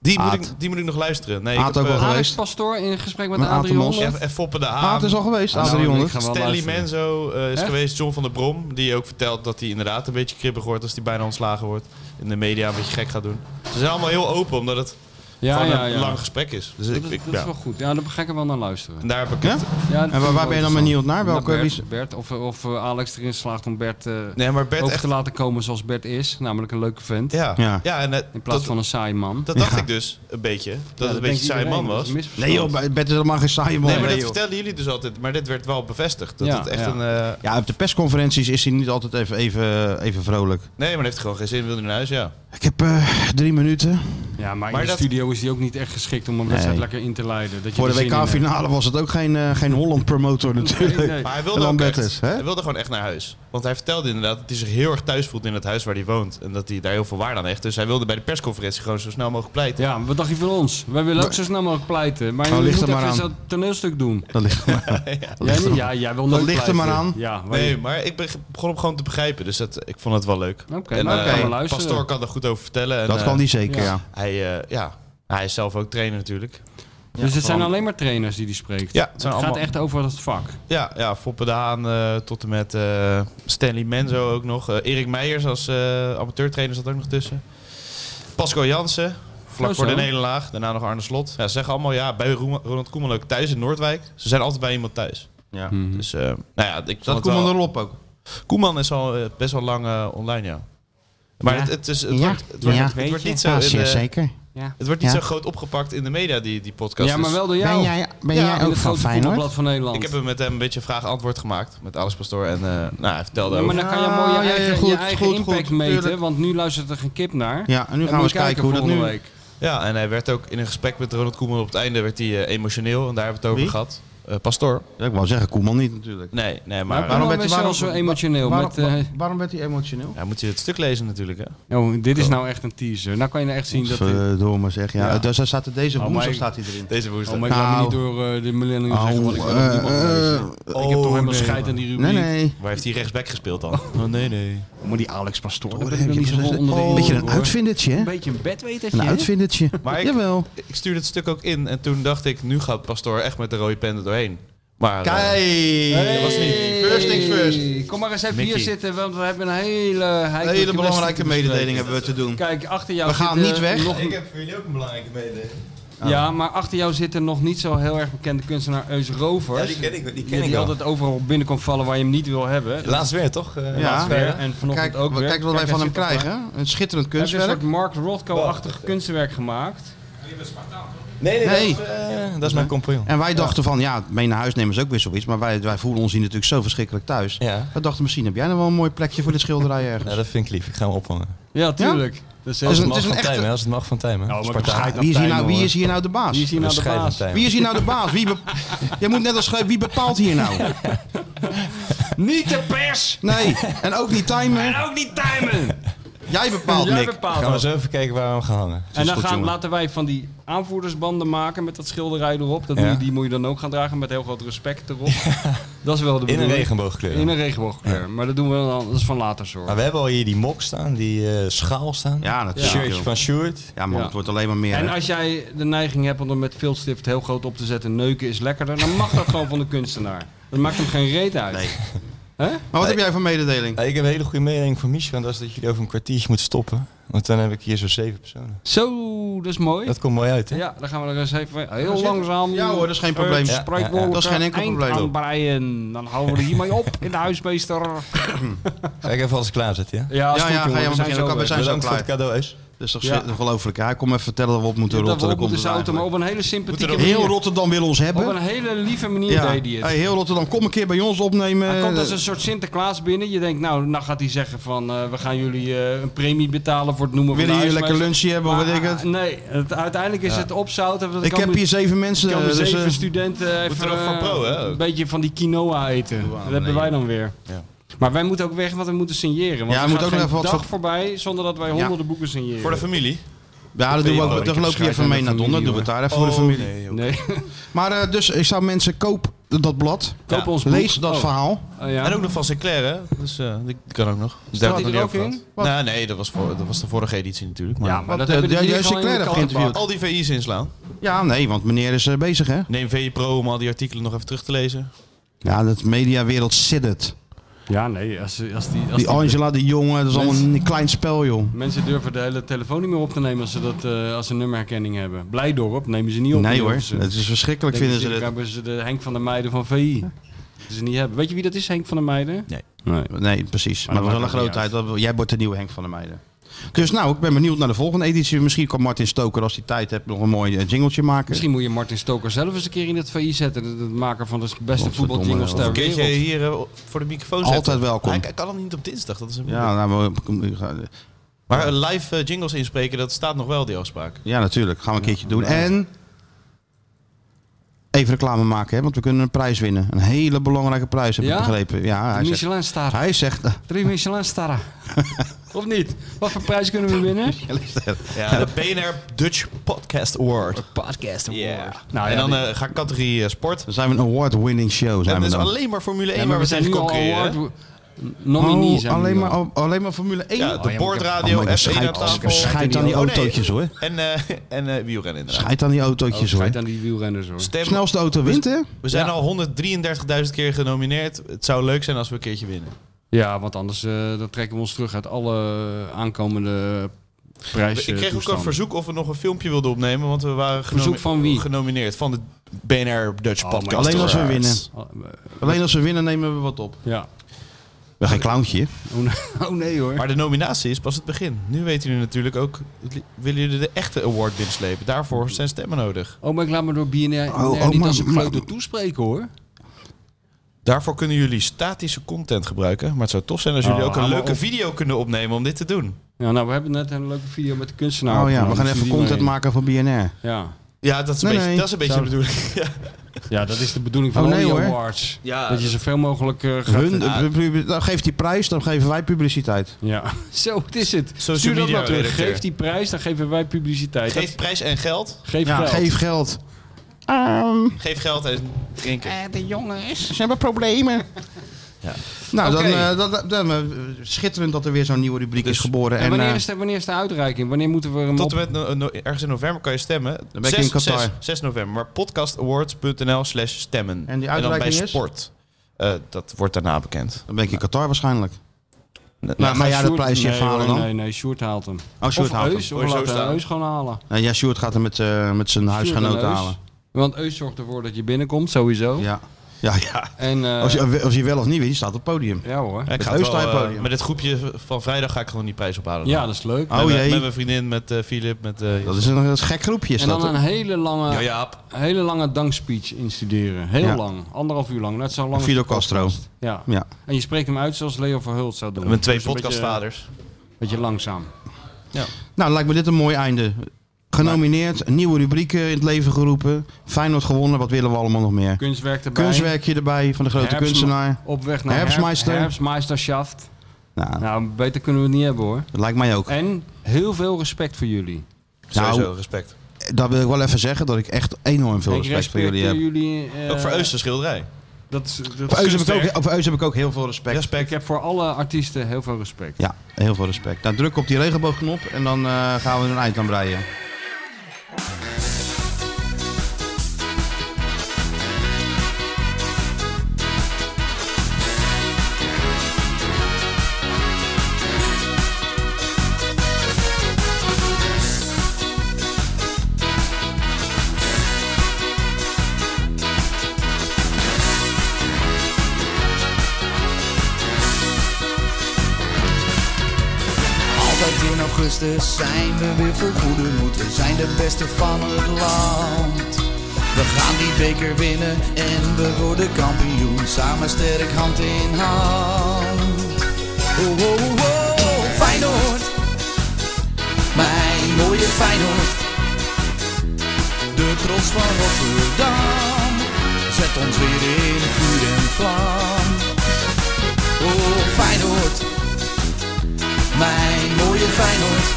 Die moet,
Aad.
ik, die moet ik nog luisteren. Nee,
Aad
ik heb,
ook wel
eh,
Alex
geweest.
Pastoor in gesprek met
Met Aad de Mos.
Adrian.
F- F. Foppe de Haan.
Aad is al geweest,
Nou, ik
Adrian.
ga wel
Stanley
luisteren.
Menzo eh, is
Echt?
geweest, John van der Brom, die ook vertelt dat hij inderdaad een beetje kribbig wordt als hij bijna ontslagen wordt. In de media een beetje gek gaat doen. Ze zijn allemaal heel open, omdat het
Ja,
gewoon
ja,
een
ja.
lang gesprek is. Dus ik,
dat is,
ik-
dat
ja.
is wel goed. Ja, daar ga ik er wel naar luisteren.
En daar heb ik
Ja?
het.
Ja, dat
En waar,
vind ik
waar ben
wel
je dan
interessant.
benieuwd naar? Welke,
Naar
wie is-
Bert, Bert, of, of eh, Alex erin slaagt om Bert, eh
Nee, maar Bert
over
echt...
te laten komen zoals Bert is. Namelijk een leuke vent.
Ja, ja.
Ja.
en eh,
In plaats
dat,
van een saai man.
dat dacht ik dus een beetje. Dat het een beetje een saai man was. Nee,
Nee joh, Bert is helemaal geen saaie man.
maar dat
joh.
vertelden jullie dus altijd. Maar dit werd wel bevestigd. Dat
Ja,
het echt
ja.
een... eh,
Ja, op de persconferenties is hij niet altijd even, even, even vrolijk.
Nee, maar dat heeft gewoon geen zin. Wil hij naar huis? Ja.
Ik heb eh, drie minuten.
Ja, maar in
Maar
de
dat-
studio is hij ook niet echt geschikt om een wedstrijd lekker in te leiden. Dat je
Voor de
er zin in hebt.
WK-finale was het ook geen, eh, geen Holland-promotor natuurlijk.
Nee, nee.
Maar hij
En
wilde,
dan
ook echt,
Bertus, hè?
hij wilde gewoon echt naar huis. Want hij vertelde inderdaad dat hij zich heel erg thuis voelt in het huis waar hij woont. En dat hij daar heel veel waarde aan hecht. Dus hij wilde bij de persconferentie gewoon zo snel mogelijk pleiten.
Ja, wat dacht je van ons? Wij willen ook zo snel mogelijk pleiten. Maar je
Nou,
moet
ligt er
even
maar aan.
zo'n toneelstuk doen.
Dat ligt er maar,
Jij, niet? ja, jij wil nooit
ligt er
pleiten.
maar aan.
Ja, wij-
Nee, maar ik beg- begon hem gewoon te begrijpen. Dus dat, ik vond het wel leuk.
Oké,
en
nou,
eh,
kan je
luisteren.
Pastoor kan er goed over vertellen. En,
Dat
eh,
kan die zeker, ja.
Hij, eh, ja, hij is zelf ook trainer natuurlijk.
dus het zijn
gewoon-
alleen maar trainers die die spreekt.
Ja, het
het
zijn
gaat
allemaal-
echt over het vak.
Ja, ja Foppe de Haan eh, tot en met eh, Stanley Menzo ook nog. Eh, Erik Meijers als eh, amateurtrainer zat ook nog tussen. Pasco Jansen, vlak
Oh,
voor de
zo.
nederlaag. Daarna nog Arne Slot. Ja, ze zeggen allemaal ja, bij Roem- Ronald Koeman ook thuis in Noordwijk. Ze zijn altijd bij iemand thuis.
Ja.
Mhm.
Dus eh, nou ja, ik vond
Dat
het
Koeman
wel-
erop ook.
Koeman is al eh, best wel lang eh, online, ja. Maar
Ja.
het, het is, het wordt, het wordt, het wordt niet
eh,
zo... in de-
zeker.
het wordt niet
Ja.
zo groot opgepakt in de media, die, die podcast.
ja, maar
Dus
wel door jou.
ben
Ja, jij in
in het grote voetbalblad van Nederland.
Ik heb hem met hem een beetje vraag-antwoord gemaakt. Met Alex Pastoor. En eh, nou, hij vertelde
Ja,
over-
maar dan kan je
Ah,
mooi je
ja, ja,
eigen,
goed,
je eigen
goed,
impact
goed,
meten,
tuurlijk.
want nu luistert er geen kip naar.
Ja, en nu gaan
Dan
we
moet
eens
je
kijken hoe dat
volgende
nu...
week.
Ja, en hij werd ook in een gesprek met Ronald Koeman op het einde werd hij, eh, emotioneel. En daar hebben we het over
Wie?
gehad. Eh, Pastoor.
Ja, ik wou zeggen, Koeman niet natuurlijk.
Nee, nee,
Maar
maar...
waarom
werd-
ben je
waarom-
zo emotioneel?
Waarom,
met, eh,
waarom werd hij emotioneel?
Ja, moet je het stuk lezen natuurlijk, hè?
oh, dit is nou echt een teaser. Nou kan je nou echt zien dat...
eh,
dit-
Verdomme zeg, ja.
Ja.
Dus daar staat er deze
Oh, maar
woensdag
ik-
staat hij erin.
Deze woensdag.
Oh, maar ik laat me
Nou.
niet door eh, de millennium
Au,
zeggen wat ik wil
eh,
ook niet mag
eh,
lezen. Ik heb toch helemaal
oh, nee,
scheid aan die rubriek.
Nee, nee.
Waar heeft hij rechtsback gespeeld dan? Oh, nee, nee.
Maar die Alex Pastoor,
Daar
daar
ben ik
heb
nog
je
niet zo
gezegd.
vol onder de
Een
indruk,
beetje een
hoor.
uitvindertje, hè?
Een beetje een bedwetertje.
Een
hè?
uitvindertje.
Maar ik-
Jawel.
Ik stuurde het stuk ook in en toen dacht ik, nu gaat Pastoor echt met de rode pen er doorheen. Maar... eh,
Kijk!
dat was niet.
First things first.
Hey, Kom maar eens even
Mickey.
hier zitten, want we hebben een hele...
Een
heikele
hele
kwestie
belangrijke
te
mededeling
bespreken.
hebben we te doen.
Kijk, achter jou
We gaan
zit, eh,
niet weg.
nog-
heb voor jullie ook een belangrijke mededeling.
Ja, maar achter jou zit er nog niet zo heel erg bekende kunstenaar Eus Rovers.
ik, die
die altijd overal binnenkomt vallen waar je hem niet wil hebben.
Laatst weer, toch? Eh,
Ja.
laatst weer.
En vanochtend
Kijk,
ook
we-
weer.
kijk wat wij
Kijk,
van
hij
hem
zit op-
krijgen. Een schitterend
Hij heeft een
kunstwerk.
soort Mark Rothko-achtig kunstwerk gemaakt.
Nee, nee,
Nee.
Dat, is, eh, dat is mijn compagnon.
En wij dachten van, ja, mee naar huis nemen is ook weer zoiets. Maar wij, wij voelen ons hier natuurlijk zo verschrikkelijk thuis.
Ja.
We dachten, misschien heb jij nog wel een mooi plekje voor dit schilderij ergens.
Ja, dat vind ik lief. Ik ga hem ophangen.
Ja, tuurlijk.
Ja?
Dat is
Dat is
heel
een-
Mag
het is
van
echte-
Tijmen, als het mag van Tijmen.
maar
Spartaan.
bescheid
Wie is, hier nou,
Tijmen,
wie
hoor.
is hier nou de baas?
Wie is hier nou de
Bescheiden
baas?
Tijmen.
Wie is hier nou de baas? Wie be- Jij moet net als schrijven, wie bepaalt hier nou?
Niet de pers!
Nee, en ook niet timen.
En ook niet timen!
Jij bepaalt,
Jij
Nick.
bepaalt
Gaan we
dat.
eens even kijken waar we hem gaan hangen.
En dan
goed,
gaan,
jongen.
laten wij van die aanvoerdersbanden maken met dat schilderij erop. Dat moet
Ja.
je, die moet je dan ook gaan dragen met heel groot respect erop. Dat is wel de
In een
bedoeling.
regenboogkleur.
In een regenboogkleur. Maar dat doen we dan, dat is van later zorg.
Maar we hebben al hier die mok staan, die eh, schaal staan.
Ja, natuurlijk,
Shirtje
joh.
van Sjoerd.
Ja, man,
Ja.
het wordt alleen maar meer.
En
hè?
als jij de neiging hebt om er met viltstift heel groot op te zetten, neuken is lekkerder, dan mag dat gewoon van de kunstenaar. Dat maakt hem geen reet uit.
Nee.
Hè?
Maar wat heb jij voor mededeling?
Ja, Eh, ik heb een hele goede mening voor Michel. En dat is dat jullie over een kwartiertje moeten stoppen. Want dan heb ik hier zo'n zeven personen.
Zo, dat is mooi.
Dat komt mooi uit, hè?
Ja, dan gaan we er eens even heel langzaam.
Ja hoor, dat is geen probleem.
Ja,
Spreekwoord. eh,
Dat is geen enkel probleem.
Aanbreien. Dan houden we er hiermee op in de huismeester.
Ga ik even alles klaarzetten, ja?
Ja, is
Ja,
goed,
ja,
jongen,
ga jij maar
we zijn
beginnen.
zo
We
weg.
zijn zo
Bedankt voor het
klaar.
cadeau, Eus.
Dat is toch
Ja.
ongelooflijk. Ja, kom even vertellen dat we op moeten
Dat we
rotten.
op
dan
moeten
komt het
zouten, maar op
eigenlijk.
een hele sympathieke manier.
Heel Rotterdam wil ons
Op een
hebben.
hele lieve manier
Ja.
deed hij het.
Hey, eh, heel Rotterdam, kom een keer bij ons opnemen.
Hij komt als een soort Sinterklaas binnen. Je denkt, nou, nou gaat hij zeggen van... eh, we gaan jullie eh, een premie betalen voor het noemen
Willen
van de
jullie lekker
huismeester.
lunchje hebben,
Maar,
weet ik het?
Ah, Nee, het, uiteindelijk is het opzouten. want
Ik
kan
heb
me-
hier zeven mensen.
kan me
dus,
zeven
eh,
studenten
Moet
even
er ook van
eh,
pro, hè?
een beetje van die quinoa eten. dat hebben wij dan weer. Maar wij moeten ook weg, want we moeten signeren. Want
Ja,
ja,
moet
er gaat
ook
geen
nog even wat
dag
voor-
voorbij zonder dat wij honderden boeken signeren.
Voor de familie?
Ja, dat doen
Oh,
we ook.
ik
Dan
heb
loop je
scheid aan
even mee
de
naar Donner.
familie,
Doen
Oh,
we het daar even voor de familie.
Nee,
Maar eh, dus, ik zou mensen, koop dat blad.
koop ons boek.
Lees dat
Oh,
verhaal.
oh ja.
En ook nog van Sinclair, hè? Dus eh, die die kan ook nog.
Staat die er ook in?
Nou, nee, dat was, voor, dat was de vorige editie natuurlijk. Maar
Ja, maar
Wat,
dat
eh,
hebben die
jij-
in
jij
ieder geval
Sinclair
in de
hebt
kant
geïnterviewd.
gepakt.
al die VI's inslaan.
Ja, nee, want meneer is eh, bezig, hè?
Neem VI Pro om al die artikelen nog even terug te lezen.
Ja, dat mediawereld siddert.
Ja, nee, als, als die... Als
Die Angela, die jongen, dat is allemaal een klein spel, joh.
Mensen durven de hele telefoon niet meer op te nemen als ze, dat, eh, als ze nummerherkenning hebben. Blijdorp nemen ze niet op.
Nee
Die
hoor,
durven ze.
het is verschrikkelijk,
Denken
vinden ze
natuurlijk
dit.
hebben ze de eh, Henk van der Meijden van VI. Dat ze niet hebben. Weet je wie dat is, Henk van der Meijden?
Nee.
nee.
Nee, precies. Maar,
dat
dat was wel een
maakt ook niet
grootheid. Dat, jij wordt de nieuwe Henk van der Meijden. Dus nou, ik ben benieuwd naar de volgende editie. Misschien kan Martin Stoker, als hij tijd heeft, nog een mooi eh, jingletje maken.
Misschien moet je Martin Stoker zelf eens een keer in het VI zetten. De, de maker van de beste
Oh,
Godverdomme,
voetbaljingles
joh.
ter
Een keertje
wereld.
hier eh, voor de microfoon
Altijd
zetten.
welkom.
Hij, hij kan hem niet op dinsdag, dat is een
Ja, nou, we- we-
Maar eh, live eh, jingles inspreken, dat staat nog wel, die afspraak.
ja, natuurlijk. Gaan we een keertje doen. En even reclame maken, hè, want we kunnen een prijs winnen. Een hele belangrijke prijs, heb ik
Ja?
begrepen. Ja, hij
De
zegt,
Michelin-ster.
hij zegt
Drie Michelin-starren. of niet? Wat voor prijs kunnen we winnen?
Ja, de BNR Dutch Podcast Award.
Podcast award.
Nou,
Nou,
en
ja,
dan
die-
eh, ga ik categorie eh, sport.
dan zijn we een award-winning show. Zijn
En
we
dat is
dan.
alleen maar Formule 1
Ja,
waar we
zijn
tegen
nu al
concurreren. hè?
award- nominees eh,
Oh,
zijn we
alleen,
nu
maar,
al.
oh, alleen maar Formule 1?
Ja, de boordradio,
Oh, maar ik
F1 aan
scheid-
tafel.
ik scheid aan die
Oh, nee.
autootjes, hoor.
En, eh, en eh, wielrennen inderdaad.
Scheid aan die autootjes, hoor.
Schijt Oh, aan die Dus- wielrenners hoor.
Stem-
Snelste auto wint, hè?
We zijn
Ja.
al 133.000 keer genomineerd. Het zou leuk zijn als we een keertje winnen.
Ja, want anders eh, dan trekken we ons terug uit alle eh, aankomende prijzen.
ik kreeg ook een
toestanden.
verzoek of we nog een filmpje wilden opnemen, want we waren genomi-
Verzoek van wie?
genomineerd. Van de BNR Dutch
Oh, maar
Podcast.
Alleen als we
Awards.
winnen.
Oh, eh,
Alleen als we winnen nemen we wat op.
Ja.
We geen clowntje.
Oh, nee- oh nee hoor.
Maar de nominatie is pas het begin. Nu weten jullie natuurlijk ook, het li- willen jullie de echte award binnenslepen? Daarvoor zijn stemmen nodig.
Oh, maar ik laat me door BNR
Oh, oh,
niet
maar-
als een
maar-
grote toespreken hoor.
Daarvoor kunnen jullie statische content gebruiken. Maar het zou tof zijn als jullie
Oh,
ook een
hou maar
leuke
op.
video kunnen opnemen om dit te doen.
Ja, nou, we hebben net een leuke video met de kunstenaar.
Oh ja, we
opgenomen,
gaan
dus
even
die
content
mee.
maken van BNR.
Ja.
Ja, dat is een
Nee,
beetje,
nee.
dat is een beetje
Zou-
de bedoeling. Ja.
ja, dat is de bedoeling van
Oh,
oh,
nee, hoor.
awards.
Ja,
dat je zoveel mogelijk eh, gaat...
Hun, eh, pub- dan geeft die prijs, dan geven wij publiciteit.
Ja, zo het is het.
Social
Stuur dat
media
maar terug.
redacteur.
Geef die prijs, dan geven wij publiciteit.
Geef prijs en geld.
Dat- geef
Ja,
geld.
geef geld.
Geef geld en drinken.
Ze hebben problemen. Nou, dan, eh, dan, dan, eh, schitterend dat er weer zo'n nieuwe rubriek is geboren.
Dus- En
En,
wanneer
eh,
is, de, wanneer is de uitreiking? Wanneer moeten we hem
Tot
op...
en met no- no- ergens in november kan je stemmen.
Dan ben ik in Qatar.
6, 6 november. Maar podcastawards.nl slash stemmen.
En die
dan bij
uitreiking is?
sport. Eh, dat wordt daarna bekend.
dan ben ik in Qatar waarschijnlijk.
Nou,
Nou, ga jij dat
Sjoerd-
prijsje
nee,
verhalen
hoor,
dan?
Nee, nee, Sjoerd haalt hem.
Oh, Sjoerd
of
haalt hem.
Eus,
Hoor
of
je zo
laten we
staan?
Eus gewoon halen.
Nou, ja, Sjoerd gaat hem met, eh, met zijn
Sjoerd en
huisgenoten
Eus.
halen.
Want Eus zorgt ervoor dat je binnenkomt, sowieso.
Ja. Ja, ja.
En, eh,
als, je, als je wel of niet wint, je staat op het podium.
Ja hoor.
Ja, ik
Met
ga het
Heus
wel,
sta je
eh,
podium.
met het groepje van vrijdag ga ik gewoon die prijs ophalen.
Ja, dat is leuk.
Met
Oh,
mijn-
jee.
Met mijn vriendin, met eh, Filip, met... eh,
Dat is een, dat is een gek groepje. Is
En
dat,
dan een
hoor.
hele lange,
Ja, Jaap.
hele lange dankspeech instuderen. Heel
Ja.
lang. Anderhalf uur lang. Net zo lang. als
Fidel
de podcast.
Castro.
Ja.
Ja.
En je spreekt hem uit zoals Leo Verhult zou doen.
Met twee
Dus een beetje-
podcastvaders.
Beetje, langzaam.
Nou, lijkt me dit een mooi einde. Genomineerd, nieuwe rubrieken in het leven geroepen. Feyenoord gewonnen, wat willen we allemaal nog meer?
Kunstwerk erbij.
Kunstwerkje erbij van de grote
Herbstma-
kunstenaar.
Op weg naar
Herbstmeister.
Herbstmeister. Herbstmeisterschaft.
Nou,
Nou, beter kunnen we het niet hebben hoor.
dat lijkt mij ook.
En heel veel respect voor jullie.
Nou,
Sowieso, respect.
Dat wil ik wel even zeggen, dat ik echt enorm veel
ik
respect voor jullie
respecteer
heb.
jullie. eh,
Ook voor Eus de schilderij.
Dat, is- dat
Voor
is
Eus heb, ik
kunstwerk.
ook- voor Eus heb ik ook heel veel respect.
Ik heb voor alle artiesten heel veel respect.
Ja, heel veel respect. Nou, druk op die regenboogknop en dan eh, gaan we er een eind aan breien.
Altijd in augustus zijn we weer vol goede moed. We zijn de beste van het land. We gaan die beker winnen en we worden kampioen. Samen sterk hand in hand. Oh, oh, oh, oh, Feyenoord. Mijn mooie Feyenoord. De trots van Rotterdam. Zet ons weer in vuur en vlam. Oh, Feyenoord. Mijn mooie Feyenoord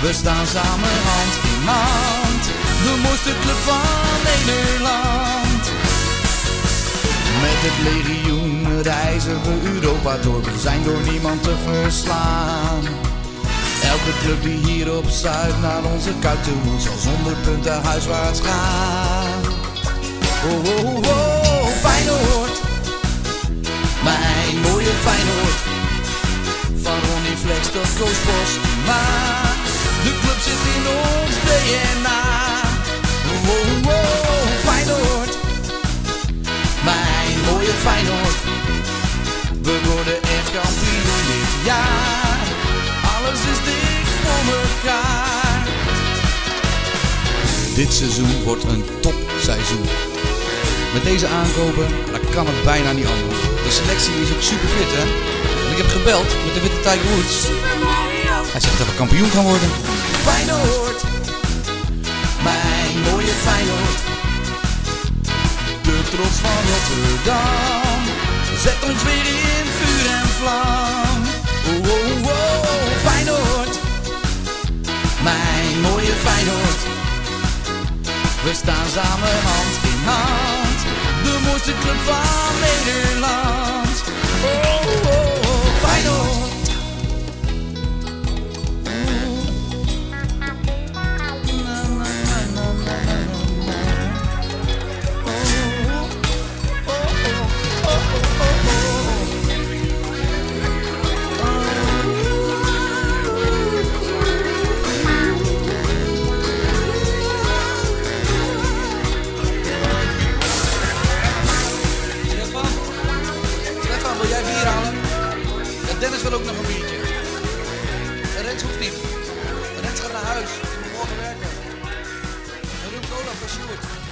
We staan samen hand in hand De mooiste club van Nederland Met het legioen reizen we Europa door We zijn door niemand te verslaan Elke club die hier op Zuid naar onze kuit toe moet Zal zonder punten huiswaarts gaan Oh, oh, oh, oh Feyenoord Mijn mooie Feyenoord van Ronnie Flex tot Koos Bos. Maar de club zit in ons DNA. Oh, oh, oh, Feyenoord. Mijn mooie Feyenoord. We worden echt kampioen dit jaar. Alles is dik voor elkaar. Dit seizoen wordt een topseizoen. Met deze aankopen, dan kan het bijna niet anders. De selectie is ook super fit, hè? En ik heb gebeld met de witte Tiger Woods. Hij zegt dat we kampioen gaan worden. Feyenoord, mijn mooie Feyenoord. De trots van Rotterdam, zet ons weer in vuur en vlam. Oh, oh, oh, Feyenoord, mijn mooie Feyenoord. We staan samen hand in hand, de mooiste club van Nederland. Oh, oh, oh Feyenoord. Stefan? Stefan, wil jij bier halen? Ja, Dennis wil ook nog een biertje. En Rens hoeft niet. Rens gaat naar huis. Die moet morgen werken. En Ruud Cola voor Sjoerd.